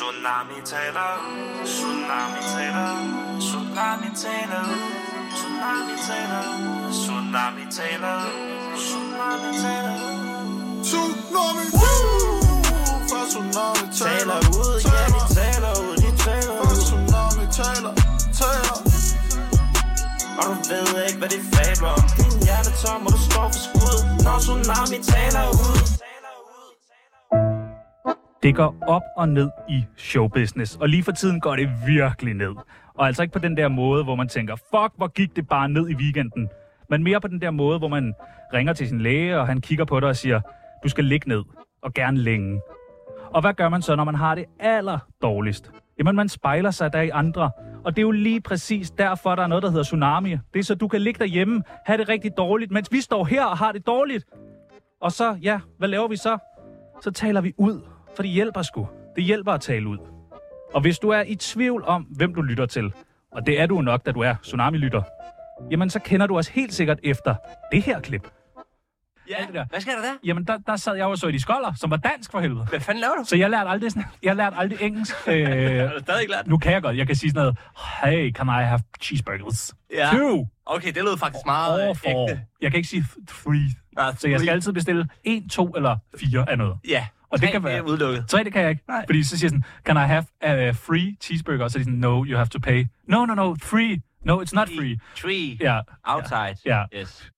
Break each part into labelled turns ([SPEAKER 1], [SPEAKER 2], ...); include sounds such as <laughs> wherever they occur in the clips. [SPEAKER 1] Tsunami taler, tsunami taler, tsunami taler, tsunami taler, tsunami taler, tsunami taler.
[SPEAKER 2] Tsunami Fra Tsunami
[SPEAKER 1] Taler
[SPEAKER 2] taler
[SPEAKER 1] ud, ja de taler ud, de taler
[SPEAKER 2] Fra
[SPEAKER 1] ud.
[SPEAKER 2] Tsunami taler Taler
[SPEAKER 1] Og du ved ikke, hvad de fabler om Din hjerte tom, og du står for skud Når tsunami taler ud
[SPEAKER 3] Det går op og ned i showbusiness, og lige for tiden går det virkelig ned. Og altså ikke på den der måde, hvor man tænker, fuck, hvor gik det bare ned i weekenden. Men mere på den der måde, hvor man ringer til sin læge, og han kigger på dig og siger, du skal ligge ned, og gerne længe. Og hvad gør man så, når man har det aller dårligst? Jamen, man spejler sig der i andre. Og det er jo lige præcis derfor, der er noget, der hedder tsunami. Det er så, du kan ligge derhjemme, have det rigtig dårligt, mens vi står her og har det dårligt. Og så, ja, hvad laver vi så? Så taler vi ud, for det hjælper sgu. Det hjælper at tale ud. Og hvis du er i tvivl om, hvem du lytter til, og det er du nok, da du er tsunami-lytter, jamen så kender du os helt sikkert efter det her klip. Alt det der.
[SPEAKER 4] Hvad sker der der?
[SPEAKER 3] Jamen der, der sad jeg jo og så i de skolder, som var dansk for helvede.
[SPEAKER 4] Hvad fanden laver du?
[SPEAKER 3] Så jeg lærte aldrig, sådan, jeg lærte aldrig engelsk. Øh,
[SPEAKER 4] Er du stadig ikke lært?
[SPEAKER 3] nu kan jeg godt. Jeg kan sige sådan noget, hey, can I have cheeseburgers?
[SPEAKER 4] Ja.
[SPEAKER 3] Two.
[SPEAKER 4] Okay, det lød faktisk meget øh,
[SPEAKER 3] Or four.
[SPEAKER 4] ægte.
[SPEAKER 3] Jeg kan ikke sige th- three.
[SPEAKER 4] Nej,
[SPEAKER 3] Så jeg skal
[SPEAKER 4] three.
[SPEAKER 3] altid bestille en, to eller fire af noget.
[SPEAKER 4] Ja,
[SPEAKER 3] Og det kan
[SPEAKER 4] Det er
[SPEAKER 3] være...
[SPEAKER 4] udelukket.
[SPEAKER 3] Tre, det kan jeg ikke. Nej. Fordi så siger jeg sådan, can I have a free cheeseburger? Og så er de sådan, no, you have to pay. No, no, no, free. No, it's not free.
[SPEAKER 4] Tree.
[SPEAKER 3] Ja.
[SPEAKER 4] Outside.
[SPEAKER 3] Ja.
[SPEAKER 4] Yes.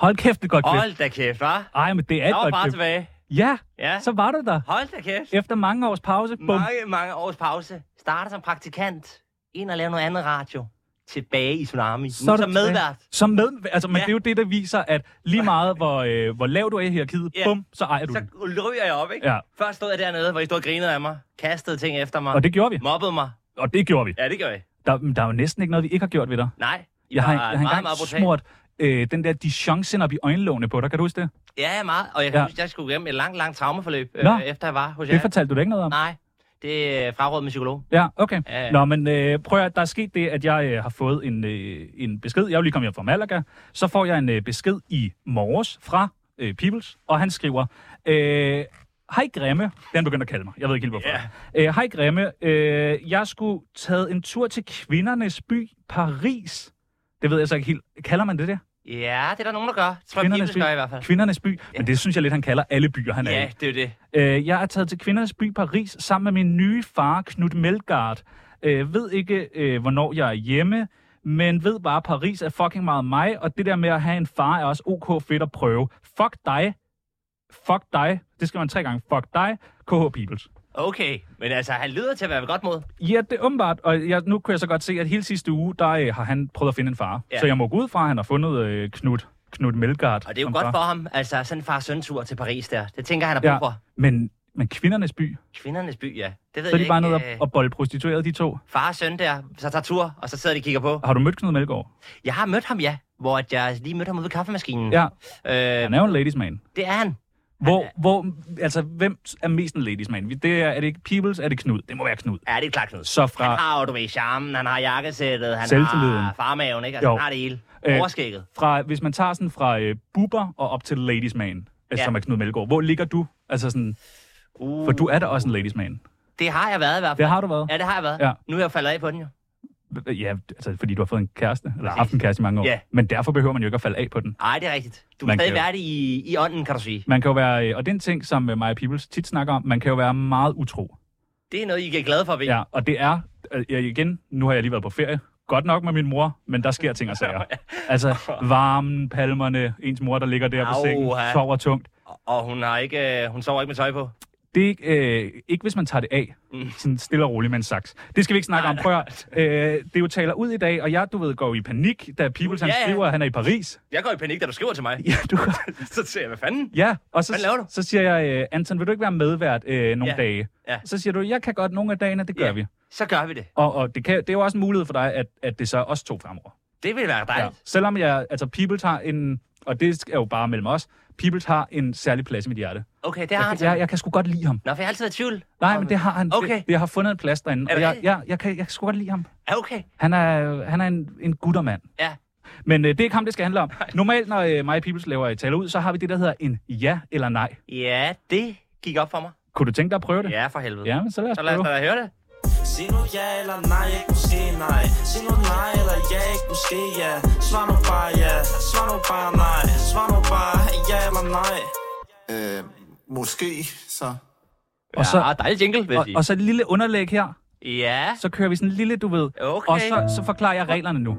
[SPEAKER 3] Hold kæft, det er godt klip.
[SPEAKER 4] Hold da kæft, hva'?
[SPEAKER 3] Ej, men det er
[SPEAKER 4] Jeg
[SPEAKER 3] et
[SPEAKER 4] var
[SPEAKER 3] godt
[SPEAKER 4] bare
[SPEAKER 3] klip.
[SPEAKER 4] tilbage.
[SPEAKER 3] Ja,
[SPEAKER 4] Ja.
[SPEAKER 3] så var du der.
[SPEAKER 4] Hold da kæft.
[SPEAKER 3] Efter mange års pause, bum.
[SPEAKER 4] Mange, mange års pause. Starter som praktikant. Ind og laver noget andet radio. Tilbage i Tsunami.
[SPEAKER 3] er
[SPEAKER 4] nu
[SPEAKER 3] du
[SPEAKER 4] som
[SPEAKER 3] tilbage.
[SPEAKER 4] medvært.
[SPEAKER 3] Som med, altså, men
[SPEAKER 4] Ja.
[SPEAKER 3] det er jo det, der viser, at lige meget, hvor, øh, hvor lav du er i hierarkiet,
[SPEAKER 4] Ja.
[SPEAKER 3] bum, så ejer du
[SPEAKER 4] Så
[SPEAKER 3] det.
[SPEAKER 4] ryger jeg op, ikke?
[SPEAKER 3] Ja.
[SPEAKER 4] Først stod jeg dernede, hvor I stod og grinede af mig. Kastede ting efter mig.
[SPEAKER 3] Og det gjorde vi.
[SPEAKER 4] Mobbede mig.
[SPEAKER 3] Og det gjorde vi.
[SPEAKER 4] Ja, det gør jeg.
[SPEAKER 3] Der, men der er jo næsten ikke noget, vi ikke har gjort ved dig.
[SPEAKER 4] Nej. I
[SPEAKER 3] Jeg har,
[SPEAKER 4] var
[SPEAKER 3] jeg har engang
[SPEAKER 4] brutale.
[SPEAKER 3] smurt øh, den der dijon op i øjenlågene på dig. Kan du huske det?
[SPEAKER 4] Ja, meget. Og jeg kan
[SPEAKER 3] Ja.
[SPEAKER 4] ja. huske, jeg skulle igennem et langt, langt traumaforløb,
[SPEAKER 3] Nå.
[SPEAKER 4] øh, efter jeg var hos jer.
[SPEAKER 3] Det fortalte du da ikke noget om.
[SPEAKER 4] Nej, det er fraråd med psykolog.
[SPEAKER 3] Ja, okay.
[SPEAKER 4] Ja, ja.
[SPEAKER 3] Nå, men øh, prøv at høre, der er sket det, at jeg øh, har fået en, øh, en besked. Jeg er jo lige kommet hjem fra Malaga. Så får jeg en øh, besked i morges fra øh, Peoples, og han skriver... Øh, Hej Grimme, det er han begyndt at kalde mig. Jeg ved ikke helt hvorfor. Øh, Hej Grimme, øh, jeg skulle taget en tur til kvindernes by, Paris. Det ved jeg så ikke helt. Kalder man det der?
[SPEAKER 4] Ja, det er der nogen, der gør. Tror jeg,
[SPEAKER 3] Kvindernes
[SPEAKER 4] det
[SPEAKER 3] by.
[SPEAKER 4] gør jeg i hvert fald.
[SPEAKER 3] Kvindernes by. Men det synes jeg lidt, han kalder alle byer, han er i.
[SPEAKER 4] Ja, det er jo det.
[SPEAKER 3] Øh, jeg er taget til Kvindernes By Paris sammen med min nye far, Knut Melgaard. Øh, ved ikke, øh, hvornår jeg er hjemme, men ved bare, at Paris er fucking meget mig, og det der med at have en far er også ok fedt at prøve. Fuck dig. Fuck dig. Det skal man tre gange. Fuck dig. KH Peoples.
[SPEAKER 4] Okay, men altså, han lyder til at være ved godt mod.
[SPEAKER 3] Ja, det er åbenbart, og jeg, nu kunne jeg så godt se, at hele sidste uge, der øh, har han prøvet at finde en far.
[SPEAKER 4] Ja.
[SPEAKER 3] Så jeg må gå ud fra, at han har fundet øh, Knut, Knut Melgaard.
[SPEAKER 4] Og det er jo
[SPEAKER 3] som
[SPEAKER 4] godt
[SPEAKER 3] far.
[SPEAKER 4] for ham, altså sådan en far søn tur til Paris der. Det tænker jeg, han har
[SPEAKER 3] Ja,
[SPEAKER 4] brug for.
[SPEAKER 3] men, men kvindernes by,
[SPEAKER 4] Kvindernes by, ja. Det ved
[SPEAKER 3] så er
[SPEAKER 4] jeg
[SPEAKER 3] de bare
[SPEAKER 4] ikke.
[SPEAKER 3] nede og,
[SPEAKER 4] øh,
[SPEAKER 3] og bolde prostitueret, de to.
[SPEAKER 4] Far og søn der, så tager tur, og så sidder de og kigger på.
[SPEAKER 3] Har du mødt Knud Melgaard?
[SPEAKER 4] Jeg har mødt ham, ja. Hvor at jeg lige mødte ham ude ved kaffemaskinen.
[SPEAKER 3] Ja.
[SPEAKER 4] Øh,
[SPEAKER 3] Han er jo en ladies man.
[SPEAKER 4] det er han.
[SPEAKER 3] Hvor, hvor, altså, hvem er mest en ladies man? Det er, er det ikke Peoples, er det Knud? Det må være Knud.
[SPEAKER 4] Ja, det er klart, Knud.
[SPEAKER 3] Så
[SPEAKER 4] Han
[SPEAKER 3] fra,
[SPEAKER 4] har jo, du ved, charmen, han har jakkesættet, han
[SPEAKER 3] Ah. Selvtilliden.
[SPEAKER 4] har farmaven, ikke? Altså,
[SPEAKER 3] Jo.
[SPEAKER 4] han har det hele.
[SPEAKER 3] Øh,
[SPEAKER 4] Overskægget.
[SPEAKER 3] fra, hvis man tager sådan fra øh, buber og op til ladies man, altså,
[SPEAKER 4] Ja.
[SPEAKER 3] som er Knud Melgaard, hvor ligger du? Altså sådan,
[SPEAKER 4] Uh,
[SPEAKER 3] for du er da også en ladies man.
[SPEAKER 4] Det har jeg været i hvert fald.
[SPEAKER 3] Det har du været.
[SPEAKER 4] Ja, det har jeg været.
[SPEAKER 3] Ja.
[SPEAKER 4] Ja. Nu er jeg faldet af på den jo.
[SPEAKER 3] Ja, altså, fordi du har fået en kæreste, eller
[SPEAKER 4] Præcis.
[SPEAKER 3] haft en kæreste i mange år.
[SPEAKER 4] Ja.
[SPEAKER 3] Men derfor behøver man jo ikke at falde af på den.
[SPEAKER 4] Nej, det er rigtigt. Du
[SPEAKER 3] Man
[SPEAKER 4] er stadig
[SPEAKER 3] kan jo-
[SPEAKER 4] værdig i, i ånden, kan du sige.
[SPEAKER 3] Man kan jo være, øh, og det er en ting, som øh, Maja Peoples tit snakker om, man kan jo være meget utro.
[SPEAKER 4] Det er noget, I er glade for, ved. Ja.
[SPEAKER 3] Ja, og det er, øh, jeg- igen, nu har jeg lige været på ferie, godt nok med min mor, men der sker ting og
[SPEAKER 4] <laughs>
[SPEAKER 3] sager. Altså, varmen, palmerne, ens mor, der ligger der på
[SPEAKER 4] Au,
[SPEAKER 3] sengen,
[SPEAKER 4] ha.
[SPEAKER 3] sover tungt.
[SPEAKER 4] Og hun, har ikke, øh, hun sover ikke med tøj på.
[SPEAKER 3] Det er ikke, øh, ikke, hvis man tager det af,
[SPEAKER 4] Mm.
[SPEAKER 3] sådan stille og roligt med en saks. Det skal vi ikke snakke om, prøv at, høre. øh, Det er jo taler ud i dag, og jeg, du ved, går i panik, da Peoples, han
[SPEAKER 4] Ja, ja.
[SPEAKER 3] skriver, at han er i Paris.
[SPEAKER 4] Jeg går i panik, da du skriver til mig.
[SPEAKER 3] Ja, du,
[SPEAKER 4] <laughs> så siger jeg, hvad fanden?
[SPEAKER 3] ja og
[SPEAKER 4] Hvad laver du?
[SPEAKER 3] så, så siger jeg, øh, Anton, vil du ikke være medvært øh, nogle
[SPEAKER 4] Ja.
[SPEAKER 3] dage?
[SPEAKER 4] Ja.
[SPEAKER 3] Så siger du, jeg kan godt nogle af dagene, det gør
[SPEAKER 4] Ja.
[SPEAKER 3] vi.
[SPEAKER 4] Så gør vi det.
[SPEAKER 3] Og, og det, kan, det er jo også en mulighed for dig, at, at det så er os to fremover.
[SPEAKER 4] Det vil være
[SPEAKER 3] Ja.
[SPEAKER 4] dejligt.
[SPEAKER 3] Selvom jeg, altså People tager en, og det er jo bare mellem os, People har en særlig plads i mit hjerte.
[SPEAKER 4] Okay, det har
[SPEAKER 3] Jeg,
[SPEAKER 4] han
[SPEAKER 3] kan-
[SPEAKER 4] så.
[SPEAKER 3] jeg, jeg kan sgu godt lide ham.
[SPEAKER 4] Nå, for jeg har altid været i tvivl.
[SPEAKER 3] Nej, men det har han.
[SPEAKER 4] Okay.
[SPEAKER 3] Det, det har fundet en plads derinde.
[SPEAKER 4] Er
[SPEAKER 3] Og
[SPEAKER 4] det
[SPEAKER 3] jeg,
[SPEAKER 4] rigtigt?
[SPEAKER 3] jeg, jeg, kan, jeg kan sgu godt lide ham.
[SPEAKER 4] Ja, okay.
[SPEAKER 3] Han er, han er en, en guttermand.
[SPEAKER 4] Ja.
[SPEAKER 3] Men øh, det er ikke ham, det skal handle om. Normalt, øh, når øh, mig Peoples laver et taler ud, så har vi det, der hedder en ja eller nej.
[SPEAKER 4] Ja, det gik op for mig.
[SPEAKER 3] Kunne du tænke dig at prøve det?
[SPEAKER 4] Ja, for helvede.
[SPEAKER 3] Ja, men så lad os
[SPEAKER 4] Så lad os
[SPEAKER 3] prøve.
[SPEAKER 4] da høre det.
[SPEAKER 1] Sig nu ja eller nej, ikke måske nej Sig nu nej eller ja, ikke måske ja Svar nu bare ja, svar nu bare nej Svar nu bare ja eller nej
[SPEAKER 2] Øh, måske, så.
[SPEAKER 3] Og så,
[SPEAKER 4] ja, dejlig jingle, vil jeg
[SPEAKER 3] og,
[SPEAKER 4] sige.
[SPEAKER 3] og så et lille underlæg her.
[SPEAKER 4] Ja,
[SPEAKER 3] Så kører vi sådan en lille, du ved.
[SPEAKER 4] Okay.
[SPEAKER 3] Og så, så forklarer jeg reglerne nu.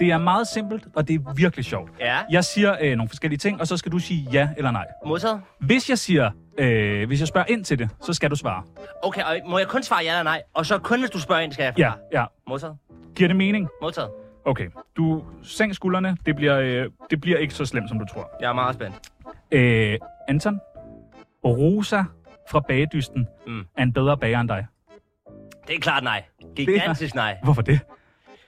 [SPEAKER 3] Det er meget simpelt, og det er virkelig sjovt.
[SPEAKER 4] ja.
[SPEAKER 3] Jeg siger øh, nogle forskellige ting, og så skal du sige ja eller nej.
[SPEAKER 4] Modtaget.
[SPEAKER 3] Hvis jeg siger, øh, hvis jeg spørger ind til det, så skal du svare.
[SPEAKER 4] Okay, og må jeg kun svare ja eller nej? Og så kun, hvis du spørger ind, skal jeg
[SPEAKER 3] Ja,
[SPEAKER 4] forklare.
[SPEAKER 3] ja.
[SPEAKER 4] Modtaget.
[SPEAKER 3] Giver det mening?
[SPEAKER 4] Modtaget.
[SPEAKER 3] Okay. Du sænk skuldrene. Det bliver, øh, det bliver ikke så slemt, som du tror.
[SPEAKER 4] Jeg er meget spændt.
[SPEAKER 3] Øh, Anton, Rosa fra Bagedysten
[SPEAKER 4] Mm.
[SPEAKER 3] er en bedre bager end dig.
[SPEAKER 4] Det er klart nej. Gigantisk nej.
[SPEAKER 3] Hvorfor det?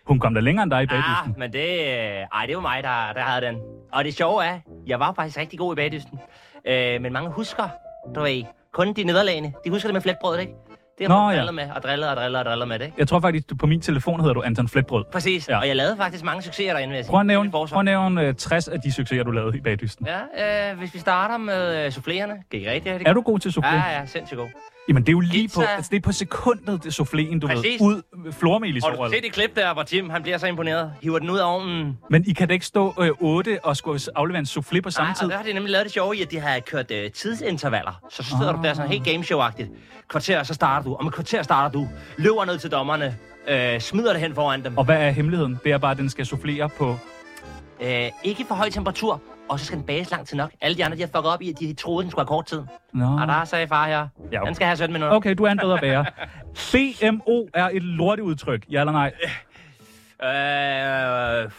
[SPEAKER 3] Hun kom da længere end dig i
[SPEAKER 4] Ah,
[SPEAKER 3] Bagedysten.
[SPEAKER 4] men det... øh, Ej, det var mig, der, der havde den. Og det sjove er, jeg var faktisk rigtig god i bagdysten. Øh, men mange husker, du ved, kun de nederlagene. De husker det med flætbrødet, ikke? Det
[SPEAKER 3] Nå,
[SPEAKER 4] har man
[SPEAKER 3] ja.
[SPEAKER 4] driller med, og driller og driller og driller med det, ikke?
[SPEAKER 3] Jeg tror faktisk, du, på min telefon hedder du Anton Fletbrød.
[SPEAKER 4] Præcis,
[SPEAKER 3] Ja.
[SPEAKER 4] ja. og jeg lavede faktisk mange succeser derinde, vil jeg sige.
[SPEAKER 3] Prøv at
[SPEAKER 4] Det
[SPEAKER 3] nævne,
[SPEAKER 4] er forsvar.
[SPEAKER 3] prøv at nævne øh, 60 af de succeser, du lavede i Bagedysten.
[SPEAKER 4] Ja, øh, hvis vi starter med øh, soufflerende. Gik rigtig, rigtig
[SPEAKER 3] Er du god til
[SPEAKER 4] godt.
[SPEAKER 3] soufflé?
[SPEAKER 4] Ja, ja, sindssygt god.
[SPEAKER 3] Jamen, det er jo lige på,
[SPEAKER 4] Pizza.
[SPEAKER 3] altså, det er på sekundet, det souffléen, du ved,
[SPEAKER 4] Præcis.
[SPEAKER 3] ud flormelis
[SPEAKER 4] Og du se det klip der, hvor Tim, han bliver så imponeret. Hiver den ud af ovnen.
[SPEAKER 3] Men I kan da ikke stå øh, 8 og skulle aflevere en soufflé på samme
[SPEAKER 4] Nej,
[SPEAKER 3] tid.
[SPEAKER 4] og der har de nemlig lavet det sjove i, at de har kørt øh, tidsintervaller. Så så sidder ah. du der sådan helt gameshow-agtigt. Kvarter, så starter du. Om et kvarter starter du. Løber ned til dommerne. Øh, smider det hen foran dem.
[SPEAKER 3] Og hvad er hemmeligheden? Det er bare, at den skal soufflere på...
[SPEAKER 4] Øh, ikke for høj temperatur. Og så skal den bages lang tid nok. Alle de andre, de har fucket op i, at de troede, den skulle have kort tid.
[SPEAKER 3] Nå.
[SPEAKER 4] Og Ah, der sagde far her,
[SPEAKER 3] Ja, okay.
[SPEAKER 4] den skal have 17 minutter.
[SPEAKER 3] Okay, du er en bedre bager. BMO er et lorteudtryk, ja eller nej?
[SPEAKER 4] Øh,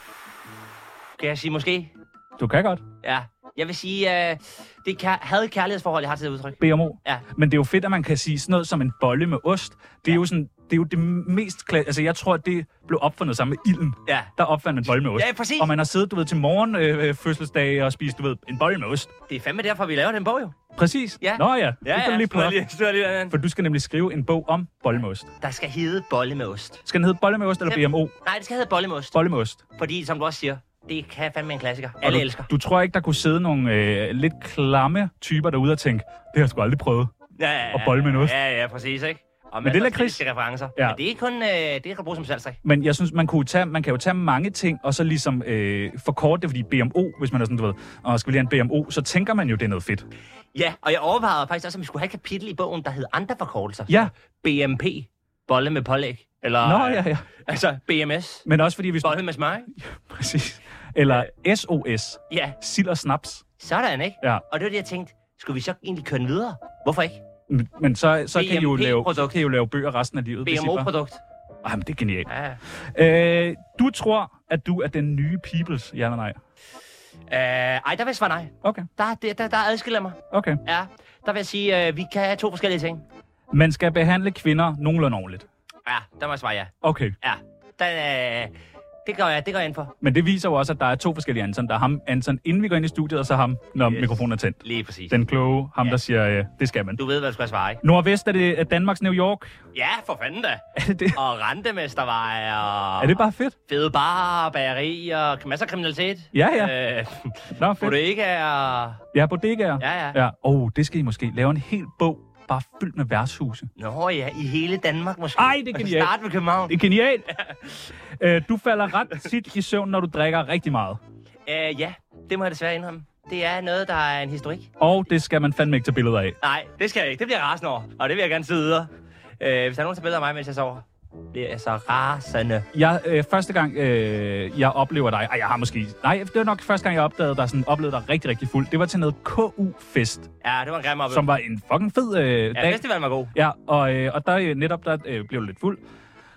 [SPEAKER 4] kan jeg sige måske?
[SPEAKER 3] Du kan godt.
[SPEAKER 4] Ja. Jeg vil sige, øh, det kær- havde kærlighedsforhold, jeg har til det udtryk.
[SPEAKER 3] BMO.
[SPEAKER 4] Ja.
[SPEAKER 3] Men det er jo fedt, at man kan sige sådan noget som en bolle med ost. Det er jo sådan, det er jo det mest kla- Altså, jeg tror, det blev opfundet sammen med ilden.
[SPEAKER 4] Ja.
[SPEAKER 3] Der opfandt man bolle med ost.
[SPEAKER 4] Ja, præcis.
[SPEAKER 3] Og man har siddet, du ved, til morgen øh, øh, fødselsdag og spist, du ved, en bolle med ost.
[SPEAKER 4] Det er fandme derfor, vi laver den bog jo.
[SPEAKER 3] Præcis.
[SPEAKER 4] Ja.
[SPEAKER 3] Nå ja, ja det kan du lige plukke.
[SPEAKER 4] stod lige
[SPEAKER 3] For du skal nemlig skrive en bog om bolle med ost.
[SPEAKER 4] Der skal hedde bolle med ost.
[SPEAKER 3] Skal den hedde bolle med ost eller
[SPEAKER 4] Ja.
[SPEAKER 3] BMO?
[SPEAKER 4] Nej, det skal hedde bolle med ost.
[SPEAKER 3] Bolle med ost.
[SPEAKER 4] Fordi, som du også siger, det kan fandme en klassiker.
[SPEAKER 3] Og
[SPEAKER 4] Alle
[SPEAKER 3] du,
[SPEAKER 4] elsker.
[SPEAKER 3] Du tror ikke, der kunne sidde nogle øh, lidt klamme typer derude og tænke, det har jeg sgu aldrig prøvet.
[SPEAKER 4] Ja, ja, ja,
[SPEAKER 3] og bolle med en ost.
[SPEAKER 4] Ja, ja, præcis, ikke? Og
[SPEAKER 3] Men det er
[SPEAKER 4] masser af
[SPEAKER 3] lakrids.
[SPEAKER 4] kritiske referencer.
[SPEAKER 3] Ja.
[SPEAKER 4] Ja. Men det er kun, øh, det kan du bruge som salgstræk.
[SPEAKER 3] Men jeg synes, man, kunne tage, man kan jo tage mange ting, og så ligesom øh, forkorte det, fordi BMO, hvis man er sådan, du ved, og skal vi lige have en BMO, så tænker man jo, det er noget fedt.
[SPEAKER 4] Ja, og jeg overvejede faktisk også, om vi skulle have et kapitel i bogen, der hedder andre forkortelser.
[SPEAKER 3] Ja.
[SPEAKER 4] BMP, bolle med pålæg. Eller,
[SPEAKER 3] Nå, ja, ja.
[SPEAKER 4] Altså, BMS,
[SPEAKER 3] Men også fordi, hvis du...
[SPEAKER 4] bolle med smør. ikke?
[SPEAKER 3] Præcis. Eller SOS,
[SPEAKER 4] Ja,
[SPEAKER 3] sild og snaps.
[SPEAKER 4] sådan, ikke?
[SPEAKER 3] Ja.
[SPEAKER 4] Og det var det, jeg tænkte, skulle vi så egentlig køre den videre? Hvorfor ikke?
[SPEAKER 3] Men- Men så, så, kan, I jo lave, så
[SPEAKER 4] BMP-produkt.
[SPEAKER 3] kan I jo lave bøger resten af livet. hvis I bare-
[SPEAKER 4] BMO-produkt.
[SPEAKER 3] Jamen, det er genialt.
[SPEAKER 4] Ja.
[SPEAKER 3] Øh, du tror, at du er den nye peoples, ja eller nej?
[SPEAKER 4] Øh, ej, der vil jeg svare nej.
[SPEAKER 3] Okay,
[SPEAKER 4] Der, der, der, der adskiller jeg mig.
[SPEAKER 3] okay.
[SPEAKER 4] Ja, der vil jeg sige, øh, vi kan have to forskellige ting.
[SPEAKER 3] Man skal behandle kvinder nogenlunde ordentligt.
[SPEAKER 4] Ja, der må jeg svare ja.
[SPEAKER 3] Okay,
[SPEAKER 4] Ja, der, øh, det gør jeg, det går jeg ind for.
[SPEAKER 3] men det viser jo også, at der er to forskellige Anton. Der er ham, Anton, inden vi går ind i studiet, og så ham, når yes.
[SPEAKER 4] Yes.
[SPEAKER 3] mikrofonen er tændt.
[SPEAKER 4] Lige præcis. Den.
[SPEAKER 3] Den kloge, ham
[SPEAKER 4] Ja.
[SPEAKER 3] der siger, øh, det skal man.
[SPEAKER 4] Du ved, hvad du skal svare, ikke?
[SPEAKER 3] Nordvest er det er Danmarks New York. <laughs>
[SPEAKER 4] Ja, for fanden da.
[SPEAKER 3] Er det det?
[SPEAKER 4] Og rentemesterveje, og
[SPEAKER 3] Er det bare fedt?
[SPEAKER 4] fede barer, bagerier, masser af kriminalitet.
[SPEAKER 3] Ja, ja. <laughs>
[SPEAKER 4] Øh,
[SPEAKER 3] Nå,
[SPEAKER 4] hvor du
[SPEAKER 3] fedt.
[SPEAKER 4] ikke er...
[SPEAKER 3] Ja, bodegaer.
[SPEAKER 4] Ja, ja.
[SPEAKER 3] ja. Oh, det skal I måske lave en hel bog, bare fyldt med værtshuse.
[SPEAKER 4] Nå ja, i hele Danmark måske.
[SPEAKER 3] Ej, det er
[SPEAKER 4] Og så
[SPEAKER 3] genialt.
[SPEAKER 4] Start med København.
[SPEAKER 3] Det er genialt. Øh, du falder ret tit i søvn, når du drikker rigtig meget.
[SPEAKER 4] Øh, ja, det må jeg desværre indrømme. Det er noget, der er en historik.
[SPEAKER 3] Og det skal man fandme ikke tage billeder af.
[SPEAKER 4] Nej, det skal jeg ikke. Det bliver jeg rasende over. Og det vil jeg gerne sidde videre. Øh, hvis der er nogen, der billeder af mig, mens jeg sover, bliver jeg så rasende.
[SPEAKER 3] Jeg, øh, første gang, øh, jeg oplever dig... Ej, jeg har måske... Nej, det var nok første gang, jeg opdagede dig, sådan, oplevede dig rigtig, rigtig fuld. Det var til noget KU-fest,
[SPEAKER 4] Ja, det var en grim oplevelse.
[SPEAKER 3] som var en fucking fed øh,
[SPEAKER 4] Ja,
[SPEAKER 3] dag.
[SPEAKER 4] festivalen var god.
[SPEAKER 3] Ja, og, øh, og der øh, netop der øh, blev du lidt fuld.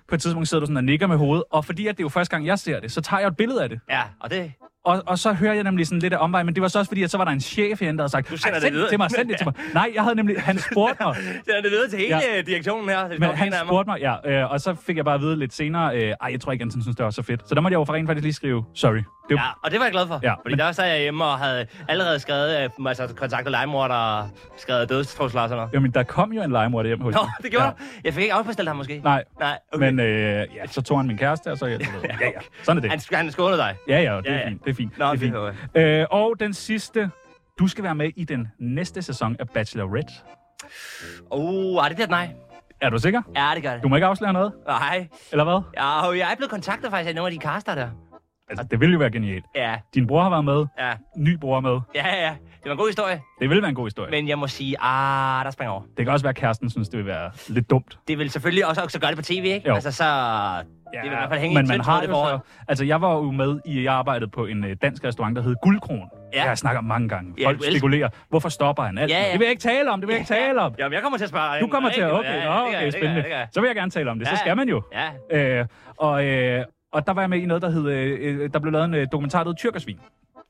[SPEAKER 3] På et tidspunkt sidder du sådan og nikker med hovedet, og fordi at det er jo første gang, jeg ser det, så tager jeg et billede af det.
[SPEAKER 4] Ja, og det...
[SPEAKER 3] Og, og så hører jeg nemlig sådan lidt af omvej, men det var så også fordi, at så var der en chef herinde, der havde sagt,
[SPEAKER 4] Du sender
[SPEAKER 3] "Ej,
[SPEAKER 4] det
[SPEAKER 3] send det
[SPEAKER 4] videre."
[SPEAKER 3] til mig, send det til mig. Nej, jeg havde nemlig, han spurgte
[SPEAKER 4] <laughs>
[SPEAKER 3] mig,
[SPEAKER 4] Det er det videre til hele ja. direktionen her. Det
[SPEAKER 3] men han spurgte mig, ja, øh, og så fik jeg bare at vide lidt senere, øh, ej, jeg tror ikke, Anton synes, det var så fedt. Så der måtte jeg jo for rent faktisk lige skrive, sorry. Det var,
[SPEAKER 4] Ja, og det var jeg glad for.
[SPEAKER 3] Ja,
[SPEAKER 4] Ja, fordi
[SPEAKER 3] men-
[SPEAKER 4] men... der sad jeg hjemme og havde allerede skrevet øh, altså, kontaktet legemorder og skrevet dødstrusler og sådan noget.
[SPEAKER 3] jo, men der kom jo en legemord hjem hos
[SPEAKER 4] Nå,
[SPEAKER 3] mig.
[SPEAKER 4] det gjorde
[SPEAKER 3] ja.
[SPEAKER 4] ja. Jeg fik ikke afbestilt ham måske.
[SPEAKER 3] Nej,
[SPEAKER 4] Nej, okay.
[SPEAKER 3] men øh, ja, så tog han min kæreste, og så... Jeg,
[SPEAKER 4] <laughs>
[SPEAKER 3] ja, ja, sådan er
[SPEAKER 4] Han,
[SPEAKER 3] det.
[SPEAKER 4] sk- han skånede dig.
[SPEAKER 3] Ja, ja, det
[SPEAKER 4] Ja,
[SPEAKER 3] er
[SPEAKER 4] ja.
[SPEAKER 3] fint, det er fint.
[SPEAKER 4] Nå,
[SPEAKER 3] det er fint. Øh, og den sidste. Du skal være med i den næste sæson af Bachelorette.
[SPEAKER 4] Uh, er det det? Nej.
[SPEAKER 3] Er du sikker?
[SPEAKER 4] Ja, det gør det.
[SPEAKER 3] Du må ikke afsløre noget,
[SPEAKER 4] Nej.
[SPEAKER 3] eller hvad?
[SPEAKER 4] Ja, og jeg er blevet kontaktet faktisk af nogle af de kaster der.
[SPEAKER 3] Altså, det ville jo være genialt.
[SPEAKER 4] Ja,
[SPEAKER 3] Din bror har været med.
[SPEAKER 4] ja,
[SPEAKER 3] Ny bror er med.
[SPEAKER 4] ja, ja. Det var en god historie.
[SPEAKER 3] Det ville være en god historie. Men...
[SPEAKER 4] Men jeg må sige, ah, der springer over.
[SPEAKER 3] Det kan også være, at kæresten synes, det ville være lidt dumt.
[SPEAKER 4] Det vil selvfølgelig også, også gøre det på tv, ikke?
[SPEAKER 3] Jo.
[SPEAKER 4] Altså, så... det vil i hvert fald hænge i
[SPEAKER 3] men
[SPEAKER 4] en
[SPEAKER 3] man
[SPEAKER 4] tynd
[SPEAKER 3] har
[SPEAKER 4] tråd, det
[SPEAKER 3] jo
[SPEAKER 4] forhold.
[SPEAKER 3] så, Altså, jeg var jo med i, jeg arbejdede på en øh, dansk restaurant, der hed Guldkron.
[SPEAKER 4] Ja.
[SPEAKER 3] Ja. Jeg snakker mange gange.
[SPEAKER 4] Ja,
[SPEAKER 3] Folk
[SPEAKER 4] du elsker-
[SPEAKER 3] spekulerer, hvorfor stopper han alt?
[SPEAKER 4] Ja, ja.
[SPEAKER 3] Det vil jeg ikke tale om, det vil jeg ikke tale om.
[SPEAKER 4] Jamen, jeg kommer til at spørge.
[SPEAKER 3] Du kommer til at,
[SPEAKER 4] Ja,
[SPEAKER 3] okay,
[SPEAKER 4] det
[SPEAKER 3] nå,
[SPEAKER 4] gør jeg,
[SPEAKER 3] okay,
[SPEAKER 4] det gør jeg,
[SPEAKER 3] spændende.
[SPEAKER 4] det gør jeg.
[SPEAKER 3] Så vil jeg gerne tale om det,
[SPEAKER 4] Ja,
[SPEAKER 3] så
[SPEAKER 4] ja.
[SPEAKER 3] skal man jo.
[SPEAKER 4] Ja,
[SPEAKER 3] Øh, og, øh, og der var jeg med i noget, der hed, øh, øh, der blev lavet en øh, dokumentar, der hed Tyrkersvin.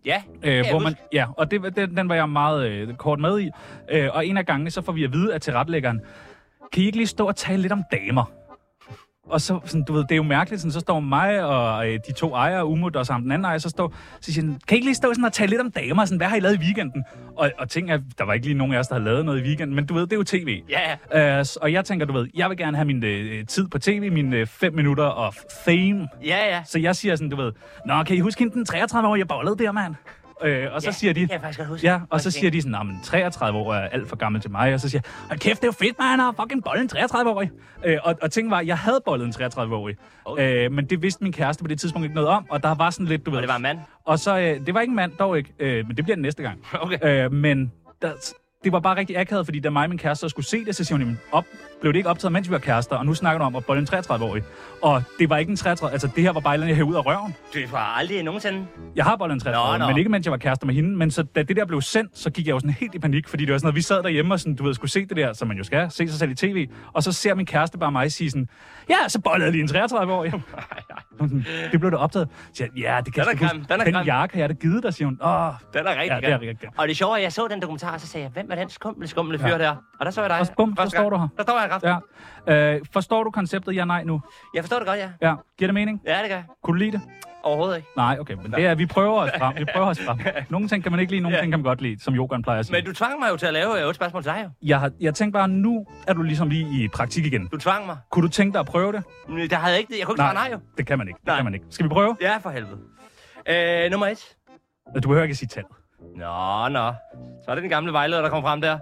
[SPEAKER 4] ja.
[SPEAKER 3] Øh,
[SPEAKER 4] jeg
[SPEAKER 3] hvor man, ja, og det, den, den var jeg meget øh, kort med i. Øh, og en af gangene, så får vi at vide af tilretlæggeren, kan I ikke lige stå og tale lidt om damer? Og så, sådan, du ved, det er jo mærkeligt, sådan, så står mig og øh, de to ejere, Umut og sammen den anden ejer, så, står, så siger han, kan I ikke lige stå sådan og tale lidt om damer? Sådan, hvad har I lavet i weekenden? Og, og ting er, der var ikke lige nogen af os, der havde lavet noget i weekenden, men du ved, det er jo tv.
[SPEAKER 4] Ja, ja.
[SPEAKER 3] Øh, s- og jeg tænker, du ved, jeg vil gerne have min øh, tid på tv, mine 5 øh, fem minutter of fame.
[SPEAKER 4] Ja, ja.
[SPEAKER 3] Så jeg siger sådan, du ved, Nå, kan I huske hende den 33-årige, jeg baglede der, mand? Øh, og så
[SPEAKER 4] Ja,
[SPEAKER 3] siger de,
[SPEAKER 4] det kan jeg faktisk godt huske.
[SPEAKER 3] ja, og så siger de sådan, "Nå, men 33 år er alt for gammel til mig. Og så siger jeg, hold kæft, det er jo fedt, man, han har fucking bollet en 33-årig. Øh, og, og ting var, jeg havde bollet en 33-årig.
[SPEAKER 4] Okay.
[SPEAKER 3] Øh, men det vidste min kæreste på det tidspunkt ikke noget om, og der var sådan lidt, du ved...
[SPEAKER 4] Og det var en mand?
[SPEAKER 3] Og så, øh, det var ikke en mand, dog ikke, øh, men det bliver den næste gang.
[SPEAKER 4] Okay.
[SPEAKER 3] <laughs> Øh, men der, det var bare rigtig akavet, fordi da mig og min kæreste så skulle se det, så siger hun, "Jamen, op, blev det ikke optaget, mens vi var kærester, og nu snakker du om at bolle en 33-årig. Og det var ikke en 33 altså det her var bare et eller andet, jeg hævde ud af røven.
[SPEAKER 4] Du har aldrig nogensinde...
[SPEAKER 3] Jeg har bollet en 33
[SPEAKER 4] Nå, nå.
[SPEAKER 3] men ikke mens jeg var kærester med hende. Men så da det der blev sendt, så gik jeg jo sådan helt i panik, fordi det var sådan noget, vi sad derhjemme og sådan, du ved, skulle se det der, som man jo skal, se sig selv i tv. Og så ser min kæreste bare mig sige sådan, ja, så bollede jeg lige en 33
[SPEAKER 4] <laughs>
[SPEAKER 3] år. det blev da optaget. Så siger, jeg, ja, det kan
[SPEAKER 4] Den er
[SPEAKER 3] jeg sgu
[SPEAKER 4] grim,
[SPEAKER 3] huske.
[SPEAKER 4] den er grim."
[SPEAKER 3] Den jakke har jeg da givet dig, siger hun. Åh,
[SPEAKER 4] Den er rigtig
[SPEAKER 3] Ja, det er rigtig godt.
[SPEAKER 4] Og det sjove er, at jeg så den dokumentar, og så sagde jeg, hvem er den skumle, skumle fyr
[SPEAKER 3] Ja.
[SPEAKER 4] der? Og der så jeg dig.
[SPEAKER 3] Og så bum, så
[SPEAKER 4] Første
[SPEAKER 3] står
[SPEAKER 4] gang.
[SPEAKER 3] du her.
[SPEAKER 4] Der står jeg, Kraft.
[SPEAKER 3] ja. Øh, forstår du konceptet ja nej nu?
[SPEAKER 4] Jeg forstår det godt, ja.
[SPEAKER 3] Ja, giver det mening?
[SPEAKER 4] Ja, det gør jeg.
[SPEAKER 3] Kunne du lide det?
[SPEAKER 4] Overhovedet ikke.
[SPEAKER 3] Nej, okay, men det er, vi prøver os frem. Vi prøver os frem. Nogle ting kan man ikke lide, nogle
[SPEAKER 4] Ja.
[SPEAKER 3] ting kan man godt lide, som yogaen plejer at sige.
[SPEAKER 4] Men du tvang mig jo til at lave øh, otte spørgsmål til dig, jo.
[SPEAKER 3] Jeg, har, jeg tænkte bare, nu er du ligesom lige i praktik igen.
[SPEAKER 4] Du tvang mig.
[SPEAKER 3] Kunne du tænke dig at prøve det?
[SPEAKER 4] Men Der havde jeg ikke, jeg kunne ikke svare nej, jo.
[SPEAKER 3] det kan man ikke. Det
[SPEAKER 4] Nej.
[SPEAKER 3] kan man ikke. Skal vi prøve?
[SPEAKER 4] Ja, for helvede. Øh, nummer et.
[SPEAKER 3] Du behøver ikke sige tallet.
[SPEAKER 4] Nå, nå. Så er det den gamle vejleder, der kom frem der.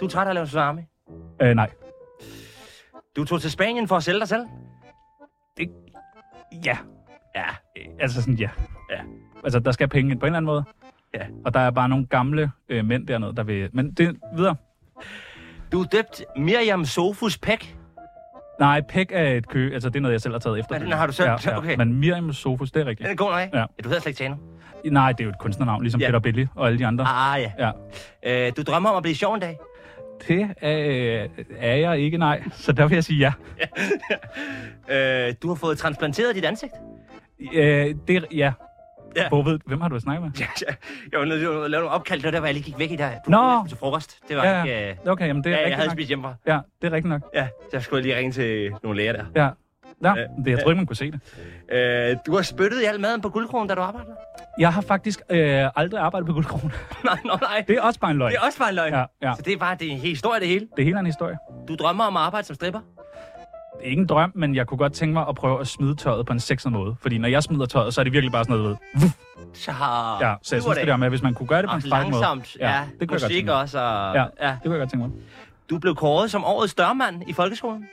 [SPEAKER 4] Du er træt af at lave tsunami.
[SPEAKER 3] Øh, nej.
[SPEAKER 4] Du tog til Spanien for at sælge dig selv.
[SPEAKER 3] Ja.
[SPEAKER 4] Ja.
[SPEAKER 3] Øh, Altså sådan, ja.
[SPEAKER 4] Ja.
[SPEAKER 3] Altså, der skal penge ind på en eller anden måde.
[SPEAKER 4] Ja.
[SPEAKER 3] Og der er bare nogle gamle øh, mænd dernede, der vil... Men det videre.
[SPEAKER 4] Du er døbt Miriam Sofus Pæk.
[SPEAKER 3] Nej, pæk er et kø. Altså, det er noget, jeg selv har taget efter.
[SPEAKER 4] den har du selv?
[SPEAKER 3] Ja, ja.
[SPEAKER 4] Okay.
[SPEAKER 3] Men Miriam Sofus, det er
[SPEAKER 4] Den
[SPEAKER 3] rigtigt.
[SPEAKER 4] er god nok, ikke?
[SPEAKER 3] Ja.
[SPEAKER 4] Du hedder slet ikke Tjano.
[SPEAKER 3] Nej, det er jo et kunstnernavn, ligesom
[SPEAKER 4] Ja.
[SPEAKER 3] Peter Belli og alle de andre.
[SPEAKER 4] Ah, ja.
[SPEAKER 3] Ja.
[SPEAKER 4] Øh, du drømmer om at blive sjov en dag.
[SPEAKER 3] Det er, er jeg ikke, nej. Så der vil jeg sige ja.
[SPEAKER 4] Øh, du har fået transplanteret dit ansigt. <laughs>
[SPEAKER 3] Øh, det er, ja.
[SPEAKER 4] Ja.
[SPEAKER 3] ja. Hvor ved, hvem har du snakket med?
[SPEAKER 4] Ja, ja. Jeg var nødt til at lave nogle opkald, det var der, hvor jeg lige gik væk i der. Du
[SPEAKER 3] Nå.
[SPEAKER 4] skulle til frokost. Det var
[SPEAKER 3] Ja,
[SPEAKER 4] ikke... Øh,
[SPEAKER 3] ja. Okay, jamen det er
[SPEAKER 4] ja, jeg
[SPEAKER 3] rigtigt
[SPEAKER 4] havde
[SPEAKER 3] nok.
[SPEAKER 4] spist hjemmefra.
[SPEAKER 3] Ja, det er rigtigt nok.
[SPEAKER 4] Ja, så jeg skulle lige ringe til nogle læger der.
[SPEAKER 3] Ja. Ja,
[SPEAKER 4] Ja,
[SPEAKER 3] det, jeg tror ikke, man kunne se det.
[SPEAKER 4] Øh, du har spyttet i al maden på guldkronen, da du arbejder. <laughs>
[SPEAKER 3] Jeg har faktisk øh, aldrig arbejdet på guldkronen.
[SPEAKER 4] nej, nej, nej.
[SPEAKER 3] <laughs> Det er også bare en løgn.
[SPEAKER 4] Det er også bare en løgn.
[SPEAKER 3] Ja, ja.
[SPEAKER 4] Så det er bare det er en historie, det hele.
[SPEAKER 3] Det hele er en historie.
[SPEAKER 4] Du drømmer om at arbejde som stripper.
[SPEAKER 3] Det er ikke en drøm, men jeg kunne godt tænke mig at prøve at smide tøjet på en sexet måde. Fordi når jeg smider tøjet, så er det virkelig bare sådan noget, du ved.
[SPEAKER 4] Så,
[SPEAKER 3] Ja, så jeg synes det der med, at hvis man kunne gøre det på en
[SPEAKER 4] og
[SPEAKER 3] fræk måde.
[SPEAKER 4] Ah, langsomt. Ja, ja
[SPEAKER 3] det kunne jeg godt
[SPEAKER 4] musik
[SPEAKER 3] tænke mig.
[SPEAKER 4] også. Og,
[SPEAKER 3] Ja,
[SPEAKER 4] ja.
[SPEAKER 3] det kunne jeg godt tænke mig.
[SPEAKER 4] Du blev kåret som årets dørmand i folkeskolen.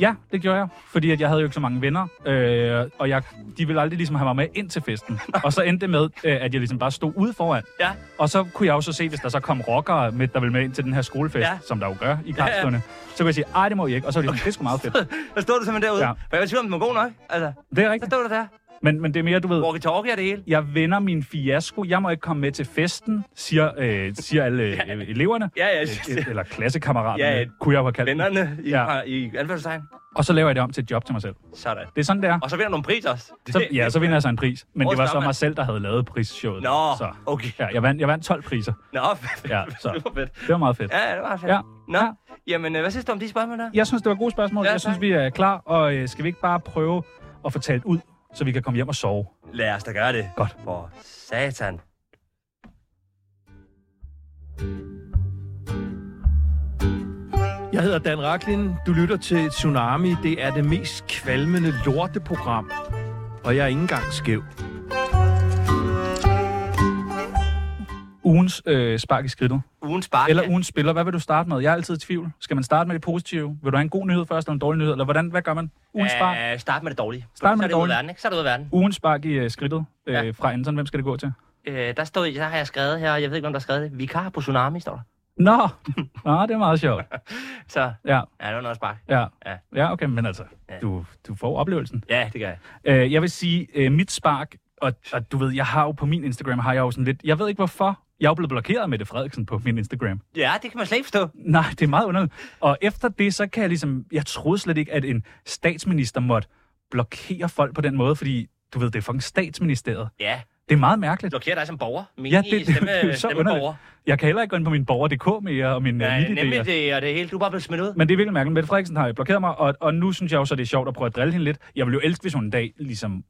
[SPEAKER 3] Ja, det gjorde jeg, fordi at jeg havde jo ikke så mange venner, øh, og jeg, de ville aldrig ligesom have mig med ind til festen. Og så endte det med, øh, at jeg ligesom bare stod ude foran.
[SPEAKER 4] Ja.
[SPEAKER 3] Og så kunne jeg jo så se, hvis der så kom rockere med, der ville med ind til den her skolefest,
[SPEAKER 4] Ja.
[SPEAKER 3] ja. som der jo gør i kraftstående, så kunne jeg sige, ej, det må I ikke, og så var de sådan, det er sgu meget fedt.
[SPEAKER 4] Der stod du simpelthen derude. Ja.
[SPEAKER 3] Ja.
[SPEAKER 4] For jeg var i tvivl om, den var god nok. Altså,
[SPEAKER 3] Det er
[SPEAKER 4] så
[SPEAKER 3] rigtigt.
[SPEAKER 4] stod du der.
[SPEAKER 3] Men, men det er mere, du ved,
[SPEAKER 4] Walkie-talkie og det hele.
[SPEAKER 3] jeg vender min fiasko, jeg må ikke komme med til festen, siger, øh, siger alle øh, eleverne.
[SPEAKER 4] Ja, ja.
[SPEAKER 3] Eller klassekammeraterne,
[SPEAKER 4] Ja,
[SPEAKER 3] ja,
[SPEAKER 4] ja.
[SPEAKER 3] kunne jeg jo have kaldt dem.
[SPEAKER 4] <laughs> Vennerne i, ja.
[SPEAKER 3] Ja.
[SPEAKER 4] i anførselstegn.
[SPEAKER 3] Og så laver jeg det om til et job til mig selv.
[SPEAKER 4] Sådan.
[SPEAKER 3] Det er sådan, det er.
[SPEAKER 4] Og så vinder du en pris også.
[SPEAKER 3] <laughs> Så, ja, så vinder jeg så en pris. Men det
[SPEAKER 4] Årets
[SPEAKER 3] var så
[SPEAKER 4] dørmand.
[SPEAKER 3] mig selv, der havde lavet prisshowet.
[SPEAKER 4] Nå,
[SPEAKER 3] så,
[SPEAKER 4] okay.
[SPEAKER 3] Ja, jeg, vandt, jeg vandt 12 priser.
[SPEAKER 4] Nå, <laughs> fedt.
[SPEAKER 3] Ja, så.
[SPEAKER 4] Det var fedt.
[SPEAKER 3] Det var meget fedt.
[SPEAKER 4] Ja, ja, det var fedt.
[SPEAKER 3] Ja.
[SPEAKER 4] Nå,
[SPEAKER 3] Ja.
[SPEAKER 4] jamen, øh, hvad synes du om de spørgsmål der?
[SPEAKER 3] Jeg synes, det var gode spørgsmål.
[SPEAKER 4] Ja,
[SPEAKER 3] Ja, jeg synes,
[SPEAKER 4] tak.
[SPEAKER 3] vi er klar. Og øh, skal vi ikke bare prøve at få talt ud, så vi kan komme hjem og sove?
[SPEAKER 4] Lad os da gøre det.
[SPEAKER 3] Godt.
[SPEAKER 4] For satan.
[SPEAKER 5] Jeg hedder Dan Raklin. Du lytter til Tsunami. Det er det mest kvalmende lorteprogram. Og jeg er ikke engang skæv.
[SPEAKER 3] ugens øh, spark i skridtet.
[SPEAKER 4] Ugen spark.
[SPEAKER 3] Eller
[SPEAKER 4] ja.
[SPEAKER 3] ugens spiller. Hvad vil du starte med? Jeg er altid i tvivl. Skal man starte med det positive? Vil du have en god nyhed først, eller en dårlig nyhed? Eller hvordan, hvad gør man? Ugens spark.
[SPEAKER 4] Øh, start med det dårlige.
[SPEAKER 3] Start med
[SPEAKER 4] så er
[SPEAKER 3] det
[SPEAKER 4] det ude af
[SPEAKER 3] dårlige.
[SPEAKER 4] verden, ikke? Så er det ude af verden.
[SPEAKER 3] Ugens spark i øh, skridtet øh,
[SPEAKER 4] Ja.
[SPEAKER 3] fra Anton. Hvem skal det gå til?
[SPEAKER 4] Øh, der, stod, der har jeg skrevet her, jeg ved ikke, hvem der har skrevet det. Vikar på Tsunami, står der. <laughs>
[SPEAKER 3] Nå, Nå det er meget sjovt.
[SPEAKER 4] Så
[SPEAKER 3] Ja,
[SPEAKER 4] ja, det var noget spark.
[SPEAKER 3] ja.
[SPEAKER 4] Ja.
[SPEAKER 3] Ja, okay, men altså,
[SPEAKER 4] Ja.
[SPEAKER 3] du, du får oplevelsen.
[SPEAKER 4] Ja, det gør jeg.
[SPEAKER 3] Øh, jeg vil sige, øh, mit spark, og, og du ved, jeg har jo på min Instagram, har jeg jo sådan lidt, jeg ved ikke hvorfor, jeg er jo blevet blokeret af Mette Frederiksen på min Instagram.
[SPEAKER 4] Ja, det kan man slet ikke forstå.
[SPEAKER 3] Nej, det er meget underligt. Og efter det, så kan jeg ligesom, jeg troede slet ikke, at en statsminister måtte blokere folk på den måde, fordi du ved, det er fucking statsministeriet.
[SPEAKER 4] Ja,
[SPEAKER 3] Det er meget mærkeligt.
[SPEAKER 4] blokerer dig som borger. Min
[SPEAKER 3] Ja,
[SPEAKER 4] ja,
[SPEAKER 3] det- det-
[SPEAKER 4] det,
[SPEAKER 3] <laughs> det
[SPEAKER 4] stemme,
[SPEAKER 3] er jo så
[SPEAKER 4] stemmeborger.
[SPEAKER 3] Jeg kan heller ikke gå ind på min borger.dk mere og min ja,
[SPEAKER 4] Ja, nemlig
[SPEAKER 3] idéer.
[SPEAKER 4] det, og det hele. Du er bare blevet smidt ud.
[SPEAKER 3] Men det er virkelig mærkeligt. Mette Frederiksen har jo blokeret mig, og, og nu synes jeg også, at det er sjovt at prøve at drille hende lidt. Jeg ville jo elske, hvis hun en dag ligesom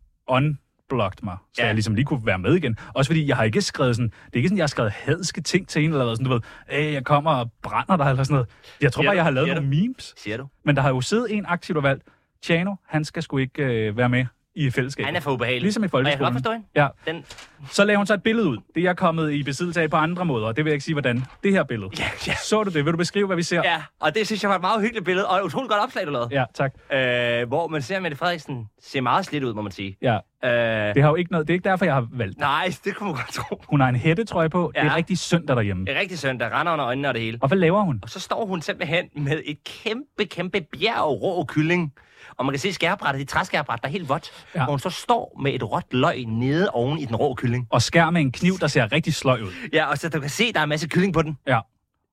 [SPEAKER 3] unblocked mig, så ja.
[SPEAKER 4] Ja.
[SPEAKER 3] jeg ligesom lige kunne være med igen. Også fordi jeg har ikke skrevet sådan, det er ikke sådan, jeg har skrevet hadske ting til hende, eller hvad, sådan, du ved, "Øh, jeg kommer og brænder dig, eller sådan noget. Jeg tror
[SPEAKER 4] Siger
[SPEAKER 3] bare,
[SPEAKER 4] du?
[SPEAKER 3] jeg har lavet
[SPEAKER 4] Siger
[SPEAKER 3] nogle memes.
[SPEAKER 4] Siger du?
[SPEAKER 3] Men der har jo siddet en aktivt og valgt, Tjano, han skal sgu ikke øh, være med i
[SPEAKER 4] Han er
[SPEAKER 3] fællesskabet.
[SPEAKER 4] for ubehagelig.
[SPEAKER 3] Ligesom i
[SPEAKER 4] Og jeg kan godt
[SPEAKER 3] folkeskolen.
[SPEAKER 4] forstå hende.
[SPEAKER 3] Ja.
[SPEAKER 4] Den,
[SPEAKER 3] Så lagde hun så et billede ud. Det er jeg kommet i besiddelse af på andre måder, og det vil jeg ikke sige, hvordan. Det her billede.
[SPEAKER 4] ja, ja,
[SPEAKER 3] Så du det? Vil du beskrive, hvad vi ser?
[SPEAKER 4] ja, og det synes jeg var et meget hyggeligt billede, og et utroligt godt opslag, du lavede.
[SPEAKER 3] ja tak.
[SPEAKER 4] Øh, hvor man ser, at Mette Frederiksen ser meget slidt ud, må man sige.
[SPEAKER 3] Ja.
[SPEAKER 4] Øh,
[SPEAKER 3] Det, har jo ikke noget, det er ikke derfor, jeg har valgt
[SPEAKER 4] nej, det kunne man godt tro.
[SPEAKER 3] Hun har en hættetrøje på. Ja. Det er
[SPEAKER 4] Ja.
[SPEAKER 3] rigtig søndag derhjemme.
[SPEAKER 4] Det er rigtig søndag, render under øjnene og det hele.
[SPEAKER 3] Og hvad laver hun?
[SPEAKER 4] Og så står hun simpelthen med et kæmpe, kæmpe bjerg af rå kylling. Og man kan se skærebrættet, det træskærebræt, der er helt vådt.
[SPEAKER 3] Ja.
[SPEAKER 4] Ja. Hvor hun så står med et råt løg nede oven i den rå kylling.
[SPEAKER 3] Og skær med en kniv, der ser rigtig sløj ud.
[SPEAKER 4] Ja, og så du kan se, der er en masse kylling på den.
[SPEAKER 3] Ja,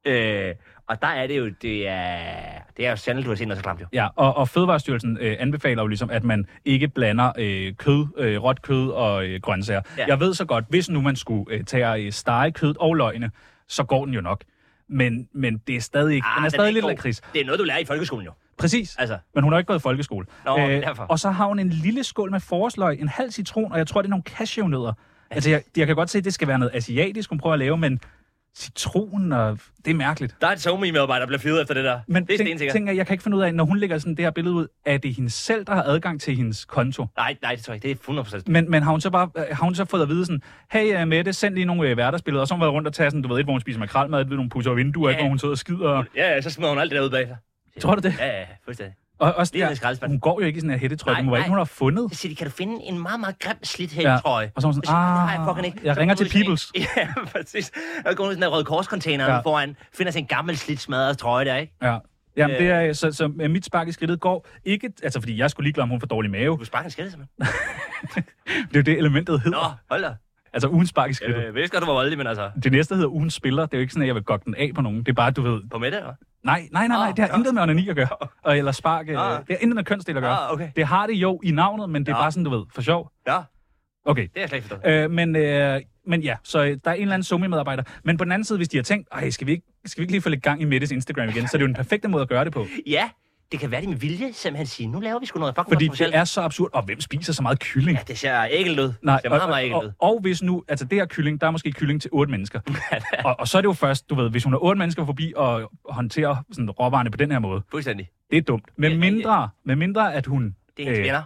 [SPEAKER 4] Øh, og der er det jo, det er, det er jo sjældent, du har set noget så klamt jo.
[SPEAKER 3] ja. Og, og Fødevarestyrelsen øh, anbefaler jo ligesom, at man ikke blander øh, kød, øh, råt kød og øh, grøntsager. Ja.
[SPEAKER 4] Ja.
[SPEAKER 3] Jeg ved så godt, hvis nu man skulle øh, tage og øh, stege kød og løgne, så går den jo nok. Men, men det er stadig ikke... Ah, den er stadig lidt
[SPEAKER 4] god.
[SPEAKER 3] lakrids.
[SPEAKER 4] Det er noget, du lærer i folkeskolen jo.
[SPEAKER 3] Præcis.
[SPEAKER 4] Altså,
[SPEAKER 3] Men hun har jo ikke gået i folkeskole. Øh,
[SPEAKER 4] Nå, derfor.
[SPEAKER 3] og så har hun en lille skål med forårsløg, en halv citron, og jeg tror, det er nogle cashewnødder. Altså, jeg, jeg kan godt se, at det skal være noget asiatisk, hun prøver at lave, men citronen, og det er mærkeligt.
[SPEAKER 4] der er et SoMe-medarbejder, der bliver fyret efter det der.
[SPEAKER 3] Men
[SPEAKER 4] det er
[SPEAKER 3] tænk,
[SPEAKER 4] stensikkert.
[SPEAKER 3] tænk, at jeg kan ikke finde ud af, når hun lægger sådan det her billede ud, er det hende selv, der har adgang til hendes konto?
[SPEAKER 4] Nej, nej, det tror jeg ikke. Det er 100%.
[SPEAKER 3] Men, men har, hun så bare, øh, har hun så fået at vide sådan, hey uh, Mette, send lige nogle øh, hverdagsbilleder, og så har hun været rundt og tage sådan, du ved, et, hvor hun spiser makrelmad, et, hvor hun pusser vinduer, et,
[SPEAKER 4] Ja.
[SPEAKER 3] hvor hun sidder og skider. Og,
[SPEAKER 4] Ja, ja, så smider hun alt det der ud bagefter.
[SPEAKER 3] Tror du det?
[SPEAKER 4] Ja, ja, fuldstændig.
[SPEAKER 3] og også
[SPEAKER 4] Lige ned i
[SPEAKER 3] der,
[SPEAKER 4] skraldespanden.
[SPEAKER 3] hun går jo ikke i sådan her hættetrøje,
[SPEAKER 4] Nej,
[SPEAKER 3] hun var ikke
[SPEAKER 4] nej.
[SPEAKER 3] nogen, der har fundet.
[SPEAKER 4] Så siger de, kan du finde en meget, meget grim slidt
[SPEAKER 3] Ja.
[SPEAKER 4] her trøje?
[SPEAKER 3] Og så er hun sådan,
[SPEAKER 4] siger jeg, det har
[SPEAKER 3] "Ah,
[SPEAKER 4] jeg fucking ikke.
[SPEAKER 3] jeg
[SPEAKER 4] Så
[SPEAKER 3] ringer
[SPEAKER 4] går
[SPEAKER 3] til
[SPEAKER 4] hun sådan
[SPEAKER 3] Peoples.
[SPEAKER 4] en- <laughs> Ja, præcis. Og går hun i sådan en røde korscontainer
[SPEAKER 3] Ja.
[SPEAKER 4] ja. foran, finder sig en gammel slidt smadret trøje der, ikke?
[SPEAKER 3] Ja. Jamen,
[SPEAKER 4] Øh.
[SPEAKER 3] det er, så, så øh, mit spark i skridtet går ikke, altså fordi jeg skulle ligeglade, om hun får dårlig mave.
[SPEAKER 4] Du sparker en skæld, simpelthen.
[SPEAKER 3] Det er jo det, elementet hedder.
[SPEAKER 4] Nå, hold da.
[SPEAKER 3] Altså ugen spark i skridtet.
[SPEAKER 4] Øh, jeg vidste godt, du var voldelig, men altså...
[SPEAKER 3] Det næste hedder ugen spiller. Det er jo ikke sådan, at jeg vil gokke den af på nogen. Det er bare, du ved,
[SPEAKER 4] På middag, eller?
[SPEAKER 3] nej, nej, nej, nej,
[SPEAKER 4] Ah,
[SPEAKER 3] det har
[SPEAKER 4] ja.
[SPEAKER 3] intet med onani at
[SPEAKER 4] <laughs>
[SPEAKER 3] gøre. Og, eller spark, øh, det
[SPEAKER 4] Ah.
[SPEAKER 3] har intet med kønsdel at gøre.
[SPEAKER 4] Ah, okay.
[SPEAKER 3] Det har det jo i navnet, men det er
[SPEAKER 4] Ja.
[SPEAKER 3] bare sådan, du ved, for sjov.
[SPEAKER 4] Ja,
[SPEAKER 3] Okay,
[SPEAKER 4] det er jeg slet ikke forstået.
[SPEAKER 3] øh, men, øh, men ja, så øh, der er en eller anden summe-medarbejder. Men på den anden side, hvis de har tænkt, Ej, skal vi ikke, skal vi ikke lige få lidt gang i Mettes Instagram igen, så er det jo den perfekte måde at gøre det på.
[SPEAKER 4] Ja, det kan være, det med vilje, simpelthen sige, nu laver vi sgu noget fucking
[SPEAKER 3] Fordi
[SPEAKER 4] kontroversielt.
[SPEAKER 3] det er så absurd. Og hvem spiser så meget kylling?
[SPEAKER 4] Ja, det ser ægelt ud.
[SPEAKER 3] Nej,
[SPEAKER 4] det ser
[SPEAKER 3] og,
[SPEAKER 4] meget, meget ægelt
[SPEAKER 3] og,
[SPEAKER 4] ud.
[SPEAKER 3] og, og hvis nu, altså det her kylling, der er måske kylling til otte mennesker.
[SPEAKER 4] <laughs>
[SPEAKER 3] og, og så er det jo først, du ved, hvis hun har otte mennesker forbi og håndterer sådan råvarerne på den her måde.
[SPEAKER 4] Fuldstændig.
[SPEAKER 3] Det er dumt. Med
[SPEAKER 4] Ja, ja.
[SPEAKER 3] mindre, med mindre at hun...
[SPEAKER 4] Det er hendes
[SPEAKER 3] øh,
[SPEAKER 4] venner.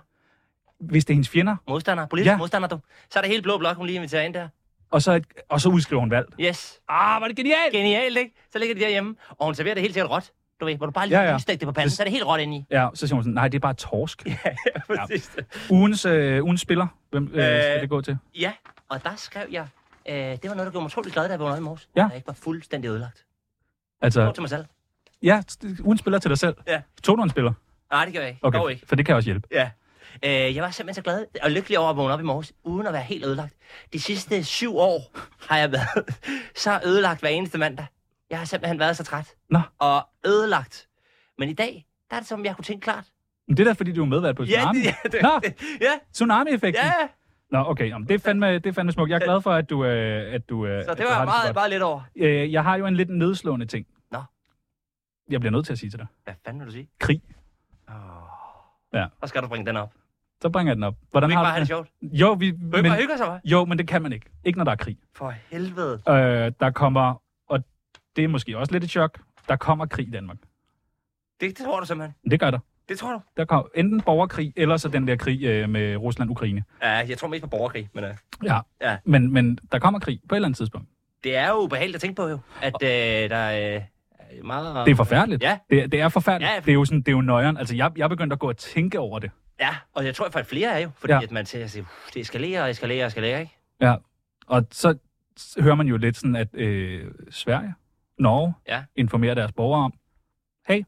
[SPEAKER 3] Hvis det er hendes fjender,
[SPEAKER 4] Modstandere. Politiske
[SPEAKER 3] ja.
[SPEAKER 4] ja. modstandere, du. Så er der helt blå blok, hun lige inviterer ind der.
[SPEAKER 3] og så, et, og så udskriver hun valg.
[SPEAKER 4] Yes.
[SPEAKER 3] Ah, var det genialt!
[SPEAKER 4] <laughs> Genialt, ikke? Så ligger de derhjemme, og hun serverer det helt sikkert råt. Du ved, hvor du bare lige
[SPEAKER 3] Ja, ja.
[SPEAKER 4] ja, ja. det på panden, så er det helt råt
[SPEAKER 3] <laughs>
[SPEAKER 4] indeni.
[SPEAKER 3] Ja, så siger hun sådan, nej, det er bare torsk.
[SPEAKER 4] Ja, præcis.
[SPEAKER 3] Ugens, øh, ugens spiller, hvem øh, skal
[SPEAKER 4] Øh.
[SPEAKER 3] det gå til?
[SPEAKER 4] Ja, og der skrev jeg, øh, det var noget, der gjorde mig utrolig glad, da jeg vågnede op i morges.
[SPEAKER 3] Ja.
[SPEAKER 4] Og Jeg ikke var fuldstændig ødelagt. Ja.
[SPEAKER 3] Altså,
[SPEAKER 4] til mig selv.
[SPEAKER 3] ja, t- ugens spiller til dig selv.
[SPEAKER 4] Ja.
[SPEAKER 3] Tog du en spiller?
[SPEAKER 4] Nej, det gør jeg ikke.
[SPEAKER 3] Okay,
[SPEAKER 4] Dog ikke.
[SPEAKER 3] for det kan også hjælpe.
[SPEAKER 4] Ja. Øh, jeg var simpelthen så glad og lykkelig over at vågne op i morges, uden at være helt ødelagt. De sidste syv år har jeg været <laughs> så ødelagt hver eneste mandag. Jeg har simpelthen været så træt.
[SPEAKER 3] Nå.
[SPEAKER 4] Og ødelagt. Men i dag, der er det som, jeg kunne tænke klart.
[SPEAKER 3] Men det er da, fordi du er medvært på
[SPEAKER 4] Ja, <laughs>
[SPEAKER 3] Tsunami.
[SPEAKER 4] det, ja, det,
[SPEAKER 3] Nå,
[SPEAKER 4] ja,
[SPEAKER 3] Tsunami-effekten.
[SPEAKER 4] ja.
[SPEAKER 3] Nå, okay. Jamen, det, er fandme, det er fandme smukt. Jeg er glad for, at du... Øh, at du øh,
[SPEAKER 4] Så
[SPEAKER 3] at
[SPEAKER 4] det
[SPEAKER 3] du
[SPEAKER 4] var
[SPEAKER 3] har
[SPEAKER 4] jeg meget,
[SPEAKER 3] godt.
[SPEAKER 4] meget lidt over.
[SPEAKER 3] Øh, jeg har jo en lidt nedslående ting.
[SPEAKER 4] Nå.
[SPEAKER 3] Jeg bliver nødt til at sige til dig.
[SPEAKER 4] Hvad fanden vil du sige?
[SPEAKER 3] Krig. Ja.
[SPEAKER 4] Så skal du bringe den op. Du
[SPEAKER 3] Så bringer jeg den op. Hvordan
[SPEAKER 4] kan ikke
[SPEAKER 3] har
[SPEAKER 4] bare have
[SPEAKER 3] du
[SPEAKER 4] det sjovt. Du
[SPEAKER 3] det? Jo, vi,
[SPEAKER 4] kan ikke bare
[SPEAKER 3] men,
[SPEAKER 4] hygge sig, hva'?
[SPEAKER 3] jo, men det kan man ikke. Ikke når der er krig.
[SPEAKER 4] For helvede.
[SPEAKER 3] Øh, der kommer, og det er måske også lidt et chok, der kommer krig i Danmark.
[SPEAKER 4] Det, det tror du simpelthen.
[SPEAKER 3] Men det gør der.
[SPEAKER 4] Det tror du.
[SPEAKER 3] Der kommer enten borgerkrig, eller så den der krig øh, med Rusland-Ukraine.
[SPEAKER 4] Ja, jeg tror mest på borgerkrig, men uh,
[SPEAKER 3] Ja.
[SPEAKER 4] Ja.
[SPEAKER 3] Men, men der kommer krig på et eller andet tidspunkt.
[SPEAKER 4] Det er jo ubehageligt at tænke på jo, at øh, der er øh, meget...
[SPEAKER 3] Det er forfærdeligt.
[SPEAKER 4] Ja.
[SPEAKER 3] Det, det er forfærdeligt.
[SPEAKER 4] Ja,
[SPEAKER 3] Ja, det er jo sådan, det er jo nøjeren. Altså, jeg, jeg begyndte at gå og tænke over det.
[SPEAKER 4] Ja, og jeg tror faktisk flere er jo, fordi
[SPEAKER 3] Ja.
[SPEAKER 4] ja. at man tænker, sig, "Uh, det eskalerer og eskalerer og eskalerer, ikke?
[SPEAKER 3] Ja. Og så s- hører man jo lidt sådan, at øh, Sverige, Norge,
[SPEAKER 4] Ja.
[SPEAKER 3] informerer deres borgere om, hey,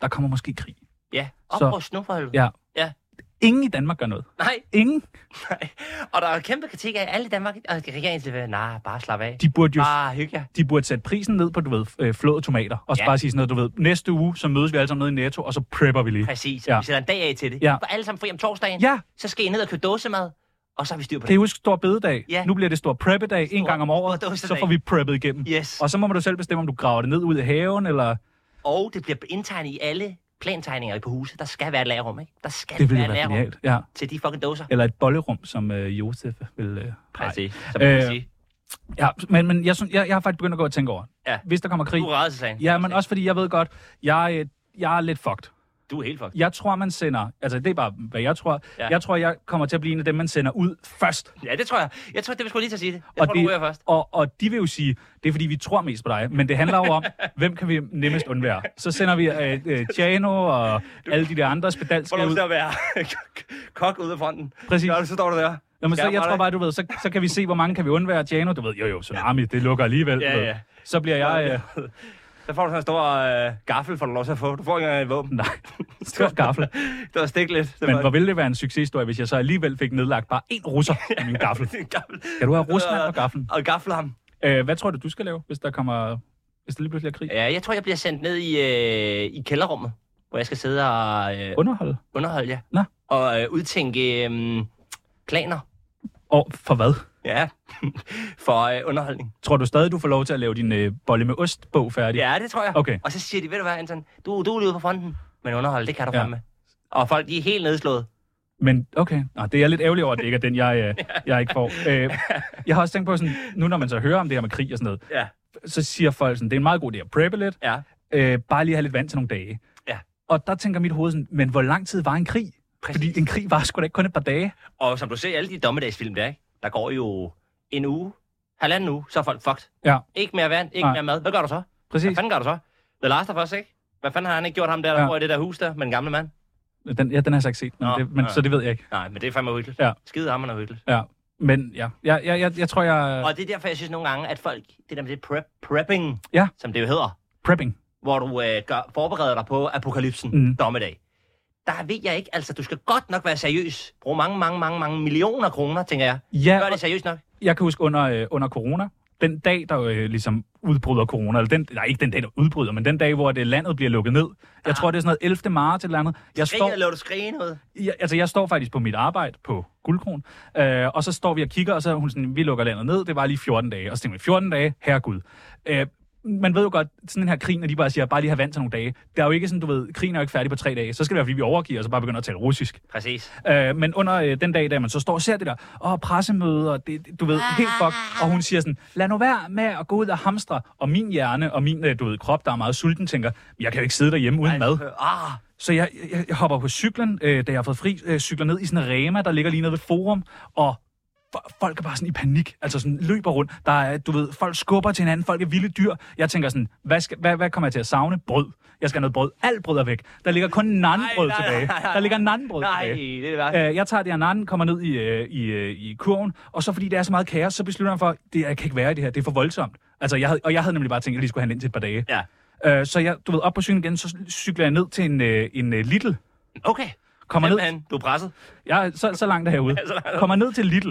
[SPEAKER 3] der kommer måske krig.
[SPEAKER 4] Ja,
[SPEAKER 3] Så-
[SPEAKER 4] oprust nu for helvede.
[SPEAKER 3] Ja.
[SPEAKER 4] Ja.
[SPEAKER 3] Ingen i Danmark gør noget.
[SPEAKER 4] Nej,
[SPEAKER 3] Ingen.
[SPEAKER 4] nej. Og der er kæmpe kritik af alle i Danmark, og regeringen siger, nej, bare slap af.
[SPEAKER 3] De burde jo
[SPEAKER 4] Bare hygge jer.
[SPEAKER 3] de burde sætte prisen ned på, du ved, øh, flåede tomater. Og så
[SPEAKER 4] Ja.
[SPEAKER 3] bare sige sådan noget, du ved, næste uge, så mødes vi alle sammen nede i Netto, og så prepper vi lige.
[SPEAKER 4] Præcis,
[SPEAKER 3] Ja.
[SPEAKER 4] ja. vi sætter en dag af til det.
[SPEAKER 3] Ja.
[SPEAKER 4] Ja. For alle sammen fri om torsdagen.
[SPEAKER 3] Ja,
[SPEAKER 4] Så skal I ned og købe dåsemad, og så har vi styr på
[SPEAKER 3] kan I
[SPEAKER 4] det.
[SPEAKER 3] huske stor bededag?
[SPEAKER 4] Ja.
[SPEAKER 3] Nu bliver det stor preppedag en
[SPEAKER 4] Stor-
[SPEAKER 3] gang om året,
[SPEAKER 4] stor
[SPEAKER 3] så
[SPEAKER 4] dåsedag.
[SPEAKER 3] får vi preppet igennem.
[SPEAKER 4] Yes. Og,
[SPEAKER 3] Og så må man jo selv bestemme, om du graver det ned ud i haven, eller...
[SPEAKER 4] og det bliver indtegnet i alle plantegninger på huset. Der skal være et lagerrum, ikke? Der skal
[SPEAKER 3] Det ville jo
[SPEAKER 4] være et
[SPEAKER 3] være
[SPEAKER 4] lagerrum
[SPEAKER 3] genialt, ja.
[SPEAKER 4] til de fucking dåser.
[SPEAKER 3] Eller et bollerum, som øh, Josef vil... Øh, have.
[SPEAKER 4] Præcis. Så man kan
[SPEAKER 3] Øh,
[SPEAKER 4] sige,
[SPEAKER 3] ja, men, men jeg, synes, jeg, jeg har faktisk begyndt at gå og tænke over,
[SPEAKER 4] Ja.
[SPEAKER 3] hvis der kommer krig...
[SPEAKER 4] du er redselsagen.
[SPEAKER 3] Ja, men også fordi jeg ved godt, jeg, øh, jeg er lidt fucked.
[SPEAKER 4] Du er helt fucked.
[SPEAKER 3] Jeg tror, man sender... Altså, det er bare, hvad jeg tror.
[SPEAKER 4] Ja.
[SPEAKER 3] Jeg tror, jeg kommer til at blive en af dem, man sender ud først.
[SPEAKER 4] Ja, det tror jeg. Jeg tror, det vil jeg skulle lige til at sige det. Jeg
[SPEAKER 3] Og
[SPEAKER 4] tror,
[SPEAKER 3] det-
[SPEAKER 4] du ryger først.
[SPEAKER 3] Og, og de vil jo sige, det er fordi, vi tror mest på dig. Men det handler jo
[SPEAKER 4] <laughs>
[SPEAKER 3] om, hvem kan vi nemmest undvære. Så sender vi øh, øh, Tjano og alle de der andre
[SPEAKER 4] Får
[SPEAKER 3] spedalske
[SPEAKER 4] lov
[SPEAKER 3] ud.
[SPEAKER 4] til at være <laughs> kok ude af fronten.
[SPEAKER 3] Præcis.
[SPEAKER 4] Nå, så står du der.
[SPEAKER 3] Nå, men så,
[SPEAKER 4] Skærm
[SPEAKER 3] jeg
[SPEAKER 4] dig.
[SPEAKER 3] tror bare, du ved, så, så kan vi se, hvor mange kan vi undvære. Tjano, du ved, jo jo, tsunami, det lukker alligevel.
[SPEAKER 4] Ja,
[SPEAKER 3] du ved.
[SPEAKER 4] ja.
[SPEAKER 3] Så bliver jeg... Øh, <laughs>
[SPEAKER 4] Så får du sådan en stor øh, gaffel, får du lov til at få. Du får ikke engang et våben.
[SPEAKER 3] nej, stor gaffel.
[SPEAKER 4] <laughs> Det var stik lidt. Det
[SPEAKER 3] Men
[SPEAKER 4] var-
[SPEAKER 3] hvor ville det være en succeshistorie, hvis jeg så alligevel fik nedlagt bare én
[SPEAKER 4] <laughs>
[SPEAKER 3] russer i min gaffel.
[SPEAKER 4] Det er en gaffel.
[SPEAKER 3] Kan du have Rusland og gaffelen?
[SPEAKER 4] Og gaffel ham.
[SPEAKER 3] Øh, hvad tror du, du skal lave, hvis der kommer... Hvis der lige pludselig er krig?
[SPEAKER 4] Ja, jeg tror, jeg bliver sendt ned i, øh, i kælderrummet, hvor jeg skal sidde og øh,
[SPEAKER 3] Underhold.
[SPEAKER 4] underholde jer.
[SPEAKER 3] Nå.
[SPEAKER 4] Og øh, udtænke øh, planer.
[SPEAKER 3] Og for hvad?
[SPEAKER 4] Ja, <laughs> for øh, underholdning.
[SPEAKER 3] Tror du stadig, du får lov til at lave din øh, bolle med ost-bog færdig?
[SPEAKER 4] Ja, det tror jeg.
[SPEAKER 3] Okay.
[SPEAKER 4] Og så siger de, ved du hvad, Anton, du, du er lige ude på fronten, men underhold, det kan du
[SPEAKER 3] Ja.
[SPEAKER 4] ja. med. Og folk, de er helt nedslået.
[SPEAKER 3] Men okay, Nå, det er jeg lidt ærgerlig over, at det ikke er den, jeg,
[SPEAKER 4] <laughs>
[SPEAKER 3] øh, jeg ikke får. Øh, jeg har også tænkt på, sådan, nu når man så hører om det her med krig og sådan noget,
[SPEAKER 4] Ja.
[SPEAKER 3] så siger folk sådan, det er en meget god idé at preppe lidt,
[SPEAKER 4] Ja,
[SPEAKER 3] øh, bare lige have lidt vand til nogle dage.
[SPEAKER 4] Ja.
[SPEAKER 3] Og der tænker mit hoved sådan, men hvor lang tid var en krig?
[SPEAKER 4] præcis.
[SPEAKER 3] Fordi en krig var sgu da ikke kun et par dage.
[SPEAKER 4] Og som du ser i alle de dommedagsfilm der, ikke? der går jo en uge, halvanden uge, så er folk fucked.
[SPEAKER 3] Ja.
[SPEAKER 4] Ikke mere vand, ikke
[SPEAKER 3] Nej.
[SPEAKER 4] mere mad. Hvad gør du så? Hvad
[SPEAKER 3] Præcis.
[SPEAKER 4] fanden gør du så? The Last of Us, ikke? Hvad fanden har han ikke gjort ham der, der
[SPEAKER 3] Ja.
[SPEAKER 4] ja. bor i det der hus der med den gamle mand?
[SPEAKER 3] Den, ja, den har jeg så ikke set, men,
[SPEAKER 4] Nå,
[SPEAKER 3] det, men
[SPEAKER 4] ja.
[SPEAKER 3] så det ved jeg ikke.
[SPEAKER 4] Nej, men det er fandme uhyggeligt.
[SPEAKER 3] Ja.
[SPEAKER 4] Skide ham, han er uhyggeligt.
[SPEAKER 3] Men ja, jeg, jeg, jeg, jeg tror, jeg...
[SPEAKER 4] Og det er derfor, jeg synes nogle gange, at folk, det der med det prep, prepping,
[SPEAKER 3] Ja.
[SPEAKER 4] som det jo hedder,
[SPEAKER 3] Prepping.
[SPEAKER 4] hvor du øh, gør, forbereder dig på apokalypsen,
[SPEAKER 3] Mm.
[SPEAKER 4] mm. dommedag. Der ved jeg ikke, altså du skal godt nok være seriøs. Brug mange, mange, mange, mange millioner kroner, tænker jeg.
[SPEAKER 3] Ja,
[SPEAKER 4] Gør
[SPEAKER 3] og-
[SPEAKER 4] det seriøst nok.
[SPEAKER 3] jeg kan huske under, øh, under corona, den dag, der øh, ligesom udbryder corona, eller den, nej, ikke den dag, der udbryder, men den dag, hvor det landet bliver lukket ned. Jeg tror, det er sådan noget 11. marts eller andet. Jeg
[SPEAKER 4] Skriger,
[SPEAKER 3] står,
[SPEAKER 4] laver du skrige noget.
[SPEAKER 3] jeg, altså, jeg står faktisk på mit arbejde på Guldkron, øh, og så står vi og kigger, og så er hun sådan, vi lukker landet ned, det var lige 14 dage. Og så tænker vi, 14 dage, herregud. Øh, man ved jo godt, sådan den her krig, når de bare siger, bare lige have vand til nogle dage. Det er jo ikke sådan, du ved, krigen er jo ikke færdig på tre dage. Så skal det være, fordi vi overgiver, og så bare begynder at tale russisk.
[SPEAKER 4] Præcis.
[SPEAKER 3] Øh, men under øh, den dag, da man så står og ser det der, og pressemøde, og det, det- du ved, helt fuck. Og hun siger sådan, lad nu være med at gå ud og hamstre. Og min hjerne og min, øh, du ved, krop, der er meget sulten, tænker, jeg kan jo ikke sidde derhjemme uden mad.
[SPEAKER 4] Øh, Ah,
[SPEAKER 3] Så jeg, jeg, jeg hopper på cyklen, øh, da jeg har fået fri, øh, cykler ned i sådan en rema, der ligger lige nede ved forum, og fo- folk er bare sådan i panik, altså sådan løber rundt. Der er, du ved, folk skubber til hinanden, folk er vilde dyr. Jeg tænker sådan, hvad, skal, hvad, hvad kommer jeg til at savne? Brød. Jeg skal have noget brød. Alt brød er væk. Der ligger kun nanbrød
[SPEAKER 4] nej, nej,
[SPEAKER 3] tilbage.
[SPEAKER 4] nej, nej.
[SPEAKER 3] Der ligger nanbrød
[SPEAKER 4] nej,
[SPEAKER 3] tilbage.
[SPEAKER 4] det er det værste.
[SPEAKER 3] Øh, jeg tager det her natten, kommer ned i, øh, i, øh, i kurven, og så fordi der er så meget kaos, så beslutter han for, det jeg kan ikke være i det her, det er for voldsomt. Altså, jeg havde, og jeg havde nemlig bare tænkt, at jeg lige skulle have den ind til et par dage.
[SPEAKER 4] Ja.
[SPEAKER 3] Øh, så jeg, du ved, op på cyklen igen, så cykler jeg ned til en, øh, en øh, Lidl.
[SPEAKER 4] Okay.
[SPEAKER 3] Kommer ned,
[SPEAKER 4] Simpelthen, du er presset.
[SPEAKER 3] jeg er så, så langt
[SPEAKER 4] <laughs>
[SPEAKER 3] derude.
[SPEAKER 4] så langt derude.
[SPEAKER 3] Kommer ned til Lidl.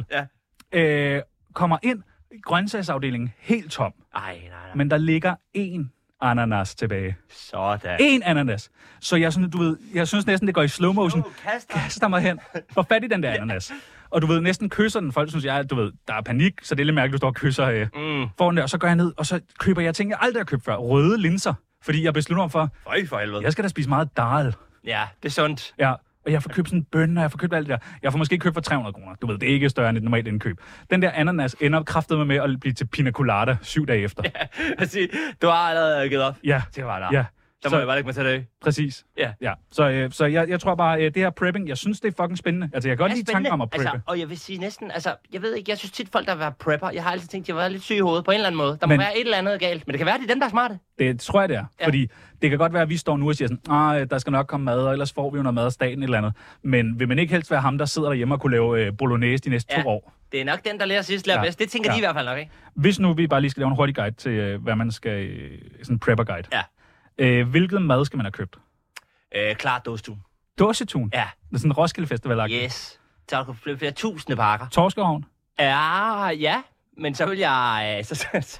[SPEAKER 4] Ja.
[SPEAKER 3] Øh, kommer ind, grøntsagsafdelingen helt tom,
[SPEAKER 4] Ej, nej, nej. Men...
[SPEAKER 3] men der ligger én ananas tilbage.
[SPEAKER 4] Sådan.
[SPEAKER 3] En ananas. Så jeg, sådan, du ved, jeg synes næsten, det går i slow motion.
[SPEAKER 4] Åh, kast dig.
[SPEAKER 3] kaster mig hen, får fat i den der ananas. Og du ved, næsten kysser den. Folk synes, jeg, du ved, der er panik, så det er lidt mærkeligt, du står og kysser øh,
[SPEAKER 4] Mm.
[SPEAKER 3] foran der. Og så går jeg ned, og så køber jeg ting, jeg aldrig har købt før. Røde linser. Fordi jeg beslutter mig for,
[SPEAKER 4] Føj for helvede.
[SPEAKER 3] jeg skal da spise meget dal.
[SPEAKER 4] Ja, det er sundt. <laughs>
[SPEAKER 3] Ja, og jeg får købt sådan en bønne, og jeg får købt alt det der. Jeg får måske købt for 300 kroner. Du ved, det er ikke større end et normalt indkøb. Den der ananas ender kraftet med at blive til pina colada syv dage efter.
[SPEAKER 4] Altså, du har allerede givet op.
[SPEAKER 3] Ja,
[SPEAKER 4] Det var der.
[SPEAKER 3] ja.
[SPEAKER 4] Så må
[SPEAKER 3] Så-
[SPEAKER 4] jeg bare lægge mig til det.
[SPEAKER 3] Præcis.
[SPEAKER 4] Ja.
[SPEAKER 3] ja. Så, øh, så jeg, jeg tror bare, øh, det her prepping, jeg synes, det er fucking spændende. Altså, jeg kan godt
[SPEAKER 4] er
[SPEAKER 3] lide tanken om at preppe.
[SPEAKER 4] Altså,
[SPEAKER 3] Altså,
[SPEAKER 4] og jeg vil sige næsten, altså, jeg ved ikke, jeg synes tit folk, der er prepper, jeg har altid tænkt, de har været lidt syge i hovedet på en eller anden måde. Der må
[SPEAKER 3] Men-
[SPEAKER 4] være et eller andet galt, men det kan være, det er dem, der er smarte.
[SPEAKER 3] det tror jeg, det er.
[SPEAKER 4] Ja.
[SPEAKER 3] Ja. Fordi det kan godt være, at vi står nu og siger sådan, "Ah, øh, der skal nok komme mad, og ellers får vi jo noget mad af staten et eller andet. Men vil man ikke helst være ham, der sidder derhjemme og kunne lave øh, bolognese de næste
[SPEAKER 4] Ja.
[SPEAKER 3] ja. to år?
[SPEAKER 4] Det er nok den, der lærer sidst lærer ja.
[SPEAKER 3] Ja.
[SPEAKER 4] bedst. Det tænker ja.
[SPEAKER 3] Ja.
[SPEAKER 4] de i hvert fald nok, ikke?
[SPEAKER 3] Hvis nu vi bare lige skal lave en hurtig guide til, øh, hvad man skal... Øh, sådan en prepper guide.
[SPEAKER 4] Ja.
[SPEAKER 3] Øh, hvilket mad skal man have købt?
[SPEAKER 4] Øh, klart dåstuen.
[SPEAKER 3] Dåsetun.
[SPEAKER 4] Ja.
[SPEAKER 3] Det er sådan en Roskilde Festival. Yeah.
[SPEAKER 4] Yes. Så har du flere, flere tusinde pakker.
[SPEAKER 3] Torskeovn.
[SPEAKER 4] Ja, ja. Men så vil jeg... øh, Så, så, så,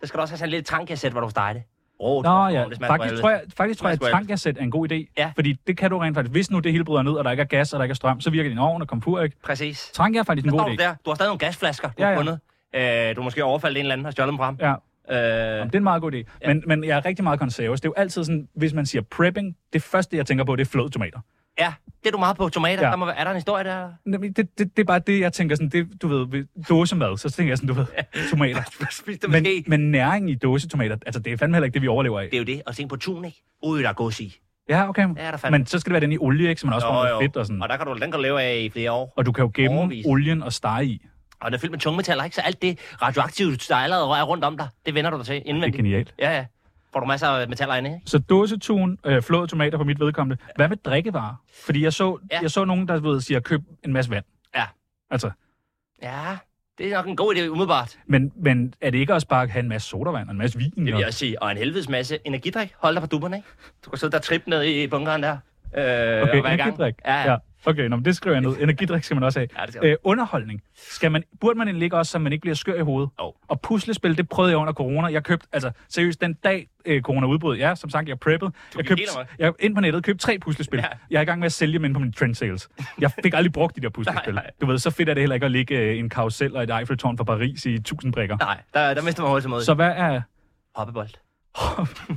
[SPEAKER 4] så skal du også have sådan en lille trankasset, hvor du steger det. Rå,
[SPEAKER 3] Nå
[SPEAKER 4] tror
[SPEAKER 3] ja,
[SPEAKER 4] jeg, det smager
[SPEAKER 3] faktisk
[SPEAKER 4] for
[SPEAKER 3] tror, jeg,
[SPEAKER 4] helvede.
[SPEAKER 3] faktisk tror jeg,
[SPEAKER 4] Smager
[SPEAKER 3] at
[SPEAKER 4] for
[SPEAKER 3] tankkasset er en god idé.
[SPEAKER 4] Ja.
[SPEAKER 3] Fordi det kan du rent faktisk. Hvis nu det hele bryder ned, og der ikke er gas, og der ikke er strøm, så virker din ovn og komfur ikke.
[SPEAKER 4] Præcis. Så
[SPEAKER 3] Tank er faktisk en god
[SPEAKER 4] står du
[SPEAKER 3] idé.
[SPEAKER 4] der. Du har stadig nogle gasflasker, du
[SPEAKER 3] Ja,
[SPEAKER 4] har
[SPEAKER 3] ja.
[SPEAKER 4] fundet. Øh, du har måske overfaldet en eller anden og stjålet dem fra ham.
[SPEAKER 3] Ja,
[SPEAKER 4] Øh,
[SPEAKER 3] Jamen, det er en meget god idé.
[SPEAKER 4] Ja.
[SPEAKER 3] Ja. Men, men jeg er rigtig meget konservativ. Det er jo altid sådan, hvis man siger prepping, det første, jeg tænker på, det er flåede tomater.
[SPEAKER 4] ja, det er du meget på. Tomater.
[SPEAKER 3] Ja.
[SPEAKER 4] Der må, være- er der en historie der? eller?
[SPEAKER 3] Jamen, Det, det, det, er bare det, jeg tænker sådan, det, du ved, ved dåsemad, så tænker jeg sådan, du ved, tomater.
[SPEAKER 4] Spis <laughs> det
[SPEAKER 3] Men,
[SPEAKER 4] måske.
[SPEAKER 3] men næring i dåsetomater, altså det er fandme heller ikke det, vi overlever af.
[SPEAKER 4] Det er jo det. Og tænk på tun, ikke? Ude, der er gods i.
[SPEAKER 3] Ja, okay.
[SPEAKER 4] Ja, der fandme.
[SPEAKER 3] Men så skal det være den i olie, ikke? Så man også får
[SPEAKER 4] Jo,
[SPEAKER 3] noget
[SPEAKER 4] jo.
[SPEAKER 3] fedt og sådan.
[SPEAKER 4] Og der kan du, den kan du leve af i flere år.
[SPEAKER 3] Og du kan jo gemme
[SPEAKER 4] Overvis.
[SPEAKER 3] olien og stege i.
[SPEAKER 4] Og den er fyldt med tungmetaller, ikke? Så alt det radioaktive, der allerede rører rundt om dig, det vender du dig til
[SPEAKER 3] Det er
[SPEAKER 4] indvendigt.
[SPEAKER 3] genialt.
[SPEAKER 4] Ja, ja. Får du masser af metaller inde, ikke?
[SPEAKER 3] Så dåsetun, øh, flåede tomater på mit vedkommende. Hvad med drikkevarer? Fordi jeg så,
[SPEAKER 4] Ja.
[SPEAKER 3] ja. jeg så nogen, der ved, siger, køb en masse vand.
[SPEAKER 4] Ja.
[SPEAKER 3] Altså,
[SPEAKER 4] Ja, det er nok en god idé, umiddelbart.
[SPEAKER 3] men, men er det ikke også bare at have en masse sodavand og en masse vin?
[SPEAKER 4] Det vil
[SPEAKER 3] og-
[SPEAKER 4] jeg også sige. Og en helvedes masse energidrik. Hold dig på dupperne, ikke? Du kan sidde der og trippe ned i bunkeren der. Øh, og være i
[SPEAKER 3] okay,
[SPEAKER 4] gang.
[SPEAKER 3] energidrik.
[SPEAKER 4] Ja, ja.
[SPEAKER 3] Okay, nå, men det skriver jeg
[SPEAKER 4] <laughs>
[SPEAKER 3] ned. Energidrik skal man også have.
[SPEAKER 4] Ja, det skal man.
[SPEAKER 3] Æ, underholdning. Skal man, burde man egentlig ikke også, så man ikke bliver skør i hovedet?
[SPEAKER 4] Jo.
[SPEAKER 3] Og puslespil, det prøvede jeg under corona. Jeg købte, altså seriøst, den dag øh, corona udbrød, ja, som sagt, jeg preppede. Jeg
[SPEAKER 4] gik
[SPEAKER 3] købte,
[SPEAKER 4] helt amok.
[SPEAKER 3] jeg, ind på nettet købte tre puslespil.
[SPEAKER 4] Ja.
[SPEAKER 3] Ja. Jeg er i gang med at sælge dem ind på mine trend sales. Jeg fik aldrig brugt de der puslespil.
[SPEAKER 4] <laughs> Nej, nej.
[SPEAKER 3] Du ved, så fedt er det heller ikke at ligge øh, en karusel og et Eiffeltårn fra Paris i tusind brikker.
[SPEAKER 4] Nej, der, der mister man hurtigt mod.
[SPEAKER 3] Så hvad er...
[SPEAKER 4] Hoppebold.
[SPEAKER 3] <laughs>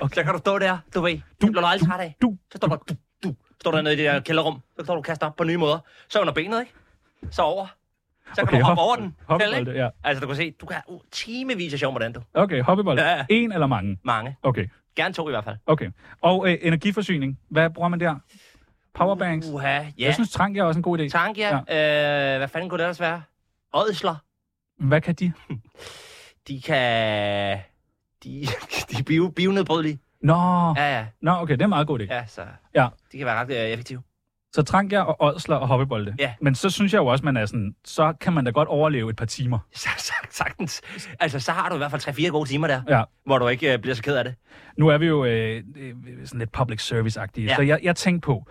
[SPEAKER 4] okay. Så kan du stå der, du ved.
[SPEAKER 3] Du-
[SPEAKER 4] Du bliver du aldrig træt af.
[SPEAKER 3] Du,
[SPEAKER 4] Så står du, du, du, står der nede i det der kælderrum. Så står du og kaster op på nye måder. Så under benet, ikke? Så over. Så kan
[SPEAKER 3] Okay,
[SPEAKER 4] du hoppe
[SPEAKER 3] hop-
[SPEAKER 4] over den.
[SPEAKER 3] hoppebold,
[SPEAKER 4] Selv, ikke?
[SPEAKER 3] ja.
[SPEAKER 4] Altså, du kan se, du kan uh, timevis af sjov, hvordan du.
[SPEAKER 3] okay, hoppebold.
[SPEAKER 4] Ja, ja.
[SPEAKER 3] En eller mange?
[SPEAKER 4] Mange.
[SPEAKER 3] Okay,
[SPEAKER 4] Gerne to i hvert fald.
[SPEAKER 3] okay. Og øh, energiforsyning. Hvad bruger man der? Powerbanks?
[SPEAKER 4] Uha, Uh, ja.
[SPEAKER 3] Jeg synes, trank er også en god idé.
[SPEAKER 4] Tank, ja. Øh, hvad fanden kunne det ellers være? Ådsler.
[SPEAKER 3] Hvad kan de?
[SPEAKER 4] De kan... De, <laughs> de er bio, bionedbrydelige.
[SPEAKER 3] Nå, ja.
[SPEAKER 4] Ja, ja.
[SPEAKER 3] nå, okay, det er en meget god idé. Ja.
[SPEAKER 4] Ja, så
[SPEAKER 3] ja.
[SPEAKER 4] de kan være ret øh, effektive.
[SPEAKER 3] Så trank jeg og ådsler og hoppebolde.
[SPEAKER 4] Ja.
[SPEAKER 3] Men så synes jeg jo også, man er sådan, så kan man da godt overleve et par timer.
[SPEAKER 4] <laughs> Så, så, sagtens. Altså, så har du i hvert fald 3-4 gode timer der,
[SPEAKER 3] Ja.
[SPEAKER 4] hvor du ikke øh, bliver så ked af det.
[SPEAKER 3] Nu er vi jo øh, øh, sådan lidt public service-agtige,
[SPEAKER 4] Ja.
[SPEAKER 3] ja. så jeg, jeg tænkte på,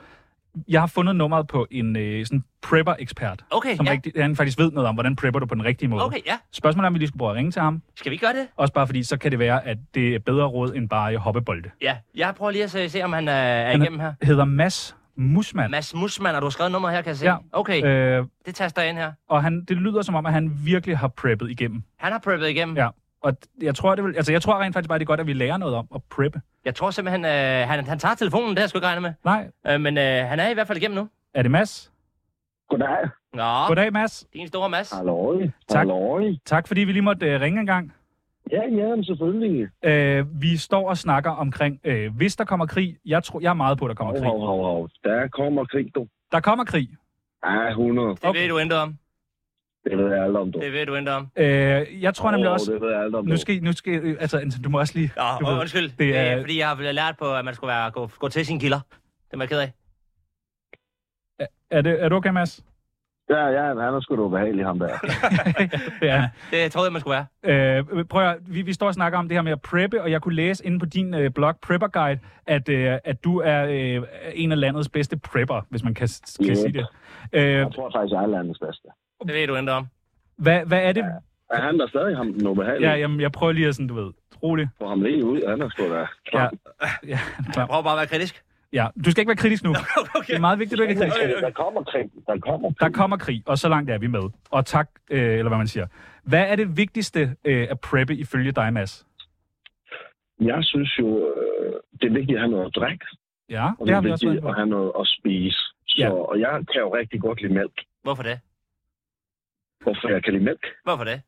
[SPEAKER 3] jeg har fundet nummeret på en øh, sådan prepper-ekspert,
[SPEAKER 4] Okay,
[SPEAKER 3] som
[SPEAKER 4] ja.
[SPEAKER 3] rigtig, han faktisk ved noget om, hvordan prepper du på den rigtige måde.
[SPEAKER 4] Okay, ja.
[SPEAKER 3] Spørgsmålet er, om vi lige skulle prøve at ringe til ham.
[SPEAKER 4] Skal vi gøre det?
[SPEAKER 3] Også bare fordi, så kan det være, at det er bedre råd end bare hoppebolde.
[SPEAKER 4] Ja. Jeg prøver lige at se, se om han øh, er
[SPEAKER 3] Han er-
[SPEAKER 4] igennem her.
[SPEAKER 3] Hedder Mads Musman.
[SPEAKER 4] Mads Musmann, og du har skrevet nummer her, kan jeg se.
[SPEAKER 3] Ja.
[SPEAKER 4] Okay, øh.
[SPEAKER 3] Øh,
[SPEAKER 4] det taster jeg ind her.
[SPEAKER 3] og han, det lyder som om, at han virkelig har preppet igennem.
[SPEAKER 4] Han har preppet igennem.
[SPEAKER 3] Ja, og d- jeg tror, det vil, altså, jeg tror rent faktisk bare, det er godt, at vi lærer noget om at preppe.
[SPEAKER 4] Jeg tror simpelthen, øh, han, han tager telefonen, det har jeg sgu ikke regnet med.
[SPEAKER 3] Nej,
[SPEAKER 4] Øh, men øh, han er i hvert fald igennem nu.
[SPEAKER 3] er det Mads?
[SPEAKER 6] Goddag.
[SPEAKER 4] Nå,
[SPEAKER 3] Goddag, Mads.
[SPEAKER 4] din store Mads.
[SPEAKER 6] Halløj.
[SPEAKER 3] Tak.
[SPEAKER 6] Halløj.
[SPEAKER 3] Tak, fordi vi lige måtte øh, ringe en gang.
[SPEAKER 6] Ja, ja, men selvfølgelig.
[SPEAKER 3] Øh, vi står og snakker omkring, øh, hvis der kommer krig. Jeg, tror, jeg er meget på, at der kommer
[SPEAKER 6] Hov,
[SPEAKER 3] krig.
[SPEAKER 6] hov, hov, hov. Der kommer krig, du.
[SPEAKER 3] Der kommer krig.
[SPEAKER 6] Ja, 100.
[SPEAKER 4] Det
[SPEAKER 3] Okay.
[SPEAKER 4] ved du intet om.
[SPEAKER 6] Det ved jeg alt om, du.
[SPEAKER 4] Det ved du intet om.
[SPEAKER 3] Øh, jeg tror nemlig
[SPEAKER 6] Hov,
[SPEAKER 3] også...
[SPEAKER 6] Det ved jeg alt om, du.
[SPEAKER 3] Nu skal, I- nu skal, I- øh, altså, Anton, du må også lige...
[SPEAKER 4] Ja,
[SPEAKER 3] du
[SPEAKER 4] og
[SPEAKER 3] ved,
[SPEAKER 4] undskyld. Det er,
[SPEAKER 3] det
[SPEAKER 4] det er,
[SPEAKER 3] er-
[SPEAKER 4] fordi jeg har lært på, at man skulle være, gå, gå til sine kilder. Det er jeg ked af.
[SPEAKER 3] Er, det, er du okay, Mads?
[SPEAKER 6] Ja, ja, han er sgu da
[SPEAKER 3] <laughs>
[SPEAKER 6] ubehagelig, ham der.
[SPEAKER 3] ja.
[SPEAKER 4] Det troede jeg, man skulle være.
[SPEAKER 3] Øh, prøv at, høre, vi, vi står og snakker om det her med at preppe, og jeg kunne læse inde på din øh, blog Prepper Guide, at, øh, at du er øh, en af landets bedste prepper, hvis man kan, kan
[SPEAKER 6] Yep.
[SPEAKER 3] sige det. Øh,
[SPEAKER 6] Jeg tror faktisk, jeg er landets bedste.
[SPEAKER 4] Det ved du intet om.
[SPEAKER 3] hvad, hvad er det?
[SPEAKER 6] Er han der stadig ham den ubehagelige?
[SPEAKER 3] Ja,
[SPEAKER 6] Ja, ja.
[SPEAKER 3] jamen, jeg prøver lige at sådan, du ved, rolig.
[SPEAKER 6] Får ham lige ud, han er sgu da.
[SPEAKER 3] Ja. Ja,
[SPEAKER 4] Jeg prøver bare at være kritisk.
[SPEAKER 3] ja, du skal ikke være kritisk nu. <laughs> Det er meget vigtigt, at du ikke er kritisk.
[SPEAKER 6] Der kommer krig. Der kommer
[SPEAKER 3] Der
[SPEAKER 6] krig.
[SPEAKER 3] kommer krig, og så langt er vi med. Og tak, øh, eller hvad man siger. Hvad er det vigtigste øh, at preppe ifølge dig, Mads?
[SPEAKER 6] Jeg synes jo, øh, det er vigtigt at have noget at drikke,
[SPEAKER 3] Ja,
[SPEAKER 6] og
[SPEAKER 3] det
[SPEAKER 6] det
[SPEAKER 3] har
[SPEAKER 6] er
[SPEAKER 3] vi også været inde
[SPEAKER 6] vigtigt
[SPEAKER 3] på.
[SPEAKER 6] at have noget at spise. Så,
[SPEAKER 3] Ja.
[SPEAKER 6] Og jeg kan jo rigtig godt lide mælk.
[SPEAKER 4] Hvorfor det?
[SPEAKER 6] Hvorfor jeg kan lide mælk?
[SPEAKER 4] Hvorfor det?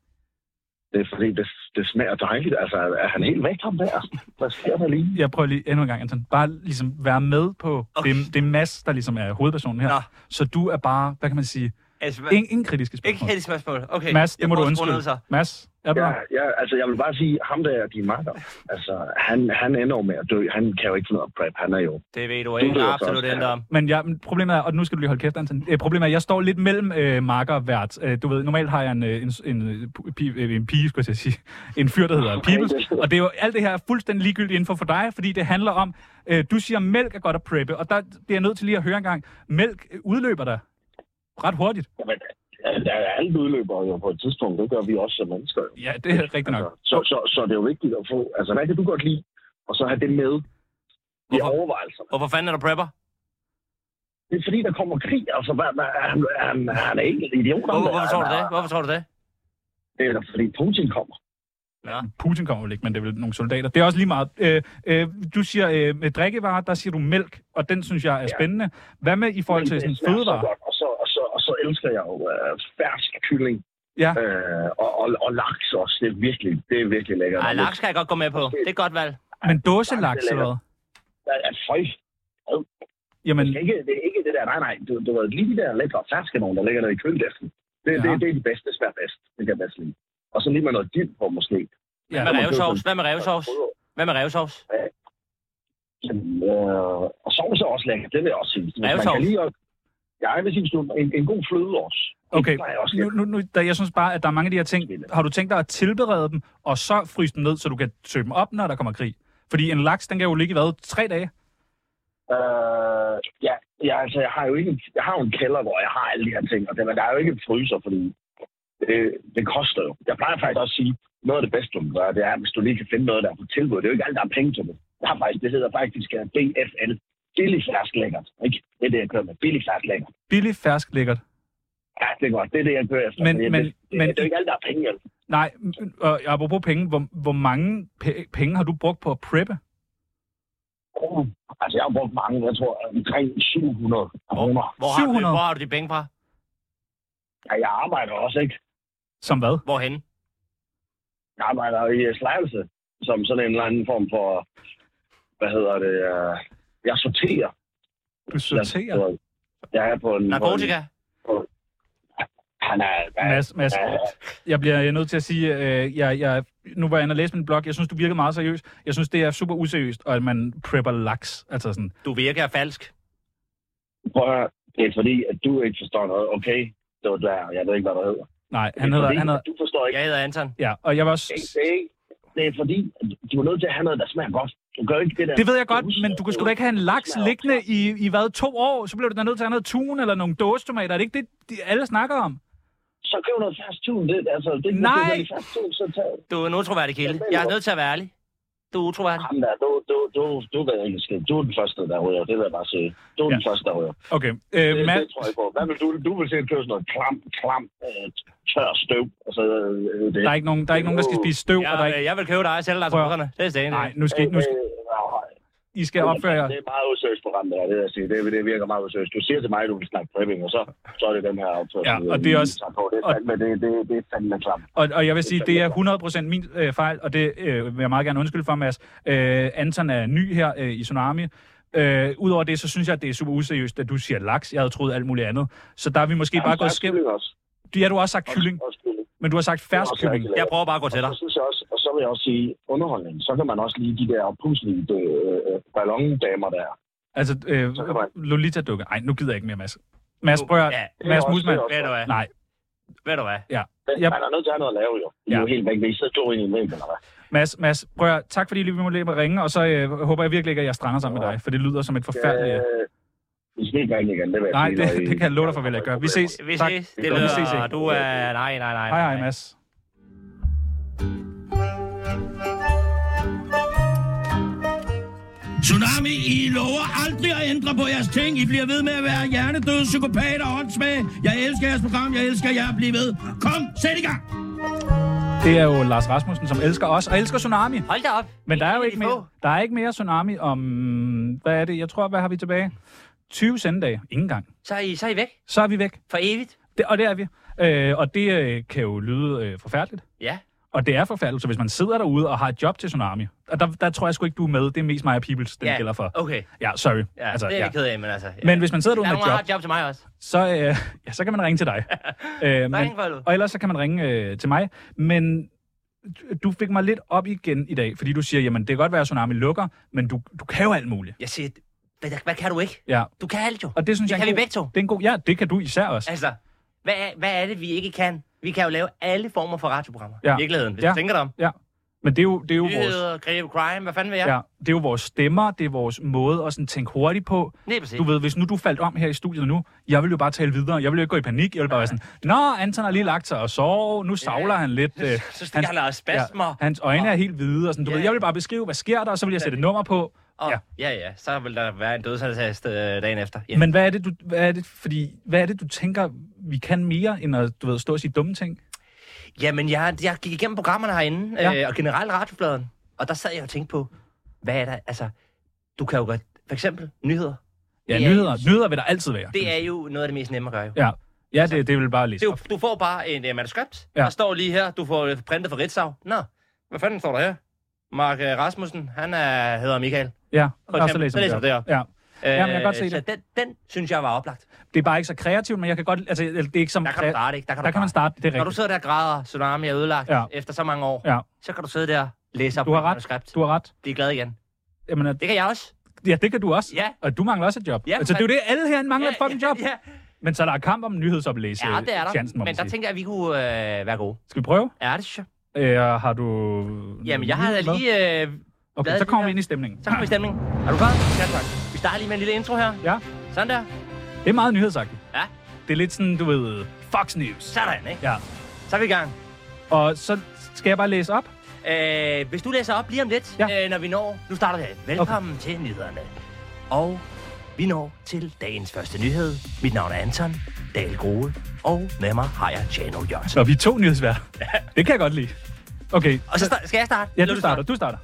[SPEAKER 6] Det er fordi, det, det smager dejligt. Altså, er han helt væk ham der? Hvad sker der lige?
[SPEAKER 3] Jeg prøver lige endnu en gang, Anton. Bare ligesom være med på okay.
[SPEAKER 7] Okay.
[SPEAKER 3] det, det Mads, der ligesom er hovedpersonen her.
[SPEAKER 7] Nå.
[SPEAKER 3] Så du er bare, hvad kan man sige,
[SPEAKER 7] Altså, hvad-
[SPEAKER 3] ingen, ingen kritiske
[SPEAKER 7] ikke
[SPEAKER 3] spørgsmål.
[SPEAKER 7] helt spørgsmål. Okay.
[SPEAKER 3] Mads, det
[SPEAKER 7] jeg
[SPEAKER 3] må du
[SPEAKER 7] prøver at skrue
[SPEAKER 3] undskylde.
[SPEAKER 7] ned, så.
[SPEAKER 3] Mads, er du
[SPEAKER 6] Ja,
[SPEAKER 3] der?
[SPEAKER 6] ja, altså jeg vil bare sige, ham der er din makker. Altså, han, han ender jo med at dø. Han kan jo ikke finde noget prep. Han er jo...
[SPEAKER 7] Det ved du
[SPEAKER 6] Du
[SPEAKER 7] ikke
[SPEAKER 6] ved
[SPEAKER 7] absolut
[SPEAKER 6] godt.
[SPEAKER 7] ikke om.
[SPEAKER 3] Men, ja, men problemet er, og nu skal du lige holde kæft, Anton. Øh, problemet er, at jeg står lidt mellem øh, marker og vært. Øh, du ved, normalt har jeg en, øh, en, en, øh, pu- pi, øh, en pige, skulle jeg til at sige. <laughs> En fyr, der hedder Peoples. Og det er jo, alt det her er fuldstændig ligegyldigt inden for, for dig, fordi det handler om, øh, du siger, mælk er godt at preppe. Og der det er jeg nødt til lige at høre engang. Mælk øh, udløber dig ret hurtigt.
[SPEAKER 6] Jamen, ja, alt udløber jo på et tidspunkt. Det gør vi også som mennesker. jo.
[SPEAKER 3] Ja, det er rigtigt nok.
[SPEAKER 6] Altså, så, så, så det er jo vigtigt at få... Altså, hvad kan du godt lide? Og så have det med i
[SPEAKER 7] Hvorfor?
[SPEAKER 6] overvejelserne.
[SPEAKER 7] Hvorfor fanden er du prepper?
[SPEAKER 6] Det er fordi, der kommer krig. Altså, hvad, hvad, er han, er han, er han er ikke en idiot. ham
[SPEAKER 7] Hvor,
[SPEAKER 6] der.
[SPEAKER 7] hvorfor tror du
[SPEAKER 6] Han
[SPEAKER 7] det?
[SPEAKER 6] er-
[SPEAKER 7] Hvorfor tror du det?
[SPEAKER 6] Det er da, fordi Putin kommer.
[SPEAKER 3] Putin kommer vel ikke, men det er vel nogle soldater. Det er også lige meget. Øh, øh, du siger øh, med drikkevarer, der siger du mælk, og den synes jeg er spændende. Hvad med i forhold til
[SPEAKER 6] Men
[SPEAKER 3] sådan
[SPEAKER 6] det smager
[SPEAKER 3] fødevarer?
[SPEAKER 6] så godt, Og så, og, så, og så elsker jeg jo øh, fersk kylling.
[SPEAKER 3] Ja.
[SPEAKER 6] Øh, og, og, og, laks også. Det er virkelig, det er virkelig lækkert.
[SPEAKER 7] Ej, laks kan jeg godt gå med på. Det er et godt valg.
[SPEAKER 3] Men dåselaks eller hvad?
[SPEAKER 6] Ja, ja, Føj,
[SPEAKER 3] Jamen,
[SPEAKER 6] Det er ikke, det er ikke det der, nej, nej, du, du ved, lige de der lækre ferske nogen, der ligger der i køledæsken.
[SPEAKER 3] Ja.
[SPEAKER 6] Det, ja. det, det, er de bedste, smager bedst. Det kan jeg bedst lide. Og så lige med noget dild på, måske.
[SPEAKER 3] Ja.
[SPEAKER 7] Hvad med revsovs? Hvad med revsovs? Hvad med revsovs?
[SPEAKER 6] Jamen, øh, og sovs er også lækkert, det vil jeg også sige. Hvis Man
[SPEAKER 7] Rævesovs.
[SPEAKER 6] kan lige, ja, jeg vil sige, hvis du- en, en god fløde også. Det
[SPEAKER 3] okay,
[SPEAKER 6] plejer jeg også
[SPEAKER 3] nu,
[SPEAKER 6] lidt.
[SPEAKER 3] nu, nu, der, jeg synes bare, at der er mange af de her ting. Har du tænkt dig at tilberede dem, og så fryse dem ned, så du kan søge dem op, når der kommer krig? Fordi en laks, den kan jo ligge i hvad, tre dage?
[SPEAKER 6] Øh, ja, ja, altså, jeg har jo ikke, en- jeg har jo en kælder, hvor jeg har alle de her ting, og den, der er jo ikke en fryser, fordi det, det koster jo. Jeg plejer faktisk også at sige, noget af det bedste, du kan gøre, det er, hvis du lige kan finde noget, der er på tilbud. Det er jo ikke alt, der er penge til det. Jeg har faktisk, det hedder faktisk øh, BFL. Billig færsk lækkert, ikke? Det er det, jeg kører med. Billig færsk lækkert.
[SPEAKER 3] Billig, fersk, lækkert.
[SPEAKER 6] Ja, det er godt. Det er det, jeg kører efter.
[SPEAKER 3] Men-
[SPEAKER 6] Fordi
[SPEAKER 3] men-
[SPEAKER 6] det, det,
[SPEAKER 3] men-
[SPEAKER 6] det, er jo ikke alt, der er penge i.
[SPEAKER 3] Nej, m- og apropos penge, hvor, hvor mange pe- penge har du brugt på at preppe?
[SPEAKER 6] Uh, altså, jeg har brugt mange, jeg tror, omkring 700 kroner.
[SPEAKER 7] Hvor har, du,
[SPEAKER 3] 700.
[SPEAKER 7] hvor har du de penge fra?
[SPEAKER 6] Ja, jeg arbejder også, ikke?
[SPEAKER 3] Som hvad?
[SPEAKER 7] Hvorhen?
[SPEAKER 6] Jeg arbejder i øh, Slagelse, som sådan en eller anden form for, hvad hedder det, øh, jeg sorterer.
[SPEAKER 3] Du sorterer.
[SPEAKER 6] Jeg, jeg er på en...
[SPEAKER 7] Narkotika?
[SPEAKER 6] Han er... Ja,
[SPEAKER 3] Mads, Mads, jeg bliver nødt til at sige, øh, jeg, jeg, nu var jeg inde og læse min blog, jeg synes, du virkede meget seriøs. Jeg synes, det er super useriøst, og at man prepper laks. Altså sådan,
[SPEAKER 7] Du virker falsk.
[SPEAKER 6] prøv at høre, det er fordi, at du ikke forstår noget, okay? Det var der, jeg ved ikke, hvad der hedder.
[SPEAKER 3] nej,
[SPEAKER 6] Det er
[SPEAKER 3] han hedder,
[SPEAKER 6] fordi,
[SPEAKER 3] han hedder,
[SPEAKER 6] at Du forstår ikke.
[SPEAKER 7] Jeg hedder Anton.
[SPEAKER 3] ja, og jeg var også...
[SPEAKER 6] Det, er ikke- det er fordi, at du er nødt til at have noget, der smager godt. Du gør ikke det der...
[SPEAKER 3] Det ved jeg godt, men du kan sgu da ikke have en laks liggende i, i hvad, to år? Så bliver du da nødt til at have noget tun eller nogle dåsetomater. Er det ikke det, de alle snakker om?
[SPEAKER 6] Så køb noget fast tun. Det, altså, det,
[SPEAKER 3] Nej.
[SPEAKER 6] Det, det, fast tun, så tag...
[SPEAKER 7] Du er en utroværdig kilde. Jeg er nødt til at være ærlig. Du er utroværdig.
[SPEAKER 3] Ah,
[SPEAKER 6] Ham der, du, du, du, du ved ikke en skid. Du er den første, der ryger. Det vil jeg bare sige. Du er den
[SPEAKER 3] Ja.
[SPEAKER 6] første, der ryger.
[SPEAKER 3] Okay, øh,
[SPEAKER 6] Det, det
[SPEAKER 3] Mads,
[SPEAKER 6] tror jeg på. Hvad vil du? Du vil se, at køre sådan noget klam, klam, øh, tør støv. Altså, øh, det.
[SPEAKER 3] der er ikke nogen, der, er ikke nogen, der skal spise støv, og der er
[SPEAKER 7] Jeg, øh,
[SPEAKER 3] ikke...
[SPEAKER 7] jeg vil købe dig og sælge dig til
[SPEAKER 3] Prøv.
[SPEAKER 7] bukkerne. Det er stenet.
[SPEAKER 3] Nej, nu skal, I- nu skal, I skal opføre jer.
[SPEAKER 6] Det er meget useriøst program, det her. Det, vil jeg sige. det, det virker meget useriøst. Du siger til mig, at du vil snakke prepping, og så, så er det den her opførsel.
[SPEAKER 3] Ja, og
[SPEAKER 6] øh,
[SPEAKER 3] det er
[SPEAKER 6] I
[SPEAKER 3] også-
[SPEAKER 6] tager På. Det, er
[SPEAKER 3] og-
[SPEAKER 6] fandme, det, det, det er fandme klam.
[SPEAKER 3] Og, og jeg vil sige, det er 100% min øh, fejl, og det øh, vil jeg meget gerne undskylde for, Mads. Øh, Anton er ny her øh, i Tsunami. Øh, Udover det, så synes jeg, at det er super useriøst, at du siger laks. Jeg havde troet alt muligt andet. Så der er vi måske bare gået skævt.
[SPEAKER 6] Også.
[SPEAKER 3] Ja, du har også sagt kylling,
[SPEAKER 6] Også kylling.
[SPEAKER 3] men du har sagt fersk
[SPEAKER 6] Det er også
[SPEAKER 3] kylling.
[SPEAKER 6] rigtig lækkert.
[SPEAKER 7] Jeg prøver bare at gå til dig.
[SPEAKER 6] Og så, synes jeg også, og så vil jeg også sige, underholdning, så kan man også lige de der puslige øh, øh, ballondamer der.
[SPEAKER 3] Altså, øh,
[SPEAKER 6] Så kan man-
[SPEAKER 3] Lolita-dukke. Nej, nu gider jeg ikke mere, Mads. Mads,
[SPEAKER 7] Nu-
[SPEAKER 3] prøv at...
[SPEAKER 7] Ja,
[SPEAKER 3] Mads
[SPEAKER 6] også-
[SPEAKER 3] Musman.
[SPEAKER 6] det er
[SPEAKER 7] ved du hvad?
[SPEAKER 3] Nej,
[SPEAKER 7] Ved du hvad?
[SPEAKER 6] Men
[SPEAKER 3] Yep.
[SPEAKER 6] Man er nødt til at have noget at lave, jo. I er
[SPEAKER 3] Ja.
[SPEAKER 6] jo helt væk, hvis I sidder to ind i en væg, eller hvad?
[SPEAKER 3] Mads, Mads, prøv at, tak fordi I lige vil lade mig ringe, og så øh, håber jeg virkelig ikke, at jeg strander sammen med dig, for det lyder som et forfærdeligt... Øh,
[SPEAKER 6] Øh, Vi skal ikke ringe igen, det vil jeg
[SPEAKER 3] nej,
[SPEAKER 6] sige,
[SPEAKER 3] det,
[SPEAKER 6] når I-
[SPEAKER 3] det kan jeg love dig for, vel at gøre. Vi ses.
[SPEAKER 7] Vi
[SPEAKER 3] Tak.
[SPEAKER 7] ses.
[SPEAKER 6] Vi
[SPEAKER 7] Det
[SPEAKER 6] ses,
[SPEAKER 7] lyder,
[SPEAKER 3] ikke?
[SPEAKER 7] du
[SPEAKER 4] øh,
[SPEAKER 7] er... Nej, nej, nej.
[SPEAKER 3] Hej, hej, Mads.
[SPEAKER 8] Tsunami, I lover aldrig at ændre på jeres ting. I bliver ved med at være hjernedøde, psykopater og åndssvage. Jeg elsker jeres program, jeg elsker jer. Bliv ved. Kom, sæt i gang.
[SPEAKER 3] Det er jo Lars Rasmussen, som elsker os, og elsker Tsunami.
[SPEAKER 7] Hold da op.
[SPEAKER 3] Men der er jo
[SPEAKER 7] En af
[SPEAKER 3] ikke
[SPEAKER 7] de
[SPEAKER 3] mere,
[SPEAKER 7] få.
[SPEAKER 3] der er ikke mere Tsunami om... Hvad er det? Jeg tror, hvad har vi tilbage? 20 sendedage. Ingen gang.
[SPEAKER 7] Så er I, så er I væk.
[SPEAKER 3] Så er vi væk.
[SPEAKER 7] For evigt.
[SPEAKER 3] Det, og det er vi. Øh, og det øh, kan jo lyde øh, forfærdeligt.
[SPEAKER 7] Ja.
[SPEAKER 3] Og det er forfærdeligt, så hvis man sidder derude og har et job til Tsunami, og der, der tror jeg sgu ikke, du er med. Det er mest mig og Peoples, den
[SPEAKER 4] Ja,
[SPEAKER 3] gælder for.
[SPEAKER 4] Okay,
[SPEAKER 3] Ja, sorry.
[SPEAKER 4] ja, altså, det er jeg ja. ked af, men altså... Ja.
[SPEAKER 3] Men hvis man sidder
[SPEAKER 4] der
[SPEAKER 3] derude
[SPEAKER 4] er
[SPEAKER 3] med
[SPEAKER 4] nogen,
[SPEAKER 3] et
[SPEAKER 4] der
[SPEAKER 3] job,
[SPEAKER 4] har et job til mig også.
[SPEAKER 3] så, øh, ja, så kan man ringe til
[SPEAKER 4] <laughs>
[SPEAKER 3] dig. øh,
[SPEAKER 4] Ring for
[SPEAKER 3] og ellers så kan man ringe øh, til mig. Men du fik mig lidt op igen i dag, fordi du siger, jamen det kan godt være, at Tsunami lukker, men du, du kan jo alt muligt.
[SPEAKER 4] Jeg siger, hvad, hvad kan du ikke?
[SPEAKER 3] Ja.
[SPEAKER 4] Du kan alt jo.
[SPEAKER 3] Og det synes
[SPEAKER 4] Det
[SPEAKER 3] jeg er
[SPEAKER 4] kan
[SPEAKER 3] en
[SPEAKER 4] vi
[SPEAKER 3] god-
[SPEAKER 4] begge to.
[SPEAKER 3] Det er en god, ja, det kan du især også.
[SPEAKER 4] Altså, hvad er, hvad er det, vi ikke kan? Vi kan jo lave alle former for radioprogrammer.
[SPEAKER 3] Ja.
[SPEAKER 4] I virkeligheden, hvis
[SPEAKER 3] Ja.
[SPEAKER 4] du tænker dig om.
[SPEAKER 3] Men det er jo, det er jo vores...
[SPEAKER 4] Nyheder, creative crime, hvad fanden ved jeg?
[SPEAKER 3] Ja, det er jo vores stemmer, det er vores måde at sådan tænke hurtigt på.
[SPEAKER 4] Lige præcis.
[SPEAKER 3] Du ved, hvis nu du faldt om her i studiet nu, jeg ville jo bare tale videre, jeg ville jo ikke gå i panik, jeg ville bare være sådan, Nå, Anton har lige lagt sig og sov, nu savler han lidt. Øh,
[SPEAKER 4] Så stikker han og spasmer.
[SPEAKER 3] hans øjne er helt hvide, og sådan, du
[SPEAKER 4] Ja,
[SPEAKER 3] ved,
[SPEAKER 4] ja.
[SPEAKER 3] jeg vil bare beskrive, hvad sker der, og så vil jeg sætte et nummer på.
[SPEAKER 4] Og,
[SPEAKER 3] Ja.
[SPEAKER 4] ja. ja, ja, så vil der være en dødsattest øh, dagen efter. Ja.
[SPEAKER 3] Men hvad er det, du, hvad er det, fordi, hvad er det, du tænker, vi kan mere, end at, du ved, stå og sige dumme ting?
[SPEAKER 4] Jamen, jeg, jeg gik igennem programmerne herinde,
[SPEAKER 3] Ja.
[SPEAKER 4] ja. øh, og generelt radiofladen. Og der sad jeg og tænkte på, hvad er der, altså, du kan jo godt, for eksempel nyheder.
[SPEAKER 3] Ja,
[SPEAKER 4] Det er-
[SPEAKER 3] nyheder, nyheder vil der altid være.
[SPEAKER 4] Det er jo noget af det mest nemme at gøre, jo.
[SPEAKER 3] Ja, ja det, det vil bare læse.
[SPEAKER 4] Det er jo, du får bare en uh, manuskript.
[SPEAKER 3] Ja.
[SPEAKER 4] Ja. Der står lige her, du får øh, printet fra Ritzau. Nå, hvad fanden står der her? Mark øh, Rasmussen, han er, hedder Michael.
[SPEAKER 3] Ja,
[SPEAKER 4] For
[SPEAKER 3] og så
[SPEAKER 4] eksempel,
[SPEAKER 3] læser
[SPEAKER 4] så
[SPEAKER 3] man
[SPEAKER 4] læser
[SPEAKER 3] det
[SPEAKER 4] du det
[SPEAKER 3] op. Ja. Jamen, jeg kan godt se
[SPEAKER 4] så
[SPEAKER 3] det.
[SPEAKER 4] Den, den synes jeg var oplagt.
[SPEAKER 3] Det er bare ikke så kreativt, men jeg kan godt... Altså, det er ikke som...
[SPEAKER 4] Der kan du starte, ikke? Der kan,
[SPEAKER 3] Der
[SPEAKER 4] du
[SPEAKER 3] kan man starte, det er
[SPEAKER 4] Når du
[SPEAKER 3] rigtigt.
[SPEAKER 4] sidder der og græder, tsunami er ødelagt
[SPEAKER 3] Ja.
[SPEAKER 4] ja. efter så mange år,
[SPEAKER 3] Ja.
[SPEAKER 4] så kan du sidde der og læse op
[SPEAKER 3] Du har
[SPEAKER 4] på
[SPEAKER 3] ret.
[SPEAKER 4] et manuskript.
[SPEAKER 3] Du har ret.
[SPEAKER 4] Blive glad igen.
[SPEAKER 3] Jamen, at-
[SPEAKER 4] Det kan jeg også.
[SPEAKER 3] ja, det kan du også.
[SPEAKER 4] Ja.
[SPEAKER 3] Og du mangler også et job.
[SPEAKER 4] Ja,
[SPEAKER 3] altså, det er jo det, alle herinde mangler et fucking
[SPEAKER 4] ja,
[SPEAKER 3] job.
[SPEAKER 4] Ja,
[SPEAKER 3] Men så er der er kamp om nyhedsoplæse.
[SPEAKER 4] ja. ja, det er der.
[SPEAKER 3] Chancen, må man
[SPEAKER 4] Men der
[SPEAKER 3] sige.
[SPEAKER 4] tænker jeg, at vi kunne øh, være gode.
[SPEAKER 3] Skal vi prøve?
[SPEAKER 4] Ja, det synes jeg.
[SPEAKER 3] Øh, har du...
[SPEAKER 4] Jamen, jeg har da
[SPEAKER 3] Hvad?
[SPEAKER 4] lige... Øh,
[SPEAKER 3] Okay,
[SPEAKER 4] bladet
[SPEAKER 3] så kommer vi
[SPEAKER 4] lige
[SPEAKER 3] ind i stemningen.
[SPEAKER 4] så kommer vi i stemning. Er du klar? Ja, tak. Vi starter lige med en lille intro her.
[SPEAKER 3] Ja,
[SPEAKER 4] Sådan der.
[SPEAKER 3] det er meget nyhedsagtigt.
[SPEAKER 4] Ja.
[SPEAKER 3] Det er lidt sådan, du ved, Fox News.
[SPEAKER 4] Sådan, ikke?
[SPEAKER 3] Ja.
[SPEAKER 4] Så er vi i gang.
[SPEAKER 3] Og så skal jeg bare læse op.
[SPEAKER 4] Øh, hvis du læser op lige om lidt,
[SPEAKER 3] Ja.
[SPEAKER 4] ja. øh, når vi når... Nu starter vi. Velkommen okay. til nyhederne. Og vi når til dagens første nyhed. Mit navn er Anton Dahl Grohe, og med mig har jeg Tjano Jørgensen.
[SPEAKER 3] Nå, vi er to nyhedsværter. Det kan jeg godt lide. Okay,
[SPEAKER 4] Og så start, skal jeg starte?
[SPEAKER 3] ja,
[SPEAKER 4] Eller
[SPEAKER 3] du starter. Du starter.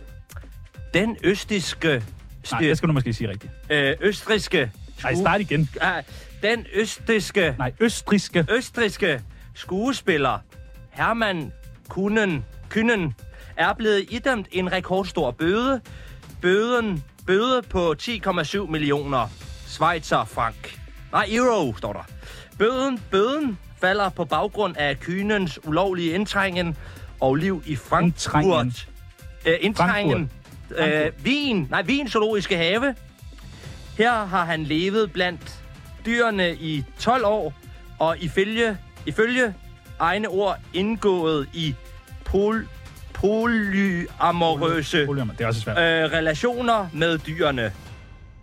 [SPEAKER 4] Den østiske...
[SPEAKER 3] Nej, det skal du måske sige rigtigt.
[SPEAKER 4] øh, østriske...
[SPEAKER 3] Nej, start igen.
[SPEAKER 4] Ah, den østriske,
[SPEAKER 3] Nej, østriske.
[SPEAKER 4] østriske skuespiller Hermann Kunen, Kynen er blevet idømt en rekordstor bøde. Bøden bøde på 10,7 millioner Schweizer frank. Nej, euro står der. Bøden, bøden falder på baggrund af Kynens ulovlige indtrængen og liv i
[SPEAKER 3] Indtrængen.
[SPEAKER 4] Frankfurt. Øh, indtrængen. Øh, Wien. Nej, Wien Zoologiske Have. Her har han levet blandt dyrene i 12 år, og ifølge, ifølge egne ord indgået i pol, polyamorøse øh,
[SPEAKER 3] Problemer. Det er også svært.
[SPEAKER 4] relationer med dyrene.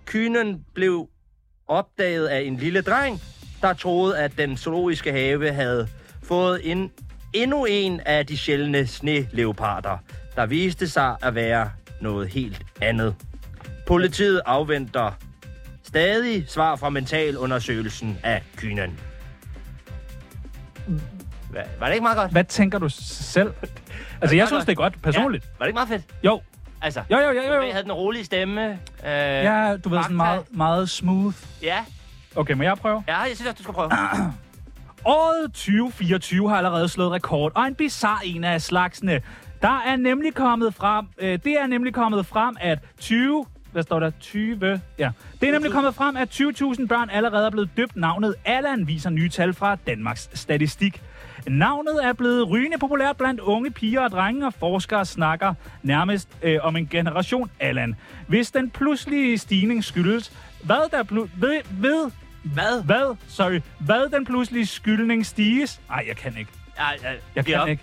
[SPEAKER 4] Kynen blev opdaget af en lille dreng, der troede, at den zoologiske have havde fået en, endnu en af de sjældne sneleoparder, der viste sig at være noget helt andet. Politiet afventer stadig svar fra mentalundersøgelsen af kynen. Hva, var det ikke meget godt?
[SPEAKER 3] Hvad tænker du s- selv? Altså, jeg synes, det er godt, personligt.
[SPEAKER 4] Ja, var det ikke meget fedt?
[SPEAKER 3] Jo,
[SPEAKER 4] Altså,
[SPEAKER 3] jo, jo, jo, jo.
[SPEAKER 4] jeg havde den rolige stemme. Øh,
[SPEAKER 3] Ja, du ved, sådan meget, meget smooth.
[SPEAKER 4] Ja,
[SPEAKER 3] Okay, må jeg prøve?
[SPEAKER 4] ja, jeg synes også, du skal prøve.
[SPEAKER 3] Ah. Året 2024 har allerede slået rekord, og en bizarre en af slagsene. Der er nemlig kommet frem, øh, det er nemlig kommet frem, at 20... Hvad står der? 20... Ja. Det er nemlig kommet frem, at 20.000 børn allerede er blevet døbt navnet Allan, viser nye tal fra Danmarks Statistik. Navnet er blevet rygende populært blandt unge piger og drenge, og forskere snakker nærmest øh, om en generation Allan. Hvis den pludselige stigning skyldes, hvad der plu- ved, ved
[SPEAKER 4] Hvad?
[SPEAKER 3] hvad? Sorry. Hvad den pludselige skyldning stiges? Nej, jeg kan ikke.
[SPEAKER 4] Ej, ej,
[SPEAKER 3] Jeg
[SPEAKER 4] giv
[SPEAKER 3] kan
[SPEAKER 4] op.
[SPEAKER 3] ikke.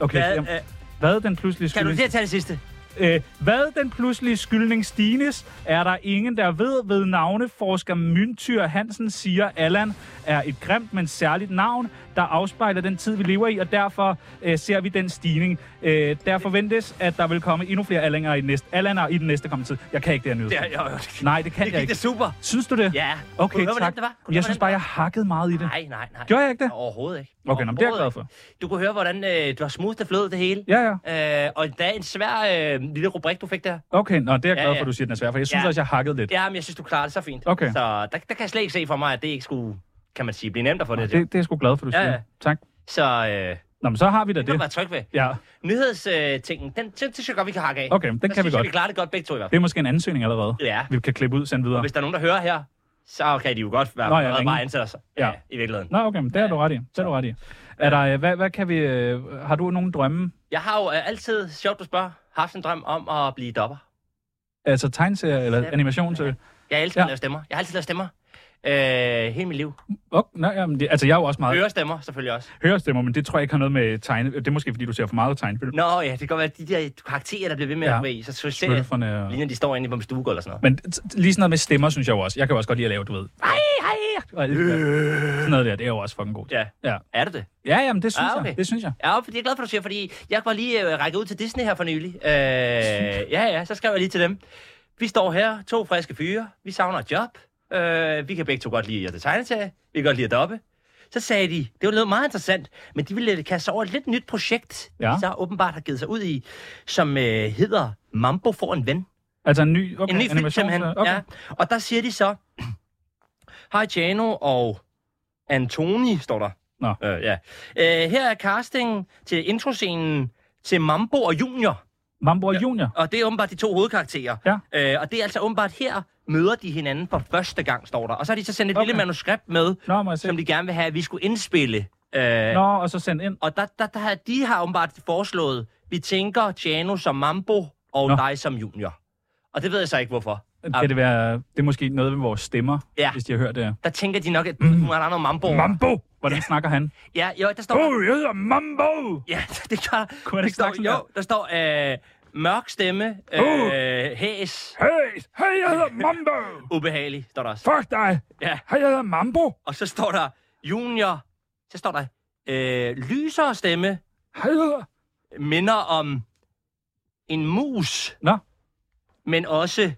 [SPEAKER 3] Okay,
[SPEAKER 4] Hvad,
[SPEAKER 3] hvad, jamen,
[SPEAKER 4] øh,
[SPEAKER 3] hvad den pludselige
[SPEAKER 4] kan du
[SPEAKER 3] skyldning...
[SPEAKER 4] lige tage det sidste?
[SPEAKER 3] Øh, hvad den pludselige skyldning stiges, er der ingen, der ved ved navneforsker Myntyr Hansen siger, Allan er et grimt, men særligt navn, der afspejler den tid, vi lever i, og derfor øh, ser vi den stigning. Øh, der forventes, at der vil komme endnu flere Allanger i, den næste, Allanger i den næste kommende tid. Jeg kan ikke det her nyhed.
[SPEAKER 4] Ja, ja, ja.
[SPEAKER 3] Nej, det kan
[SPEAKER 4] Det
[SPEAKER 3] jeg
[SPEAKER 4] gik
[SPEAKER 3] ikke.
[SPEAKER 4] det super.
[SPEAKER 3] Synes du det?
[SPEAKER 4] Ja. Kunne
[SPEAKER 3] Okay,
[SPEAKER 4] du høre, hvordan
[SPEAKER 3] tak.
[SPEAKER 4] det var? Kunne du høre,
[SPEAKER 3] Jeg synes
[SPEAKER 4] hvordan
[SPEAKER 3] bare,
[SPEAKER 4] det
[SPEAKER 3] jeg hakkede meget i det.
[SPEAKER 4] Nej, nej, nej.
[SPEAKER 3] Gjorde jeg ikke det?
[SPEAKER 4] Overhovedet ikke.
[SPEAKER 3] Okay, nå, men det er jeg glad for.
[SPEAKER 4] ikke. Du kunne høre, hvordan øh, du har smooth det flød det hele.
[SPEAKER 3] Ja, ja.
[SPEAKER 4] Øh, og der er en svær øh, lille rubrik, du fik der.
[SPEAKER 3] Okay, nå, det er jeg
[SPEAKER 4] Ja,
[SPEAKER 3] glad for,
[SPEAKER 4] ja.
[SPEAKER 3] at du siger, den er svær, for jeg synes
[SPEAKER 4] Ja.
[SPEAKER 3] også, jeg hakkede lidt.
[SPEAKER 4] Ja, men jeg synes, du klarede det så fint.
[SPEAKER 3] Okay.
[SPEAKER 4] Så der, der kan jeg slet ikke se for mig, at det ikke skulle, kan man sige, blive nemt at få det.
[SPEAKER 3] Det, det er jeg sgu glad for, du
[SPEAKER 4] Ja,
[SPEAKER 3] siger.
[SPEAKER 4] ja.
[SPEAKER 3] Tak.
[SPEAKER 4] Så øh,
[SPEAKER 3] Nå, men så har vi da
[SPEAKER 4] Det kan du være
[SPEAKER 3] det.
[SPEAKER 4] tryg ved.
[SPEAKER 3] Ja,
[SPEAKER 4] Nyhedstingen, den, den synes jeg godt, vi kan hakke af.
[SPEAKER 3] okay, men den
[SPEAKER 4] Der
[SPEAKER 3] kan vi
[SPEAKER 4] synes jeg, vi
[SPEAKER 3] godt.
[SPEAKER 4] klarer det godt begge to i hvert fald.
[SPEAKER 3] Det er måske en ansøgning allerede.
[SPEAKER 4] Ja.
[SPEAKER 3] Vi kan klippe ud og sende videre.
[SPEAKER 4] Og hvis der er nogen, der hører her, så kan de jo godt være
[SPEAKER 3] Nå,
[SPEAKER 4] Nå,
[SPEAKER 3] ja,
[SPEAKER 4] ja,
[SPEAKER 3] ringe.
[SPEAKER 4] bare ansætter sig.
[SPEAKER 3] Ja.
[SPEAKER 4] Ja. ja. i virkeligheden.
[SPEAKER 3] Nå, okay, men det er du ret i. Det er du ret i. Er der, øh, hvad, hvad kan vi, øh, har du nogen drømme?
[SPEAKER 4] Jeg har jo øh, altid, sjovt du spørger, haft en drøm om at blive dopper.
[SPEAKER 3] Altså tegneserier eller
[SPEAKER 4] Ja.
[SPEAKER 3] animation til?
[SPEAKER 4] Jeg elsker
[SPEAKER 3] Ja.
[SPEAKER 4] ja. at lave stemmer. Jeg har altid lavet stemmer. Øh, hele mit liv.
[SPEAKER 3] Okay, nej, jamen, det, altså jeg er jo også meget
[SPEAKER 4] Ørestemmer selvfølgelig også.
[SPEAKER 3] hørestemmer, men det tror jeg ikke har noget med tegne... Det er måske, fordi du ser for meget tegnefilm.
[SPEAKER 4] Nå ja, det kan godt være, at de der karakterer, der bliver ved med
[SPEAKER 3] Ja.
[SPEAKER 4] ja. at være i, så så ser jeg,
[SPEAKER 3] Smølferne og...
[SPEAKER 4] ligner de står inde på mit stuegulv eller sådan noget.
[SPEAKER 3] Men t- t- lige sådan noget med stemmer, synes jeg jo også. Jeg kan jo også godt lide at lave, du ved. Ej, ej, ej. Sådan noget der, det er jo også fucking godt.
[SPEAKER 4] Ja.
[SPEAKER 3] Ja,
[SPEAKER 4] Er det det?
[SPEAKER 3] ja jamen, det synes
[SPEAKER 4] Ah,
[SPEAKER 3] jeg.
[SPEAKER 4] okay.
[SPEAKER 3] Det synes jeg.
[SPEAKER 4] Ja, fordi jeg er glad for, at du siger, fordi jeg var lige øh, rækket ud til Disney her for nylig. Øh, ja, ja, så skrev jeg lige til dem. Vi står her, to friske fyre, vi savner et job, øh, vi kan begge to godt lide at tegne til, vi kan godt lide at doppe. Så sagde de, det var noget meget interessant, men de ville kaste sig over et lidt nyt projekt,
[SPEAKER 3] Ja.
[SPEAKER 4] ja. de så åbenbart har givet sig ud i, som øh, hedder Mambo får en ven.
[SPEAKER 3] Altså en ny, okay,
[SPEAKER 4] Okay, en ny film, simpelthen.
[SPEAKER 3] så-
[SPEAKER 4] Okay. Ja. Og der siger de så, <clears throat> Hej Jano og Antoni, står der.
[SPEAKER 3] Nå.
[SPEAKER 4] Øh, ja. Øh, her er castingen til introscenen til Mambo og Junior.
[SPEAKER 3] Mambo ja. Junior.
[SPEAKER 4] Og det er åbenbart de to hovedkarakterer.
[SPEAKER 3] Ja.
[SPEAKER 4] Øh, og det er altså åbenbart her, møder de hinanden for første gang, står der. Og så har de så sendt et
[SPEAKER 3] Okay.
[SPEAKER 4] okay. lille manuskript med,
[SPEAKER 3] Nå, må jeg se.
[SPEAKER 4] som de gerne vil have, at vi skulle indspille. Øh,
[SPEAKER 3] Nå, og så send ind.
[SPEAKER 4] og der, der, der, har- de har åbenbart foreslået, vi tænker Jano som Mambo og
[SPEAKER 3] Nå.
[SPEAKER 4] Nå. dig som Junior. Og det ved jeg så ikke, hvorfor.
[SPEAKER 3] Kan det være... Det er måske noget med vores stemmer,
[SPEAKER 4] Ja.
[SPEAKER 3] hvis de har hørt det.
[SPEAKER 4] der tænker de nok, at
[SPEAKER 3] Mhm.
[SPEAKER 4] mm. hun har noget mambo.
[SPEAKER 3] Mambo! Hvordan snakker han?
[SPEAKER 4] Ja, jo, der står...
[SPEAKER 3] Åh, oh, jeg hedder Mambo!
[SPEAKER 4] Ja, <laughs> det gør der.
[SPEAKER 3] Kunne man
[SPEAKER 4] Der
[SPEAKER 3] ikke snakke
[SPEAKER 4] står,
[SPEAKER 3] sådan
[SPEAKER 4] jo, der står øh, mørk stemme, øh,
[SPEAKER 3] Uh.
[SPEAKER 4] hæs,
[SPEAKER 3] Hey, hey, jeg hedder Mambo!
[SPEAKER 4] ubehagelig, står der også.
[SPEAKER 3] Fuck dig!
[SPEAKER 4] Ja,
[SPEAKER 3] Hey, jeg hedder Mambo!
[SPEAKER 4] og så står der junior, så står der øh, lysere stemme,
[SPEAKER 3] Hej, jeg hedder...
[SPEAKER 4] minder om en mus,
[SPEAKER 3] Nå,
[SPEAKER 4] men også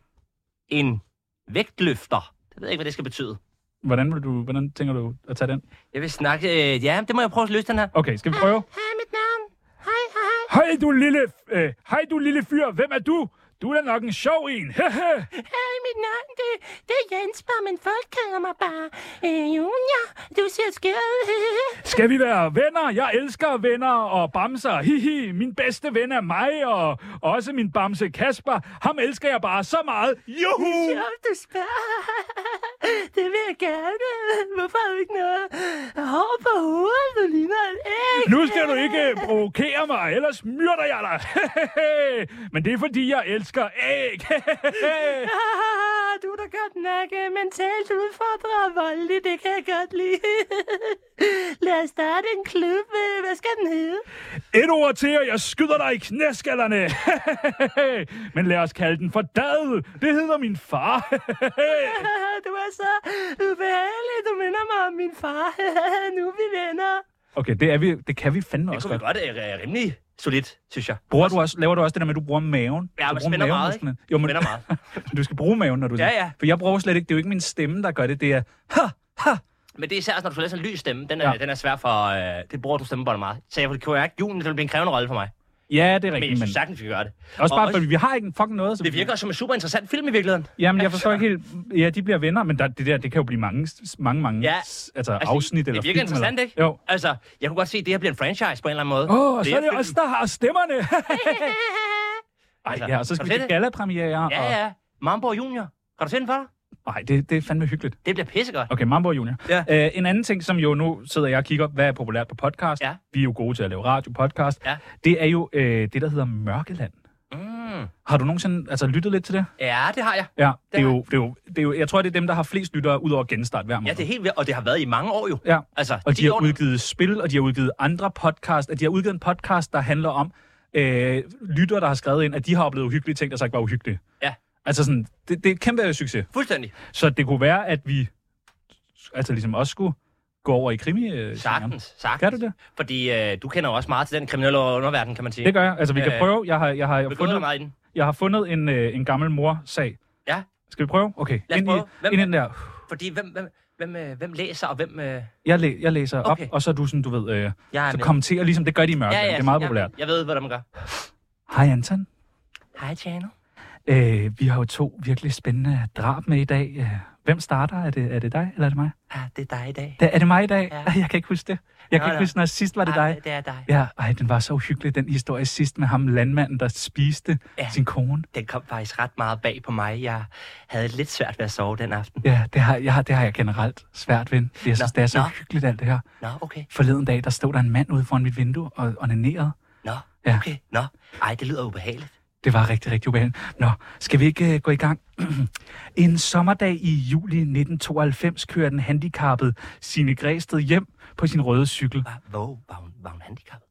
[SPEAKER 4] en vægtløfter. Jeg ved ikke, hvad det skal betyde.
[SPEAKER 3] hvordan, vil du, hvordan tænker du at tage den?
[SPEAKER 4] Jeg vil snakke... Øh, ja, det må jeg prøve at løse den her.
[SPEAKER 3] Okay, skal vi prøve?
[SPEAKER 4] Hej, mit navn. Hej, hej.
[SPEAKER 3] Hej du lille, øh, hej du lille fyr, hvem er du? Du er da nok en sjov en, hehe.
[SPEAKER 4] Hej, mit navn, det, det er Jens, bare, men folk kalder mig bare øh, Junior. Du ser skæret.
[SPEAKER 3] Skal vi være venner? Jeg elsker venner og bamser, hihi. Min bedste ven er mig, og også min bamse Kasper. Ham elsker jeg bare så meget. Juhu!
[SPEAKER 4] Jo, du spørger. Det vil jeg gerne. Hvorfor har du ikke noget hår på hovedet? Du ligner et æg.
[SPEAKER 3] Nu skal du ikke øh, provokere mig, ellers myrder jeg dig. <laughs> Hehehe. Men det er fordi, jeg elsker æg. Hehehe.
[SPEAKER 4] <laughs> Ah, du er da godt nok øh, mentalt udfordret og voldelig. Det kan jeg godt lide. <laughs> Lad os starte en klub. øh, Hvad skal den hedde?
[SPEAKER 3] Et ord til, og jeg skyder dig i knæskallerne. <laughs> Men lad os kalde den for Dad. Det hedder min far. <laughs>
[SPEAKER 4] Ah, <laughs> Du er så ubehagelig. Du minder mig om min far. <laughs> nu er vi venner.
[SPEAKER 3] okay, det, er vi, det kan vi fandme også
[SPEAKER 4] kunne vi
[SPEAKER 3] godt.
[SPEAKER 4] godt øh, er rimelig solidt, synes jeg.
[SPEAKER 3] Bruger du også, laver du også det der med, at du bruger maven?
[SPEAKER 4] Ja,
[SPEAKER 3] Du
[SPEAKER 4] man
[SPEAKER 3] bruger
[SPEAKER 4] spænder meget,
[SPEAKER 3] mavemusklerne.
[SPEAKER 4] ikke?
[SPEAKER 3] Jo, men,
[SPEAKER 4] Spænder meget.
[SPEAKER 3] <laughs> du skal bruge maven, når du...
[SPEAKER 4] Ja, ja.
[SPEAKER 3] For jeg bruger slet ikke, det er jo ikke min stemme, der gør det. Det er, ha, ha.
[SPEAKER 4] Men det er især, når du skal lave sådan en lys stemme. Den er,
[SPEAKER 3] Ja.
[SPEAKER 4] ja. den er svær for... Øh, det bruger du stemmebåndet meget. Så jeg kunne kunne jeg ikke julen, det ville blive en krævende rolle for mig.
[SPEAKER 3] Ja, det er
[SPEAKER 4] Men
[SPEAKER 3] rigtigt,
[SPEAKER 4] jeg
[SPEAKER 3] men...
[SPEAKER 4] synes sagtens, vi kan gøre det.
[SPEAKER 3] Også
[SPEAKER 4] Og
[SPEAKER 3] bare, fordi vi har ikke en fucking noget. Så
[SPEAKER 4] Det virker som en super interessant film i virkeligheden.
[SPEAKER 3] Jamen, jeg forstår ikke helt... Ja, de bliver venner, men der, det der, det kan jo blive mange, mange, mange
[SPEAKER 4] Ja.
[SPEAKER 3] s- altså, afsnit
[SPEAKER 4] det,
[SPEAKER 3] eller
[SPEAKER 4] det virker
[SPEAKER 3] film,
[SPEAKER 4] interessant,
[SPEAKER 3] eller...
[SPEAKER 4] ikke?
[SPEAKER 3] Jo.
[SPEAKER 4] Altså, jeg kunne godt se, at det her bliver en franchise på en eller anden måde.
[SPEAKER 3] Åh, oh, så er det
[SPEAKER 4] film.
[SPEAKER 3] os, der har
[SPEAKER 4] <laughs>
[SPEAKER 3] stemmerne. Ej,
[SPEAKER 4] Altså,
[SPEAKER 3] ja, og så skal
[SPEAKER 4] kan
[SPEAKER 3] vi
[SPEAKER 4] du
[SPEAKER 3] til
[SPEAKER 4] se det?
[SPEAKER 3] galapremiere.
[SPEAKER 4] Ja, ja. Mambo Junior. Kan du se den for dig?
[SPEAKER 3] Og... Ej, det, det er fandme hyggeligt.
[SPEAKER 4] Det bliver pissegodt.
[SPEAKER 3] Okay, Mambo Junior.
[SPEAKER 4] Ja.
[SPEAKER 3] Øh, en anden ting, som jo nu sidder jeg og kigger, hvad er populært på podcast?
[SPEAKER 4] Ja.
[SPEAKER 3] Vi er jo gode til at lave radio, podcast.
[SPEAKER 4] Ja.
[SPEAKER 3] Det er jo øh, det, der hedder Mørkeland.
[SPEAKER 4] Mm.
[SPEAKER 3] Har du nogensinde altså, lyttet lidt til det?
[SPEAKER 4] Ja, det har jeg.
[SPEAKER 3] Ja, det er,
[SPEAKER 4] har
[SPEAKER 3] jo, det, er jo, det er jo, jeg tror, det er dem, der har flest lyttere ud over genstart hver måned.
[SPEAKER 4] Ja, det er helt vildt. Og det har været i mange år jo.
[SPEAKER 3] Ja.
[SPEAKER 4] Altså,
[SPEAKER 3] Mhm. Og de
[SPEAKER 4] ti
[SPEAKER 3] har
[SPEAKER 4] år nu.
[SPEAKER 3] udgivet spil, og de har udgivet andre podcast, og de har udgivet en podcast, der handler om øh, lyttere, der har skrevet ind, at de har oplevet uhyggelige ting, der så ikke var uhyggelige.
[SPEAKER 4] Ja.
[SPEAKER 3] Altså sådan, det, det er et kæmpe succes.
[SPEAKER 4] Fuldstændig.
[SPEAKER 3] Så det kunne være, at vi altså ligesom også skulle gå over i krimi øh, genren.
[SPEAKER 4] Sagtens, sagtens.
[SPEAKER 3] Kan du det?
[SPEAKER 4] Fordi øh, du kender jo også meget til den kriminelle underverden, kan man sige.
[SPEAKER 3] Det gør jeg. Altså, vi kan
[SPEAKER 4] Øh,
[SPEAKER 3] prøve. Jeg har, jeg har,
[SPEAKER 4] Vi går
[SPEAKER 3] fundet,
[SPEAKER 4] meget i den.
[SPEAKER 3] jeg har fundet en, øh, en gammel mor-sag.
[SPEAKER 4] Ja.
[SPEAKER 3] Skal vi prøve? Okay.
[SPEAKER 4] Lad os
[SPEAKER 3] ind,
[SPEAKER 4] prøve.
[SPEAKER 3] I,
[SPEAKER 4] Hvem-
[SPEAKER 3] ind i den der.
[SPEAKER 4] Fordi hvem, hvem, hvem, øh, hvem læser, og hvem... Øh, jeg
[SPEAKER 3] Jeg, læ- jeg læser
[SPEAKER 4] Okay.
[SPEAKER 3] op, og så er du sådan, du ved, øh,
[SPEAKER 4] er
[SPEAKER 3] så
[SPEAKER 4] med.
[SPEAKER 3] kommenterer ligesom, det gør de i mørke. det er meget
[SPEAKER 4] jeg-
[SPEAKER 3] populært.
[SPEAKER 4] Jeg, ved, hvordan man gør.
[SPEAKER 3] Hej Anton.
[SPEAKER 4] Hej, Tjano.
[SPEAKER 3] Øh, vi har jo to virkelig spændende drab med i dag. Øh, Hvem starter? Er det, er det dig, eller er det mig?
[SPEAKER 4] Ah, det er dig i dag.
[SPEAKER 3] Da, er det mig i dag?
[SPEAKER 4] Ja.
[SPEAKER 3] Ja. <laughs> Jeg kan ikke huske det. Jeg
[SPEAKER 4] Nå,
[SPEAKER 3] kan ikke
[SPEAKER 4] nå.
[SPEAKER 3] huske, når sidst var det
[SPEAKER 4] Ah,
[SPEAKER 3] dig.
[SPEAKER 4] Det er dig.
[SPEAKER 3] Ja, ej, den var så uhyggelig, den historie sidst med ham landmanden, der spiste
[SPEAKER 4] Ja.
[SPEAKER 3] ja. sin kone.
[SPEAKER 4] Den kom faktisk ret meget bag på mig. Jeg havde lidt svært ved at sove den aften.
[SPEAKER 3] Ja, det har jeg, har- det har jeg generelt svært ved. fordi Jeg synes,
[SPEAKER 4] Nå,
[SPEAKER 3] det er så
[SPEAKER 4] nå.
[SPEAKER 3] hyggeligt alt det her.
[SPEAKER 4] Nå, okay.
[SPEAKER 3] Forleden dag, der stod der en mand ude foran mit vindue og onanerede.
[SPEAKER 4] Nå,
[SPEAKER 3] Ja.
[SPEAKER 4] okay. Nå, ej, det lyder ubehageligt.
[SPEAKER 3] Det var rigtig, rigtig ubehageligt. Nå, skal vi ikke uh, gå i gang? <clears throat> en sommerdag i juli 1992 kører den handicappede Signe Græsted hjem på sin røde cykel.
[SPEAKER 4] Var, hvor var hun, var hun handicappet?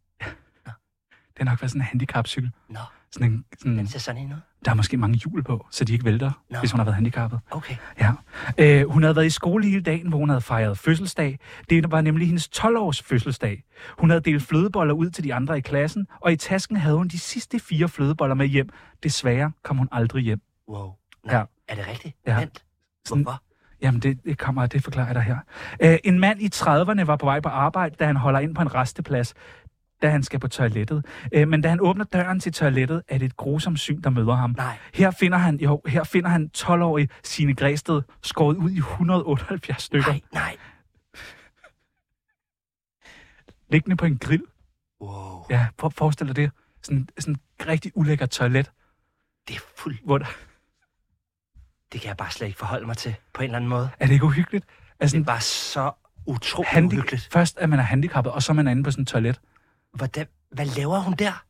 [SPEAKER 3] Det har nok været sådan en handicapcykel.
[SPEAKER 4] Nå,
[SPEAKER 3] Sådan en, sådan,
[SPEAKER 4] den ser sådan en ud.
[SPEAKER 3] der er måske mange hjul på, så de ikke vælter,
[SPEAKER 4] Nå.
[SPEAKER 3] hvis hun har været handicappet.
[SPEAKER 4] Okay.
[SPEAKER 3] Ja. Øh, hun havde været i skole hele dagen, hvor hun havde fejret fødselsdag. Det var nemlig hendes 12-års fødselsdag. Hun havde delt flødeboller ud til de andre i klassen, og i tasken havde hun de sidste fire flødeboller med hjem. Desværre kom hun aldrig hjem.
[SPEAKER 4] Wow. Nå,
[SPEAKER 3] Ja.
[SPEAKER 4] Er det rigtigt?
[SPEAKER 3] Ja.
[SPEAKER 4] Vent.
[SPEAKER 3] Sådan-
[SPEAKER 4] Hvorfor?
[SPEAKER 3] Jamen, det, det kommer, det forklarer jeg dig her. Øh, en mand i 30'erne var på vej på arbejde, da han holder ind på en resteplads, da han skal på toilettet. Øh, men da han åbner døren til toilettet, er det et grusomt syn, der møder ham.
[SPEAKER 4] Nej.
[SPEAKER 3] Her finder han, jo, her finder han 12-årig Signe Græsted skåret ud i 178 stykker,
[SPEAKER 4] Nej, nej.
[SPEAKER 3] liggende på en grill.
[SPEAKER 4] Wow.
[SPEAKER 3] Ja, prøv at forestille dig det. Sådan, sådan et rigtig ulækkert toilet,
[SPEAKER 4] Det er fuld.
[SPEAKER 3] hvor der,
[SPEAKER 4] Det kan jeg bare slet ikke forholde mig til på en eller anden måde.
[SPEAKER 3] er det ikke uhyggeligt? Altså,
[SPEAKER 4] Det var så utroligt
[SPEAKER 3] handi-
[SPEAKER 4] uhyggeligt.
[SPEAKER 3] først at man er handicappet, og så er man inde på sådan et toilet.
[SPEAKER 4] Hvordan, hvad laver hun der?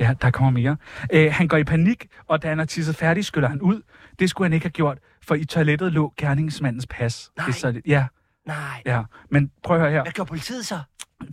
[SPEAKER 3] Ja, der kommer mere. Øh, han går i panik, og da han har tisset færdig, skyller han ud. Det skulle han ikke have gjort, for i toilettet lå gerningsmandens pas.
[SPEAKER 4] Nej.
[SPEAKER 3] Det er så, lidt- ja,
[SPEAKER 4] Nej.
[SPEAKER 3] ja. Men prøv at høre her.
[SPEAKER 4] Hvad gjorde politiet så?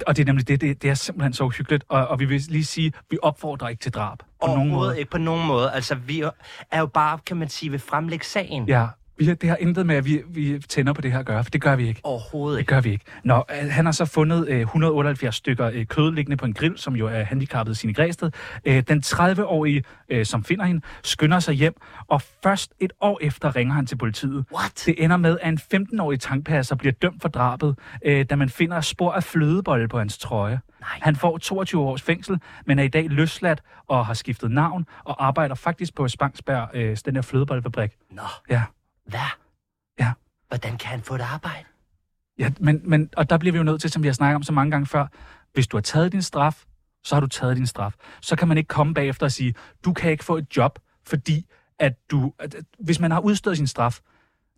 [SPEAKER 3] Og det er nemlig det, det, det er simpelthen så uhyggeligt. Og, og vi vil lige sige, vi opfordrer ikke til drab. På nogen måde.
[SPEAKER 4] Overhovedet ikke på nogen måde. Altså, vi er jo bare, kan man sige, ved fremlægge sagen.
[SPEAKER 3] Ja, vi har, det har intet med, at vi, vi tænder på det her at gøre, for det gør vi ikke.
[SPEAKER 4] Overhovedet
[SPEAKER 3] Det
[SPEAKER 4] ikke.
[SPEAKER 3] gør vi ikke. Nå, øh, han har så fundet øh, 178 stykker øh, kød liggende på en grill, som jo er handicappet sine Græsted. Øh, den 30-årige, øh, som finder hende, skynder sig hjem, og først et år efter ringer han til politiet.
[SPEAKER 4] What?
[SPEAKER 3] Det ender med, at en 15-årig tankpasser bliver dømt for drabet, øh, da man finder spor af flødebolle på hans trøje.
[SPEAKER 4] Nej.
[SPEAKER 3] Han får 22 års fængsel, men er i dag løsladt og har skiftet navn, og arbejder faktisk på Spangsberg, øh, den der flødebollefabrik.
[SPEAKER 4] Nå,
[SPEAKER 3] Ja.
[SPEAKER 4] hvad?
[SPEAKER 3] Ja.
[SPEAKER 4] Hvordan kan han få et arbejde?
[SPEAKER 3] Ja, men, men, og der bliver vi jo nødt til, som vi har snakket om så mange gange før, hvis du har taget din straf, så har du taget din straf. Så kan man ikke komme bagefter og sige, du kan ikke få et job, fordi at du, at, at- hvis man har udstået sin straf,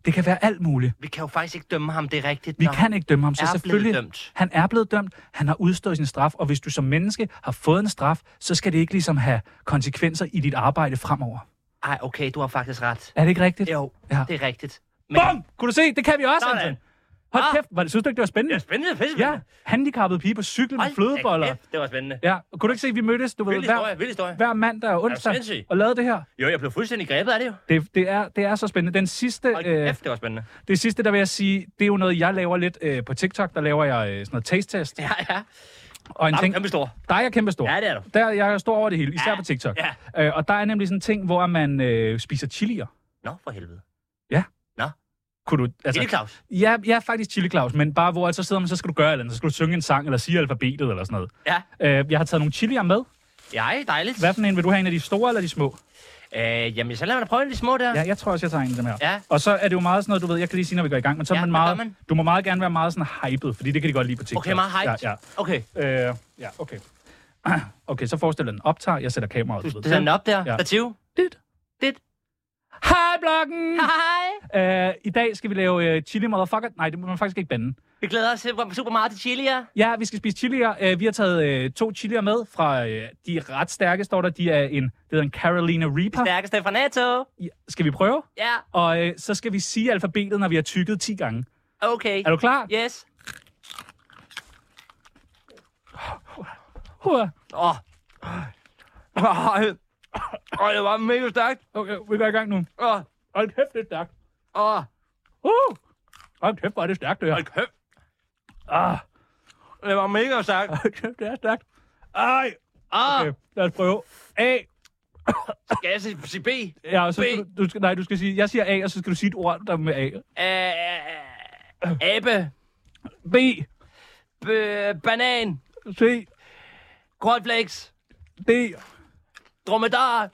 [SPEAKER 3] det kan være alt muligt.
[SPEAKER 4] Vi kan jo faktisk ikke dømme ham, det er rigtigt.
[SPEAKER 3] Vi
[SPEAKER 4] når
[SPEAKER 3] kan ikke dømme ham, så
[SPEAKER 4] er
[SPEAKER 3] selvfølgelig...
[SPEAKER 4] Blevet dømt.
[SPEAKER 3] Han er blevet dømt, han har udstået sin straf, og hvis du som menneske har fået en straf, så skal det ikke ligesom have konsekvenser i dit arbejde fremover.
[SPEAKER 4] Ej, okay, du har faktisk ret.
[SPEAKER 3] Er det ikke rigtigt?
[SPEAKER 4] Jo,
[SPEAKER 3] Ja.
[SPEAKER 4] det er rigtigt. Men
[SPEAKER 3] Bum! Kunne du se? Det kan vi også,
[SPEAKER 4] Sådan.
[SPEAKER 3] Anton. Hold
[SPEAKER 4] Ah.
[SPEAKER 3] kæft, var det, synes du ikke, det var spændende?
[SPEAKER 4] spændende, pisse,
[SPEAKER 3] Ja, handicappet pige på cykel med
[SPEAKER 4] Hold da
[SPEAKER 3] flødeboller.
[SPEAKER 4] kæft, Det var spændende.
[SPEAKER 3] Ja, og kunne du ikke se, at vi mødtes, du ved,
[SPEAKER 4] Vild historie,
[SPEAKER 3] hver,
[SPEAKER 4] vild historie.
[SPEAKER 3] hver mandag og onsdag,
[SPEAKER 4] sindssyg?
[SPEAKER 3] og lavede det her?
[SPEAKER 4] Jo, jeg blev fuldstændig grebet af det jo.
[SPEAKER 3] Det, det, er, det er så spændende. Den sidste,
[SPEAKER 4] Hold
[SPEAKER 3] øh,
[SPEAKER 4] kæft, det var spændende.
[SPEAKER 3] det sidste, der vil jeg sige, det er jo noget, jeg laver lidt øh, på TikTok. Der laver jeg øh, sådan noget taste-test.
[SPEAKER 4] Ja, ja.
[SPEAKER 3] Og en
[SPEAKER 4] Jamen,
[SPEAKER 3] ting,
[SPEAKER 4] kæmpe stor.
[SPEAKER 3] Der er jeg kæmpestor.
[SPEAKER 4] Ja, det er du.
[SPEAKER 3] Der, jeg er stor over det hele, især
[SPEAKER 4] Ja,
[SPEAKER 3] ja, på TikTok.
[SPEAKER 4] ja.
[SPEAKER 3] Øh, og der er nemlig sådan en ting, hvor man øh, spiser chilier.
[SPEAKER 4] Nå, for helvede.
[SPEAKER 3] Kunne du,
[SPEAKER 4] Altså,
[SPEAKER 3] altså,
[SPEAKER 4] det er Claus.
[SPEAKER 3] ja, ja, faktisk chili Claus, men bare hvor at så sidder man, så skal du gøre et eller andet. Så skal du synge en sang, eller sige alfabetet, eller sådan
[SPEAKER 4] Ja.
[SPEAKER 3] noget. Øh, jeg har taget nogle chilier med.
[SPEAKER 4] Ja, dejligt.
[SPEAKER 3] Hvad for en vil du have, en af de store eller de små?
[SPEAKER 4] Øh, jamen, så lad mig da prøve en af de små der.
[SPEAKER 3] Ja, jeg tror også, jeg tager en af dem her.
[SPEAKER 4] Ja.
[SPEAKER 3] Og så er det jo meget sådan noget, du ved, jeg kan lige sige, når vi går i gang, men så
[SPEAKER 4] Ja,
[SPEAKER 3] er man
[SPEAKER 4] hvad gør
[SPEAKER 3] meget,
[SPEAKER 4] man?
[SPEAKER 3] du må meget gerne være meget sådan hyped, fordi det kan de godt lide på TikTok.
[SPEAKER 4] Okay, meget hyped.
[SPEAKER 3] Ja,
[SPEAKER 4] Okay,
[SPEAKER 3] ja. Øh, ja, okay. <clears throat> Okay, så forestil dig, den optager, jeg sætter kameraet.
[SPEAKER 4] du
[SPEAKER 3] ved.
[SPEAKER 4] sætter den op der.
[SPEAKER 3] Ja.
[SPEAKER 4] Stativ.
[SPEAKER 3] Dit.
[SPEAKER 4] Dit.
[SPEAKER 3] Hej, bloggen!
[SPEAKER 4] Hej.
[SPEAKER 3] Uh, I dag skal vi lave uh, chili motherfucker. Nej, det må man faktisk ikke bande.
[SPEAKER 4] Vi glæder os super- super meget til chili, ja.
[SPEAKER 3] Ja, vi skal spise chilier. Uh, vi har taget uh, to chilier med fra... Uh, de er ret stærke, står der. De er en, det hedder en Carolina Reaper.
[SPEAKER 4] Stærkeste fra NATO.
[SPEAKER 3] Ja, Skal vi prøve?
[SPEAKER 4] Ja,
[SPEAKER 3] Og uh, så skal vi sige alfabetet, når vi har tykket 10 gange.
[SPEAKER 4] okay.
[SPEAKER 3] Er du klar?
[SPEAKER 4] Yes.
[SPEAKER 3] Yeah.
[SPEAKER 4] Åh. Oh. Åh, det var mega stærkt.
[SPEAKER 3] Okay, vi går i gang nu.
[SPEAKER 4] Åh,
[SPEAKER 3] Hold kæft, det er stærkt.
[SPEAKER 4] åh,
[SPEAKER 3] Uh! Hold kæft, hvor er det stærkt, det her.
[SPEAKER 4] hold kæft.
[SPEAKER 3] Ah,
[SPEAKER 4] Det var mega stærkt.
[SPEAKER 3] hold kæft, det er stærkt. Ej,
[SPEAKER 4] Åh,
[SPEAKER 3] Ah, okay, lad os prøve. A.
[SPEAKER 4] skal jeg sige- sige B?
[SPEAKER 3] Ja, og så
[SPEAKER 4] B.
[SPEAKER 3] skal du, du skal, nej, du skal sige, jeg siger A, og så skal du sige et ord, der er med A.
[SPEAKER 4] Øh, Abe.
[SPEAKER 3] B,
[SPEAKER 4] B- banan.
[SPEAKER 3] C,
[SPEAKER 4] Cornflakes.
[SPEAKER 3] D.
[SPEAKER 4] Dromedar.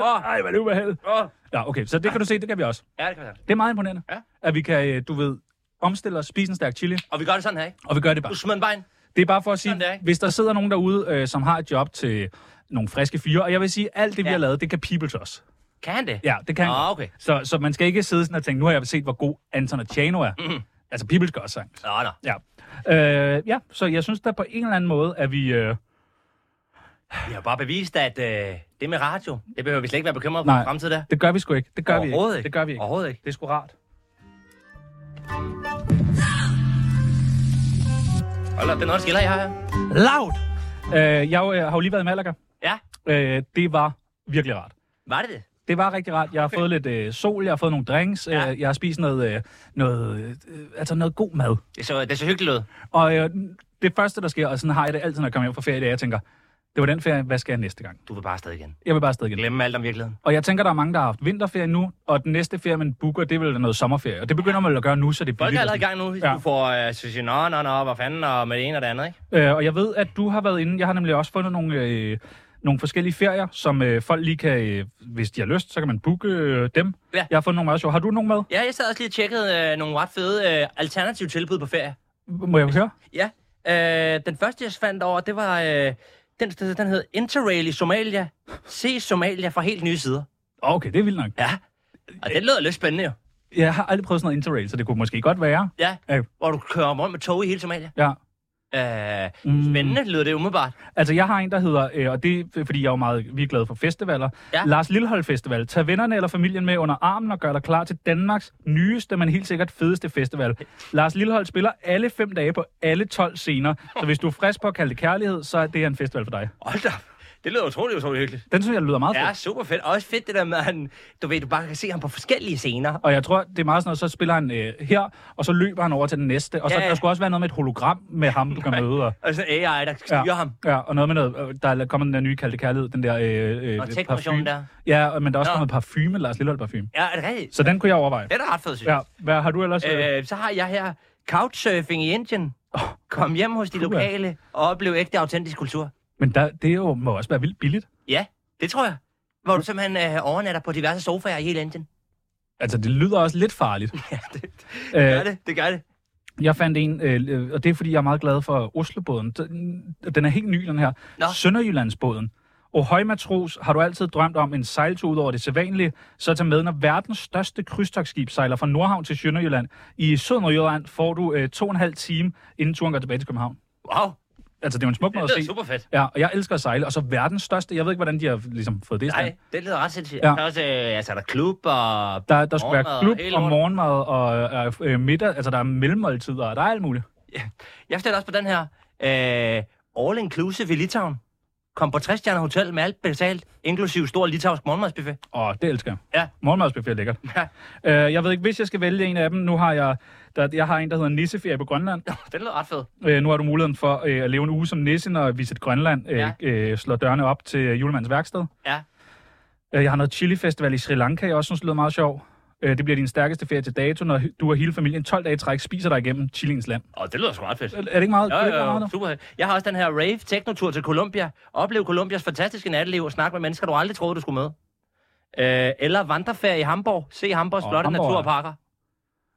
[SPEAKER 4] Åh,
[SPEAKER 3] Ej, hvad er det ubehageligt.
[SPEAKER 4] åh,
[SPEAKER 3] Ja, okay. Så det kan du se, det kan vi også.
[SPEAKER 4] Ja, det kan være.
[SPEAKER 3] Det er meget imponerende,
[SPEAKER 4] Ja.
[SPEAKER 3] at vi kan, øh, du ved, omstille os, spise en stærk chili,
[SPEAKER 4] Og vi gør det sådan her, ikke?
[SPEAKER 3] og vi gør det bare.
[SPEAKER 4] Du smider en bejen.
[SPEAKER 3] Det er bare for at sige,
[SPEAKER 4] Sådan der, ikke?
[SPEAKER 3] hvis der sidder nogen derude, øh, som har et job til nogle friske fyre, og jeg vil sige, alt det, vi
[SPEAKER 4] Ja.
[SPEAKER 3] har lavet, det kan peoples også.
[SPEAKER 4] Kan han det?
[SPEAKER 3] Ja, det kan
[SPEAKER 4] Nå, Ah, okay.
[SPEAKER 3] så, så man skal ikke sidde sådan og tænke, nu har jeg set, hvor god Anton og Chano er. Mm. Altså, peoples gør også sang.
[SPEAKER 4] Nå, nå.
[SPEAKER 3] Ja. Øh, ja, så jeg synes da på en eller anden måde, at vi... Øh,
[SPEAKER 4] Vi har bare bevist, at øh, det med radio, det behøver vi slet ikke være bekymret for
[SPEAKER 3] Nej.
[SPEAKER 4] i fremtiden der.
[SPEAKER 3] det gør vi sgu ikke. Det gør vi ikke.
[SPEAKER 4] Overhovedet ikke.
[SPEAKER 3] Det gør vi ikke.
[SPEAKER 4] Overhovedet ikke.
[SPEAKER 3] Det er sgu rart.
[SPEAKER 4] Hold op, det er noget, der skiller jer her.
[SPEAKER 3] Loud! Øh, jeg øh, har jo lige været i Malaga.
[SPEAKER 4] Ja,
[SPEAKER 3] Øh, det var virkelig rart.
[SPEAKER 4] var det det?
[SPEAKER 3] Det var rigtig rart. Jeg har okay. fået lidt øh, sol, jeg har fået nogle drinks, ja.
[SPEAKER 4] Ja.
[SPEAKER 3] øh, jeg har spist noget, øh, noget, øh, altså noget god mad.
[SPEAKER 4] Det så, det så hyggeligt ud.
[SPEAKER 3] Og øh, det første, der sker, og sådan har jeg det altid, når jeg kommer hjem fra ferie, det er, at jeg tænker, det var den ferie, hvad skal jeg næste gang?
[SPEAKER 4] Du vil bare afsted igen.
[SPEAKER 3] Jeg vil bare afsted igen.
[SPEAKER 4] Glemme alt om virkeligheden.
[SPEAKER 3] Og jeg tænker, der er mange, der har haft vinterferie nu, og den næste ferie, man booker, det er vel noget sommerferie. Og det begynder man vel at gøre nu, så det
[SPEAKER 4] Folk er
[SPEAKER 3] billigt og
[SPEAKER 4] allerede
[SPEAKER 3] sådan.
[SPEAKER 4] i gang nu.
[SPEAKER 3] Ja.
[SPEAKER 4] Ja. Du får øh, så siger, nå, nå, nå, hvad fanden, og med det ene og det andet, ikke?
[SPEAKER 3] Øh, og jeg ved, at du har været inde. Jeg har nemlig også fundet nogle, øh, nogle forskellige ferier, som øh, folk lige kan, øh, hvis de har lyst, så kan man booke øh, dem.
[SPEAKER 4] Ja.
[SPEAKER 3] Jeg har fundet nogle meget sjove. Har du nogen med?
[SPEAKER 4] Ja, jeg sad også lige og tjekkede øh, nogle ret fede øh, alternative tilbud på ferie.
[SPEAKER 3] Må jeg høre?
[SPEAKER 4] Ja, øh, den første, jeg fandt over, det var... Øh, den, den den hed Interrail i Somalia. Se Somalia fra helt nye sider.
[SPEAKER 3] Okay, det er vildt nok.
[SPEAKER 4] Ja, og det lyder lidt spændende jo.
[SPEAKER 3] Jeg har aldrig prøvet sådan noget interrail, så det kunne måske godt være.
[SPEAKER 4] Ja,
[SPEAKER 3] Ja.
[SPEAKER 4] hvor du kører rundt med tog i hele Somalia.
[SPEAKER 3] Ja.
[SPEAKER 4] Øh,
[SPEAKER 3] Mm.
[SPEAKER 4] spændende lyder det umiddelbart.
[SPEAKER 3] Altså, jeg har en, der hedder, øh, og det er, fordi jeg er jo meget vi er glade for festivaler.
[SPEAKER 4] Ja.
[SPEAKER 3] Lars Lillehold Festival. Tag vennerne eller familien med under armen og gør dig klar til Danmarks nyeste, men helt sikkert fedeste festival. Lars Lillehold spiller alle fem dage på alle 12 scener, så hvis du er frisk på at kalde det kærlighed, så er det en festival for dig.
[SPEAKER 4] Hold da. op. Det lyder utroligt, utroligt hyggeligt.
[SPEAKER 3] Den synes jeg lyder meget fed.
[SPEAKER 4] Ja, super fedt. Og Også fedt det der med, at han, du ved, du bare kan se ham på forskellige scener.
[SPEAKER 3] Og jeg tror, det er meget sådan noget, så spiller han øh, her, og så løber han over til den næste. Og så
[SPEAKER 4] Ja,
[SPEAKER 3] ja.
[SPEAKER 4] ja.
[SPEAKER 3] der skulle også være noget med et hologram med ham, du kan
[SPEAKER 4] <laughs>
[SPEAKER 3] møde. Og,
[SPEAKER 4] Og sådan en AI, der styrer
[SPEAKER 3] ja,
[SPEAKER 4] ham.
[SPEAKER 3] ja, og noget med noget, øh, der er kommet den der nye kaldte kærlighed, den der øh, øh,
[SPEAKER 4] Og tech-versionen der.
[SPEAKER 3] Ja, og- men der er også
[SPEAKER 4] Nå.
[SPEAKER 3] kommet parfume, Lars Lillehold parfume.
[SPEAKER 4] Ja, er det rigtigt?
[SPEAKER 3] Så den kunne jeg overveje.
[SPEAKER 4] Det er da ret fedt, synes
[SPEAKER 3] Ja,
[SPEAKER 4] jeg.
[SPEAKER 3] hvad har du ellers? Øh,
[SPEAKER 4] Øh, så har jeg her couchsurfing i Indien. Kom hjem hos de lokale og oplev ægte autentisk kultur.
[SPEAKER 3] men der, det er jo, må også være vildt billigt.
[SPEAKER 4] Ja, det tror jeg. Hvor du simpelthen øh, overnatter på diverse sofaer i hele Indien.
[SPEAKER 3] Altså, det lyder også lidt farligt.
[SPEAKER 4] <laughs> Ja, det,
[SPEAKER 3] Øh,
[SPEAKER 4] det, det gør det.
[SPEAKER 3] jeg fandt en, øh, øh, og det er fordi, jeg er meget glad for Oslobåden. Den, den er helt ny, den her.
[SPEAKER 4] Nå.
[SPEAKER 3] Sønderjyllandsbåden. Og højmatros, har du altid drømt om en sejltur ud over det sædvanlige, så tag med, når verdens største krydstogsskib sejler fra Nordhavn til Sønderjylland. I Sønderjylland får du øh, to og en halv time, inden turen går tilbage til København.
[SPEAKER 4] Wow,
[SPEAKER 3] Altså, det er jo en smuk måde
[SPEAKER 4] det
[SPEAKER 3] at
[SPEAKER 4] lyder
[SPEAKER 3] se.
[SPEAKER 4] super fedt.
[SPEAKER 3] Ja, og jeg elsker at sejle, og så verdens største. Jeg ved ikke, hvordan de har ligesom fået det i stand.
[SPEAKER 4] Nej, det lyder ret sindssygt.
[SPEAKER 3] Ja.
[SPEAKER 4] Ja. Der er også, øh, altså, der er klub og...
[SPEAKER 3] Der, der skal være
[SPEAKER 4] Morgenmad og
[SPEAKER 3] klub
[SPEAKER 4] hele
[SPEAKER 3] og
[SPEAKER 4] lorten.
[SPEAKER 3] morgenmad og øh, øh, middag, altså der er mellemmåltider, og der er alt muligt.
[SPEAKER 4] Jeg forstår også på den her. Øh, all inclusive i Litauen. Kom på 60 stjerner hotel med alt betalt, inklusiv stor litauisk morgenmadsbuffet.
[SPEAKER 3] Og det elsker jeg.
[SPEAKER 4] Ja.
[SPEAKER 3] Morgenmadsbuffet er lækkert.
[SPEAKER 4] Ja.
[SPEAKER 3] Øh, jeg ved ikke, hvis jeg skal vælge en af dem, nu har jeg, der, jeg har en, der hedder Nisseferie på Grønland.
[SPEAKER 4] Den lyder ret fed.
[SPEAKER 3] Øh, nu har du muligheden for øh, at leve en uge som nisse, når Visit Grønland øh, ja.
[SPEAKER 4] Ja.
[SPEAKER 3] øh, slår dørene op til øh, julemandens værksted.
[SPEAKER 4] Ja.
[SPEAKER 3] Øh, jeg har noget chili festival i Sri Lanka, jeg også synes lyder meget sjov. Øh, det bliver din stærkeste ferie til dato, når du og hele familien 12 dage i træk spiser dig igennem chiliens land.
[SPEAKER 4] Og det lyder sgu ret fedt.
[SPEAKER 3] Er det ikke meget?
[SPEAKER 4] Jo,
[SPEAKER 3] er det ikke
[SPEAKER 4] jo,
[SPEAKER 3] meget
[SPEAKER 4] jo,
[SPEAKER 3] meget?
[SPEAKER 4] super. fedt. Jeg har også den her rave teknotur til Colombia. Oplev Colombias fantastiske natteliv og snak med mennesker, du aldrig troede, du skulle med. Øh, eller vandreferie i Hamburg. Se Hamburgs
[SPEAKER 3] Åh,
[SPEAKER 4] flotte
[SPEAKER 3] Hamburg, ja.
[SPEAKER 4] naturparker.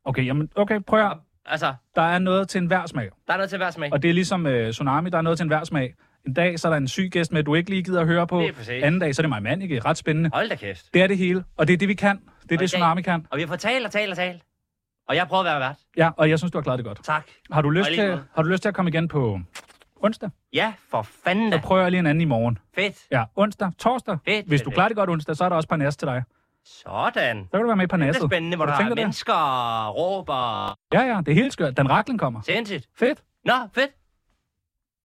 [SPEAKER 3] Okay, jamen, okay, prøv at høre.
[SPEAKER 4] Altså,
[SPEAKER 3] Der er noget til enhver smag.
[SPEAKER 4] der er noget til hver smag.
[SPEAKER 3] Og det er ligesom øh, Tsunami, der er noget til enhver smag. En dag, så er der en syg gæst med, du ikke lige gider at høre på.
[SPEAKER 4] Lige præcis.
[SPEAKER 3] Anden dag, så er det mig mand, ikke? Ret spændende.
[SPEAKER 4] Hold da kæft.
[SPEAKER 3] Det er det hele, og det er det, vi kan. Det er
[SPEAKER 4] Og i
[SPEAKER 3] det,
[SPEAKER 4] dag-
[SPEAKER 3] Tsunami kan.
[SPEAKER 4] Og vi har fået talt og talt og talt. Og jeg prøver at være vært.
[SPEAKER 3] Ja, og jeg synes, du har klaret det godt.
[SPEAKER 4] Tak.
[SPEAKER 3] Har du lyst,
[SPEAKER 4] Og i lige
[SPEAKER 3] til,
[SPEAKER 4] måde.
[SPEAKER 3] har du lyst til at komme igen på onsdag?
[SPEAKER 4] Ja, for fanden da.
[SPEAKER 3] Så prøver jeg lige en anden i morgen.
[SPEAKER 4] Fedt.
[SPEAKER 3] Ja, onsdag, torsdag.
[SPEAKER 4] Fedt,
[SPEAKER 3] Hvis
[SPEAKER 4] fedt,
[SPEAKER 3] du
[SPEAKER 4] fedt.
[SPEAKER 3] klarer det godt onsdag, så er der også parnas til dig.
[SPEAKER 4] Sådan.
[SPEAKER 3] Så kan du være med i
[SPEAKER 4] Det
[SPEAKER 3] parnasset.
[SPEAKER 4] er spændende, hvor
[SPEAKER 3] Har
[SPEAKER 4] der
[SPEAKER 3] du
[SPEAKER 4] er
[SPEAKER 3] tænkt dig det?
[SPEAKER 4] mennesker, råber,
[SPEAKER 3] Ja, ja, det er helt skørt. Dan Raklen kommer.
[SPEAKER 4] sindssygt.
[SPEAKER 3] Fedt.
[SPEAKER 4] Nå, fedt.